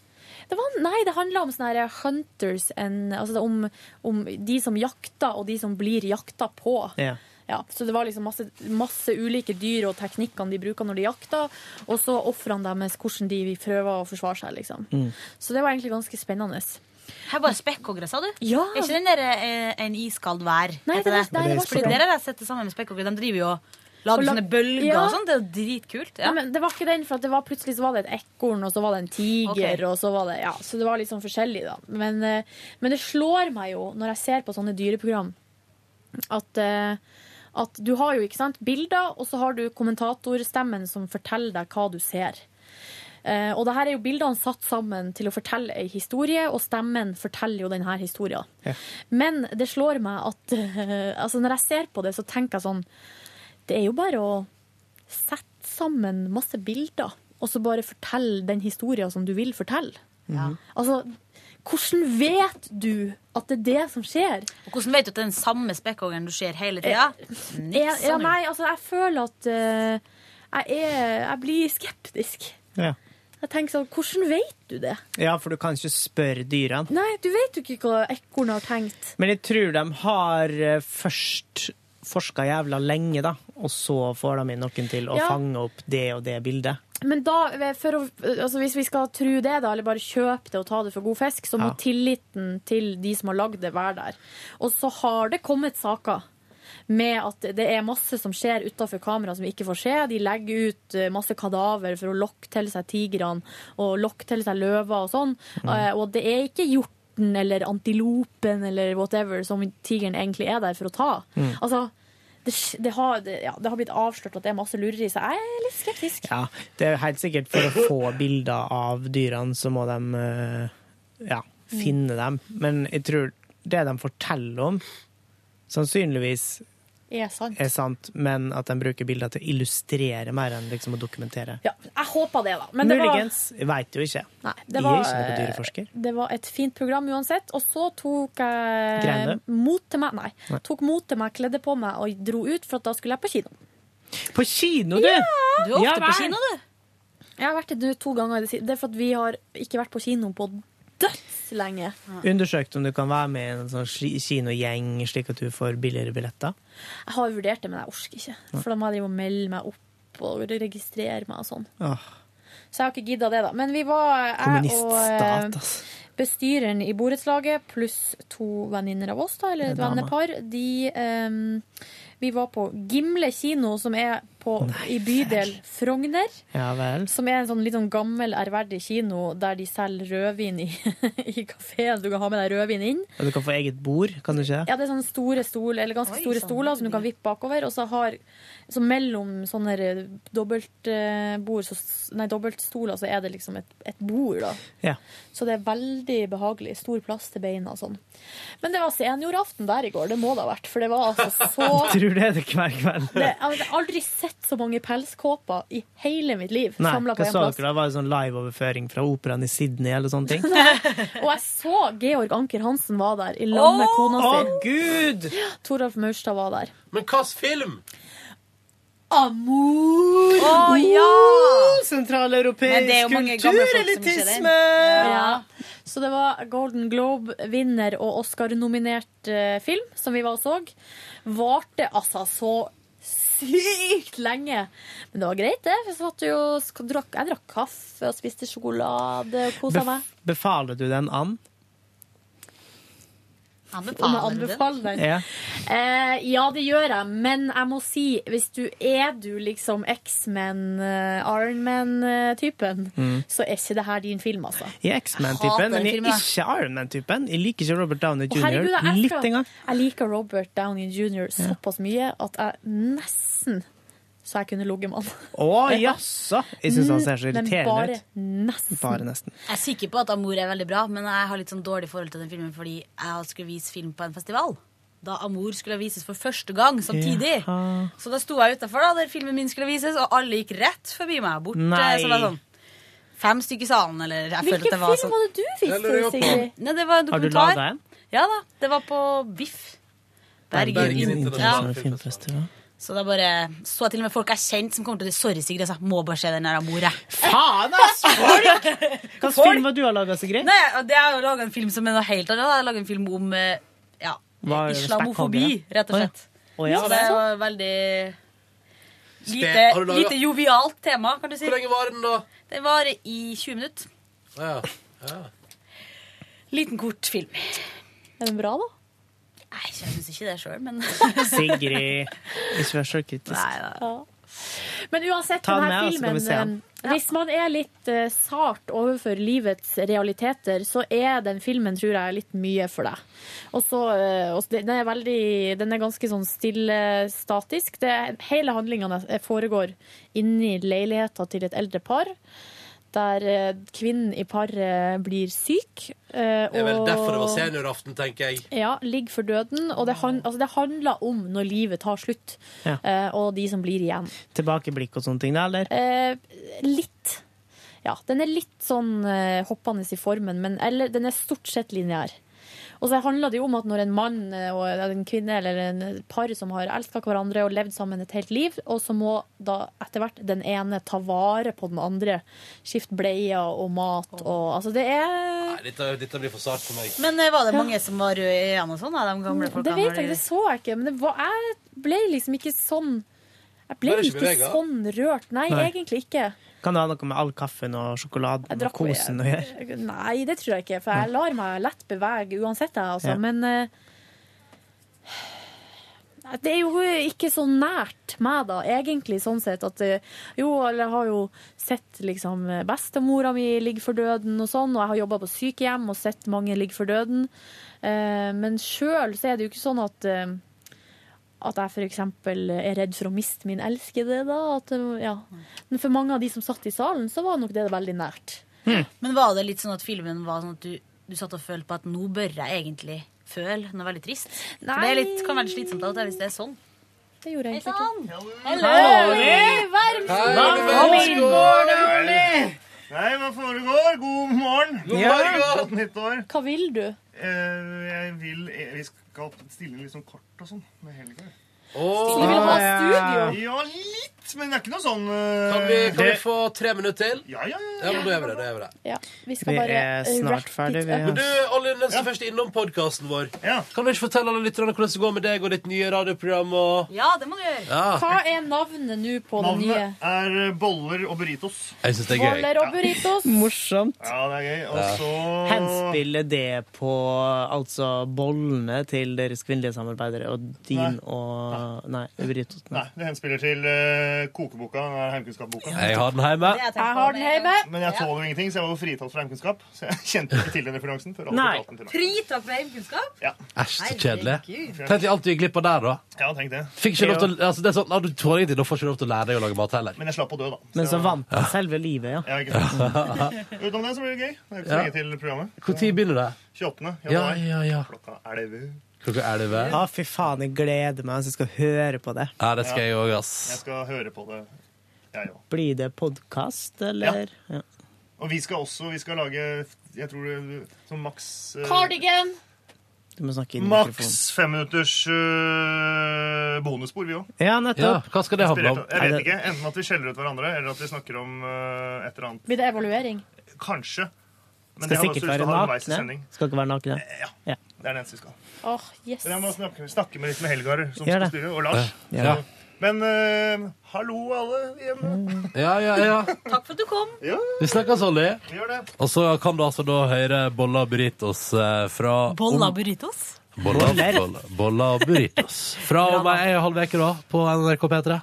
S10: Det var, nei, det handla om sånne her hunters and, altså det, om, om de som jakter, og de som blir jakta på.
S11: Ja.
S10: Ja, så det var liksom masse, masse ulike dyr og teknikkene de bruker når de jakter, og så ofrene deres, hvordan de prøver å forsvare seg, liksom. Så det var egentlig ganske spennende.
S9: Her var spekkhoggere, sa du?
S10: Ja.
S9: Er ikke den der eh, en iskald vær?
S10: Nei,
S9: heter
S10: det var- nei, det var ikke
S9: Fordi
S10: den.
S9: der har jeg sett det samme med spekkhoggere. De driver jo og lager
S10: Og la-
S9: sånne bølger
S10: Ja.
S9: og sånn. Det er jo dritkult.
S10: Nei,
S9: Ja.
S10: men det var ikke den, for at det var plutselig så var det et ekorn, og så var det en tiger,
S9: Ok.
S10: og så var det Ja, så det var litt sånn forskjellig, da. Men, eh, men det slår meg jo, når jeg ser på sånne dyreprogram, at eh, at du har jo ikke sant, bilder, og så har du kommentatorstemmen som forteller deg hva du ser. Eh, og det her er jo bildene satt sammen til å fortelle ei historie, og stemmen forteller jo denne historien. Men det slår meg at eh, altså når jeg ser på det, så tenker jeg sånn Det er jo bare å sette sammen masse bilder, og så bare fortelle den historien som du vil fortelle. Altså, hvordan vet du at det er det som skjer?
S9: Og hvordan vet du at det er den samme spekkhoggeren du ser hele tida?
S10: Jeg, ja, nei, altså, jeg føler at eh, jeg, er, jeg blir skeptisk.
S11: Ja.
S10: Jeg tenker sånn, hvordan vet du det?
S11: ja, for du kan ikke spørre dyrene.
S10: Nei, du vet jo ikke hva ekornet har tenkt.
S11: Men jeg tror de har eh, først forska jævla lenge, da, og så får de inn noen til å
S10: Ja.
S11: fange opp det og det bildet.
S10: Men da, for å, altså hvis vi skal tro det, da, eller bare kjøpe det og ta det for god fisk, så må
S11: Ja.
S10: tilliten til de som har lagd det, være der. Og så har det kommet saker med at det er masse som skjer utafor kamera som vi ikke får se. De legger ut eh, masse kadaver for å lokke til seg tigrene og lokke til seg løver og sånn.
S11: Mm.
S10: Eh, Og det er ikke hjorten eller antilopen eller whatever som tigeren egentlig er der for å ta.
S11: Mm.
S10: Altså, det, det, har, det, ja, det har blitt avslørt at det er masse lureri, så jeg er litt skeptisk.
S11: Ja, det er helt sikkert for å få bilder av dyrene, så må de eh, ja, finne dem. Men jeg tror det de forteller om, sannsynligvis
S10: Er sant.
S11: er sant, men at de bruker bilder til å illustrere mer enn liksom å dokumentere.
S10: Ja, jeg håpa det, da. Men det var,
S11: Muligens. Jeg veit jo ikke.
S10: Nei, det
S11: Jeg
S10: var-
S11: er ikke noen dyreforsker.
S10: det var et fint program uansett. Og så tok jeg
S11: Grein
S10: mot til meg Nei.
S11: Nei.
S10: Tok mot til meg, kledde på meg og dro ut, for at da skulle jeg på kino.
S11: På kino, du!
S9: Du er ofte
S11: Ja
S9: på
S11: vel.
S9: kino, du.
S10: Jeg har vært det nå to ganger. i Det siste. Det er for at vi har ikke vært på kino på dødslenge.
S11: Undersøkt om du kan være med i en sånn ski- kinogjeng, slik at du får billigere billetter.
S10: Jeg har vurdert det, men jeg orker ikke. For da må jeg drive og melde meg opp og registrere meg og sånn.
S11: Åh,
S10: Så jeg har ikke gidda det, da. Men vi var jeg og eh,
S11: kommuniststat, altså.
S10: bestyreren i borettslaget pluss to venninner av oss, da, eller et
S11: Det er dama.
S10: vennepar, de eh, Vi var på Gimle kino, som er på, i bydel Frogner.
S11: Ja vel.
S10: Som er en sånn litt sånn gammel, ærverdig kino der de selger rødvin i, i kafeen. Du kan ha med deg rødvin inn.
S11: Og du kan få eget bord, kan du ikke?
S10: Ja, det er sånne store stol, eller ganske store stoler som du kan vippe bakover. Og så har så mellom sånne dobbeltbord, så, nei, dobbeltstoler, så er det liksom et, et bord, da.
S11: Ja.
S10: Så det er veldig behagelig. Stor plass til beina og sånn. Men det var senioraften der i går, det må det ha vært. For det var altså så
S11: Tror du det er det hver kveld?
S10: det, Jeg har aldri sett så mange pelskåper i hele mitt liv
S11: Nei,
S10: samla
S11: hva
S10: på én
S11: sa
S10: plass.
S11: dere da? Var det sånn liveoverføring fra operaen i Sydney eller sånne ting?
S10: Og jeg så Georg Anker Hansen var der i lag med
S11: Åh,
S10: kona si.
S11: å, Gud!
S10: Toralf Maurstad var der.
S1: Men hvilken film?
S10: Amor!
S11: Å,
S10: ja!
S11: Sentraleuropeisk
S10: Men det er jo mange gamle folk som ikke er der.
S11: kulturelitisme!
S10: Ja. Så det var Golden Globe-vinner og Oscar-nominert eh, film som vi var og så. Varte altså så sykt lenge. Men det var greit, det. Vi satt jo, og sk- drakk, jeg drakk kaffe og spiste sjokolade og kosa meg.
S11: Bef befaler du den an?
S10: Om jeg anbefaler den?
S11: Ja.
S10: Eh, ja, det gjør jeg, men jeg må si, hvis du er du liksom X-Men, eh, Ironman-typen,
S11: Mm.
S10: så er ikke det her din film, altså.
S11: Jeg er X-Man-typen, men jeg
S10: Jeg hater den
S11: er ikke Ironman-typen. Jeg liker ikke Robert Downey
S10: Å, herregud,
S11: jr.
S10: jeg, elsker
S11: Litt
S10: han.
S11: engang.
S10: jeg liker Robert Downey jr. såpass mye at jeg nesten så jeg kunne ligget med han.
S11: Å, jaså! Jeg syns han ser så irriterende ut.
S10: Men Mm, bare nesten.
S11: Bare nesten.
S9: Jeg er sikker på at Amour er veldig bra, men jeg har litt sånn dårlig forhold til den filmen fordi jeg skulle vise film på en festival. Da Amour skulle vises for første gang samtidig.
S11: Jaha.
S9: Så da sto jeg utafor der filmen min skulle vises, og alle gikk rett forbi meg. Bort,
S11: Nei.
S9: eh, Så det var sånn fem stykker i salen, eller jeg følte at det var sånn.
S10: var det du
S9: fikk,
S11: lurer jeg på. Sigrid?
S9: Nei, det var en
S11: Har du
S9: dokumentar.
S11: laget en?
S9: Ja da. Det var på VIF. Bergen.
S11: internasjonale
S9: Ja.
S11: filmfestival.
S9: Så da bare så jeg til og med folk jeg kjente som kom til å si sorry, Sigrid. Jeg sa må bare se den der Amour, jeg.
S11: Faen, ass! Folk! Hvilken film var du har laga, Sigrid?
S9: Nei, og det er jo laget en film som er noe helt annet. Jeg har laget en film om eh, ja,
S11: Hva er det,
S9: islamofobi,
S11: spekkhogger?
S9: rett og slett.
S11: Å, ja. sånn. Å, ja.
S9: Så det var veldig lite,
S11: Spe- har du laget-
S9: lite jovialt tema, kan du si.
S1: Hvor lenge var den, da?
S9: Den var i 20 minutter.
S1: Ja. Ja.
S9: Liten, kort film.
S10: Er den bra, da?
S9: Nei, jeg syns ikke det sjøl, men
S11: Sigrid, ikke vær så kritisk.
S10: Men uansett,
S11: Ta den med, og så
S10: denne
S11: kan
S10: filmen
S11: vi se den.
S10: eh, Hvis man er litt eh, sart overfor livets realiteter, så er den filmen, tror jeg, litt mye for deg. Og så eh, og så- Den er veldig Den er ganske sånn stille statisk. Det, hele handlingene foregår inni leiligheta til et eldre par. Der eh, kvinnen i paret blir syk. eh,
S1: Det er vel
S10: og-
S1: derfor det var senioraften, tenker jeg.
S10: ja, ligg for døden. Og det, han, altså det handler om når livet tar slutt,
S11: Ja.
S10: eh, og de som blir igjen.
S11: Tilbakeblikk og sånne ting, da, eller?
S10: Eh, litt. Ja, den er litt sånn eh, hoppende i formen, men eller, den er stort sett lineær. Og så handler det jo om at når en mann eh, og en kvinne eller en par som har elska hverandre og levd sammen et helt liv, og så må da etter hvert den ene ta vare på den andre, skifte bleier og mat og Altså, det er
S1: Nei, dette, dette blir for sart for meg.
S9: Men eh, var det mange som var røde i øynene og sånn? da, De gamle folka,
S10: Mm, Det vet
S9: når
S10: jeg,
S9: de-
S10: ikke, det så jeg ikke. Men det var, jeg ble liksom ikke sånn Jeg ble
S11: Var det ikke
S10: ikke
S11: med deg, da?
S10: sånn rørt. Nei,
S11: Nei.
S10: egentlig ikke.
S11: Kan det ha noe med all kaffen og sjokoladen og kosen å gjøre?
S10: Nei, det tror jeg ikke. For jeg lar meg lett bevege uansett, jeg, altså.
S11: Ja.
S10: Men eh, Nei, det er jo ikke så nært meg, da, egentlig, sånn sett. At eh, jo, eller jeg har jo sett liksom bestemora mi ligge for døden og sånn, og jeg har jobba på sykehjem og sett mange ligge for døden. Eh, men sjøl så er det jo ikke sånn at eh, at jeg f.eks. er redd for å miste min elskede, da. At, eh, ja. Men for mange av de som satt i salen, så var nok det veldig nært.
S9: Men var det litt sånn at filmen var sånn at du, du satt og følte på at nå bør jeg egentlig føle noe veldig trist? For det er litt, kan være litt slitsomt av og til hvis det er sånn.
S10: Det gjorde jeg
S9: egentlig
S10: ikke.
S9: Hello,
S10: Liv
S9: Wermskog!
S12: Nei, hva foregår? God morgen.
S10: God Ja. morgen.
S12: Godt nyttår.
S10: Hva vil du?
S12: Eh, jeg vil eh, Vi skal stille litt sånn kort og sånn med helga.
S1: Så du vil
S10: sånn
S1: ha studio?
S12: Ja, litt. Men det er ikke noe sånn eh,
S1: Kan vi, kan vi
S12: det-
S1: få tre minutter til?
S12: Ja, ja,
S1: ja. men da gjør vi det. Da gjør vi det.
S10: Ja, vi
S12: skal Vi bare er snart wrap it ferdig, vi, up. ja.
S1: Men du, Olli, mens du først er innom podkasten vår, kan du ikke fortelle alle lytterne hvordan det går med deg og ditt nye radioprogram? og...
S9: Ja, det må du gjøre.
S1: Ja.
S10: Hva er navnet nå på det nye?
S12: Navnet er eh, boller og burritos.
S1: Jeg syns det
S10: er gøy. Boller og burritos.
S11: Morsomt.
S12: Ja, det er gøy. Og
S11: Ja.
S12: så
S11: Henspiller det på altså bollene til deres kvinnelige samarbeidere og din og Nei, Uritosten.
S12: Nei, det henspiller til eh, kokeboka, den der heimkunnskapsboka.
S1: Jeg har den hjemme.
S10: Jeg har den hjemme.
S12: Men jeg tåler jo ingenting, så jeg var jo fritatt for heimkunnskap. Så jeg kjente ikke til den referansen før alle
S11: Nei.
S12: fortalte den til meg.
S9: Fritatt for heimkunnskap?
S12: Ja.
S1: Æsj, så kjedelig.
S9: Herregud.
S1: Tenk deg alt du gikk glipp av der, da.
S12: Ja, tenk det.
S1: Fikk ikke lov til å, altså, det er sånn, ah, du tåler ingenting, da får ikke lov til å lære deg å lage mat heller.
S12: Men jeg slapp å dø, da.
S11: Men så vant han selve livet, ja.
S12: Ja, ikke sant. Utenom det så blir det gøy. Det er ikke så
S1: Ja.
S12: lenge til programmet.
S1: Når begynner det?
S12: 28.
S1: Ja, ja, ja.
S12: Klokka 11.
S1: Klokka elleve.
S11: Ja, fy faen, jeg gleder meg så jeg skal høre på det.
S1: Ja, det skal jeg òg, ass.
S12: Jeg skal høre på det, jeg òg.
S11: Blir det podkast, eller? Ja.
S12: Og vi skal også vi skal lage jeg tror det sånn maks eh,
S10: Cardigan.
S11: Du må snakke inn i
S12: Maks
S11: mikrofonen.
S12: femminutters uh, bonusspor, vi òg.
S11: Ja, nettopp.
S1: hva skal det handle om?
S12: Jeg vet ikke. Enten at vi skjeller ut hverandre, eller at vi snakker om eh, et eller annet.
S10: Blir det evaluering?
S12: Kanskje. Men det
S11: Skal
S12: har jeg også
S11: sikkert
S12: lyst
S11: være
S12: til å ha underveis i
S11: nakne.
S12: sending.
S11: Skal ikke være nakne. Ja.
S12: Det er det eneste vi skal.
S10: Åh, yes.
S12: Men jeg må snakke, snakke med litt med Helgar, som skal
S11: Gjør det.
S12: styre, og Lars.
S11: Ja. Ja.
S12: Men eh, hallo, alle hjemme.
S1: Ja, ja, ja.
S9: Takk for at du kom.
S12: Ja,
S1: Vi snakkes, Olli.
S12: vi gjør det.
S1: Og så kan du altså da høre bolla og burritos eh, fra
S9: Bolla
S1: om-
S9: burritos.
S1: bolla,
S11: Boller.
S1: bolla, bolla og burritos. Fra om ei og en halv uke, da, på NRK P3.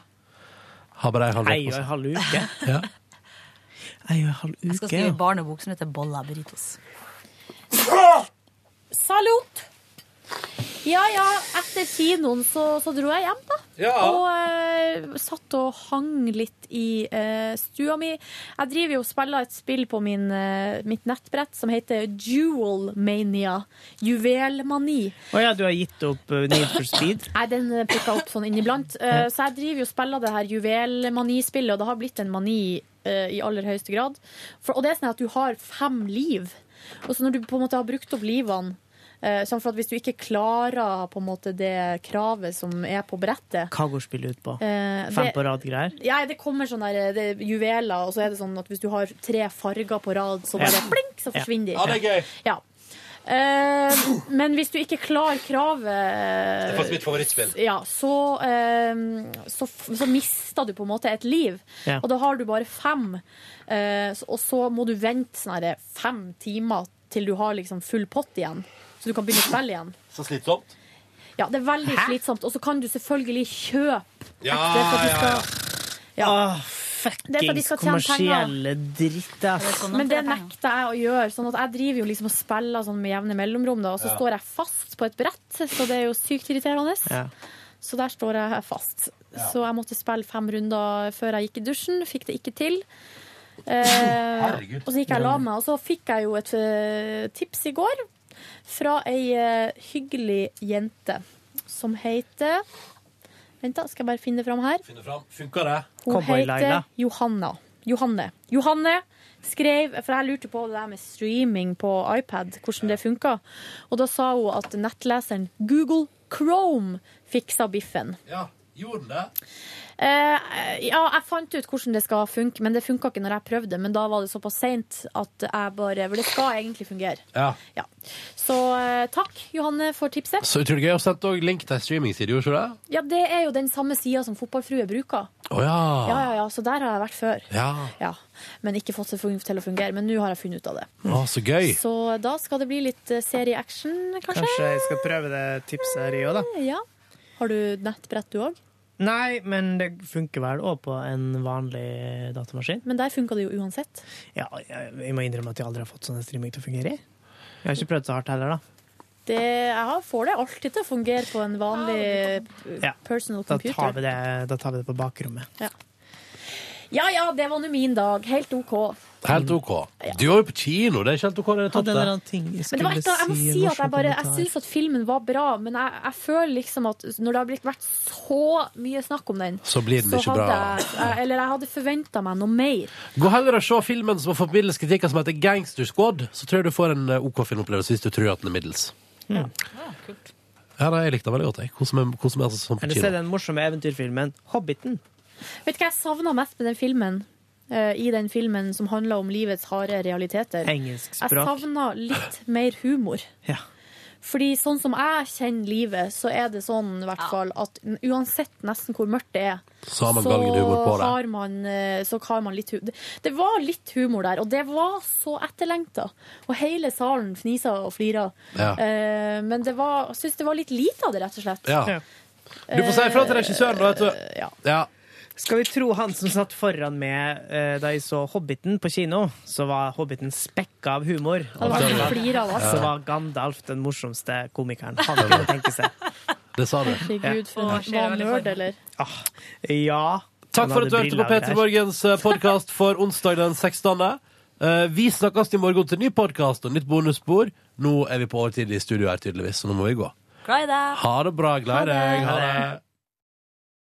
S1: Har bare ei halv
S11: Ei og
S1: uke.
S11: en halv uke.
S1: Ja.
S11: Ei og en halv
S9: Jeg skal
S11: uke,
S9: skrive
S11: ja.
S9: en barnebok som heter Bolla burritos.
S10: Salut! Ja, ja, etter kinoen så, så dro jeg hjem, da.
S1: Ja.
S10: Og eh, satt og hang litt i eh, stua mi. Jeg driver jo og spiller et spill på min, eh, mitt nettbrett som heter Jewel Mania. Juvelmani.
S11: Å ja, du har gitt opp eh, Need for Speed?
S10: Nei, den eh, plukka opp sånn inniblant. Eh, Så jeg driver jo og spiller det her juvelmanispillet, og det har blitt en mani eh, i aller høyeste grad. For, og det er sånn at du har fem liv. Og så når du på en måte har brukt opp livene eh, Sånn for at hvis du ikke klarer på en måte det kravet som er på brettet
S11: Hva går spillet ut på?
S10: eh,
S11: Fem
S10: det-
S11: på rad-greier?
S10: ja, det kommer sånne der, eh, det er juveler, og så er det sånn at hvis du har tre farger på rad, så bare
S11: Ja.
S10: blink, så
S11: Ja.
S10: forsvinner de.
S1: Ja, det er gøy.
S10: Ja. Eh, men hvis du ikke klarer kravet
S1: Det er faktisk mitt favorittspill.
S10: Ja, så, eh, så, f- så mister du på en måte et liv.
S11: Ja.
S10: Og da har du bare fem. Eh, så- og så må du vente sånn her fem timer til du har liksom full pott igjen. Så du kan begynne å spille igjen.
S1: Så slitsomt.
S10: Ja, Det er veldig slitsomt. Og så kan du selvfølgelig kjøpe
S1: Ja,
S10: det for at du
S1: ja,
S10: skal
S1: ja.
S11: Åh,
S10: Det er for at de
S11: fuckings
S10: skal tjene
S11: kommersielle dritt, ass.
S10: Men det sånn- nekter jeg å gjøre. Sånn at jeg driver jo liksom og spiller sånn med jevne mellomrom, da, og så
S1: Ja.
S10: står jeg fast på et brett, så det er jo sykt irriterende.
S11: Ja.
S10: Så der står jeg fast. Så jeg måtte spille fem runder før jeg gikk i dusjen. Fikk det ikke til. Eh, og så gikk jeg og la meg, og så fikk jeg jo et eh, tips i går fra ei eh, hyggelig jente som heter Vent, da, skal jeg bare finne det fram her.
S1: Finne fram. Funker det?
S10: Hun
S11: Cowboy
S10: heter
S11: Laila.
S10: Johanna. Johanne. Johanne skrev, for jeg lurte på det der med streaming på iPad, hvordan det funka. Og da sa hun at nettleseren Google Chrome fiksa biffen.
S1: Ja. Gjorde den det?
S10: Eh, ja, jeg fant ut hvordan det skal funke, men det funka ikke når jeg prøvde. Men da var det såpass seint at jeg bare For det skal egentlig fungere.
S1: Ja.
S10: Ja. Så eh, takk, Johanne, for tipset.
S1: Så utrolig gøy. Og sendte òg link til ei streamingside, gjorde ikke du det?
S10: Ja, det er jo den samme sida som Fotballfrue bruker.
S1: Å ja.
S10: Ja, ja, ja, så der har jeg vært før.
S1: Ah. ja.
S10: Ja, men ikke fått det fun- til å fungere. Men nå har jeg funnet ut av det.
S1: Å, så gøy.
S10: Så da skal det bli litt eh, serieaction, kanskje?
S11: Kanskje jeg skal prøve det tipset her i år, da.
S10: Ja. Har du nettbrett, du òg?
S11: Nei, men det funker vel òg på en vanlig datamaskin.
S10: Men der funka det jo uansett.
S11: Ja, jeg, jeg må innrømme at jeg aldri har fått sånn en streaming til å fungere i. Jeg har ikke prøvd så hardt heller, da.
S10: Det, jeg har- får det alltid til å fungere på en vanlig eh,
S11: Ja.
S10: personal
S11: Da tar vi
S10: computer.
S11: det, da tar vi det på bakrommet.
S10: Ja ja, det var nå min dag. Helt OK.
S1: Helt OK. Du var jo på kino, det er ikke helt OK? Det er topp,
S11: Hadde en eller
S1: det.
S11: annen ting jeg
S10: Men det var
S11: skulle
S10: et, eller annet- jeg må
S11: si,
S10: si
S11: en
S10: at jeg
S11: morsom
S10: bare Jeg
S11: kommentar.
S10: syns at filmen var bra, men jeg, jeg føler liksom at når det har blitt vært så mye snakk om den,
S1: Så blir den
S10: så
S1: ikke
S10: hadde
S1: bra.
S10: jeg- Jeg, eller jeg hadde forventa meg noe mer.
S1: Gå heller og se filmen som har fått middels kritikker, som heter Gangster Squad. Så tror jeg du får en eh, OK filmopplevelse hvis du tror at den er middels. Ja, nei, jeg likte den veldig godt. Jeg koser meg, koser meg altså sånn på
S11: Eller se
S1: kino.
S11: den morsomme eventyrfilmen Hobbiten.
S10: Vet du hva jeg savna mest med den filmen? Eh, I den filmen som handla om livets harde realiteter.
S11: Engelsk
S10: Jeg
S11: språk.
S10: savna litt mer humor.
S11: Ja.
S10: Fordi sånn som jeg kjenner livet, så er det sånn i hvert fall at n- uansett nesten hvor mørkt det er,
S1: Så har man galgen humor på det.
S10: har man, eh, så har man litt humor. Det var litt humor der, og det var så etterlengta. Og hele salen fnisa og flira.
S1: Ja.
S10: Eh, Men det var- jeg syns det var litt lite av det, rett og slett.
S1: Ja.
S11: Ja.
S1: Du får si ifra til regissøren, da. vet du.
S10: Ja.
S11: Skal vi tro han som satt foran meg eh, da jeg så Hobbiten på kino, så var Hobbiten spekka av humor.
S10: Han var ikke flir av oss.
S11: Så var Gandalf den morsomste komikeren han kunne tenke seg.
S1: Det sa du.
S10: Herregud, for
S9: Ja.
S10: en var han nerd, eller?
S11: Ah, Ja.
S1: Takk for at du hørte på P3 Morgens podkast for onsdag den 16. Eh, Vi snakkes i morgen til ny podkast og nytt bonusspor. Nå er vi på overtid i studio her, tydeligvis, så nå må vi gå.
S9: Glad i deg.
S1: Ha det bra. Glad i deg. Ha det.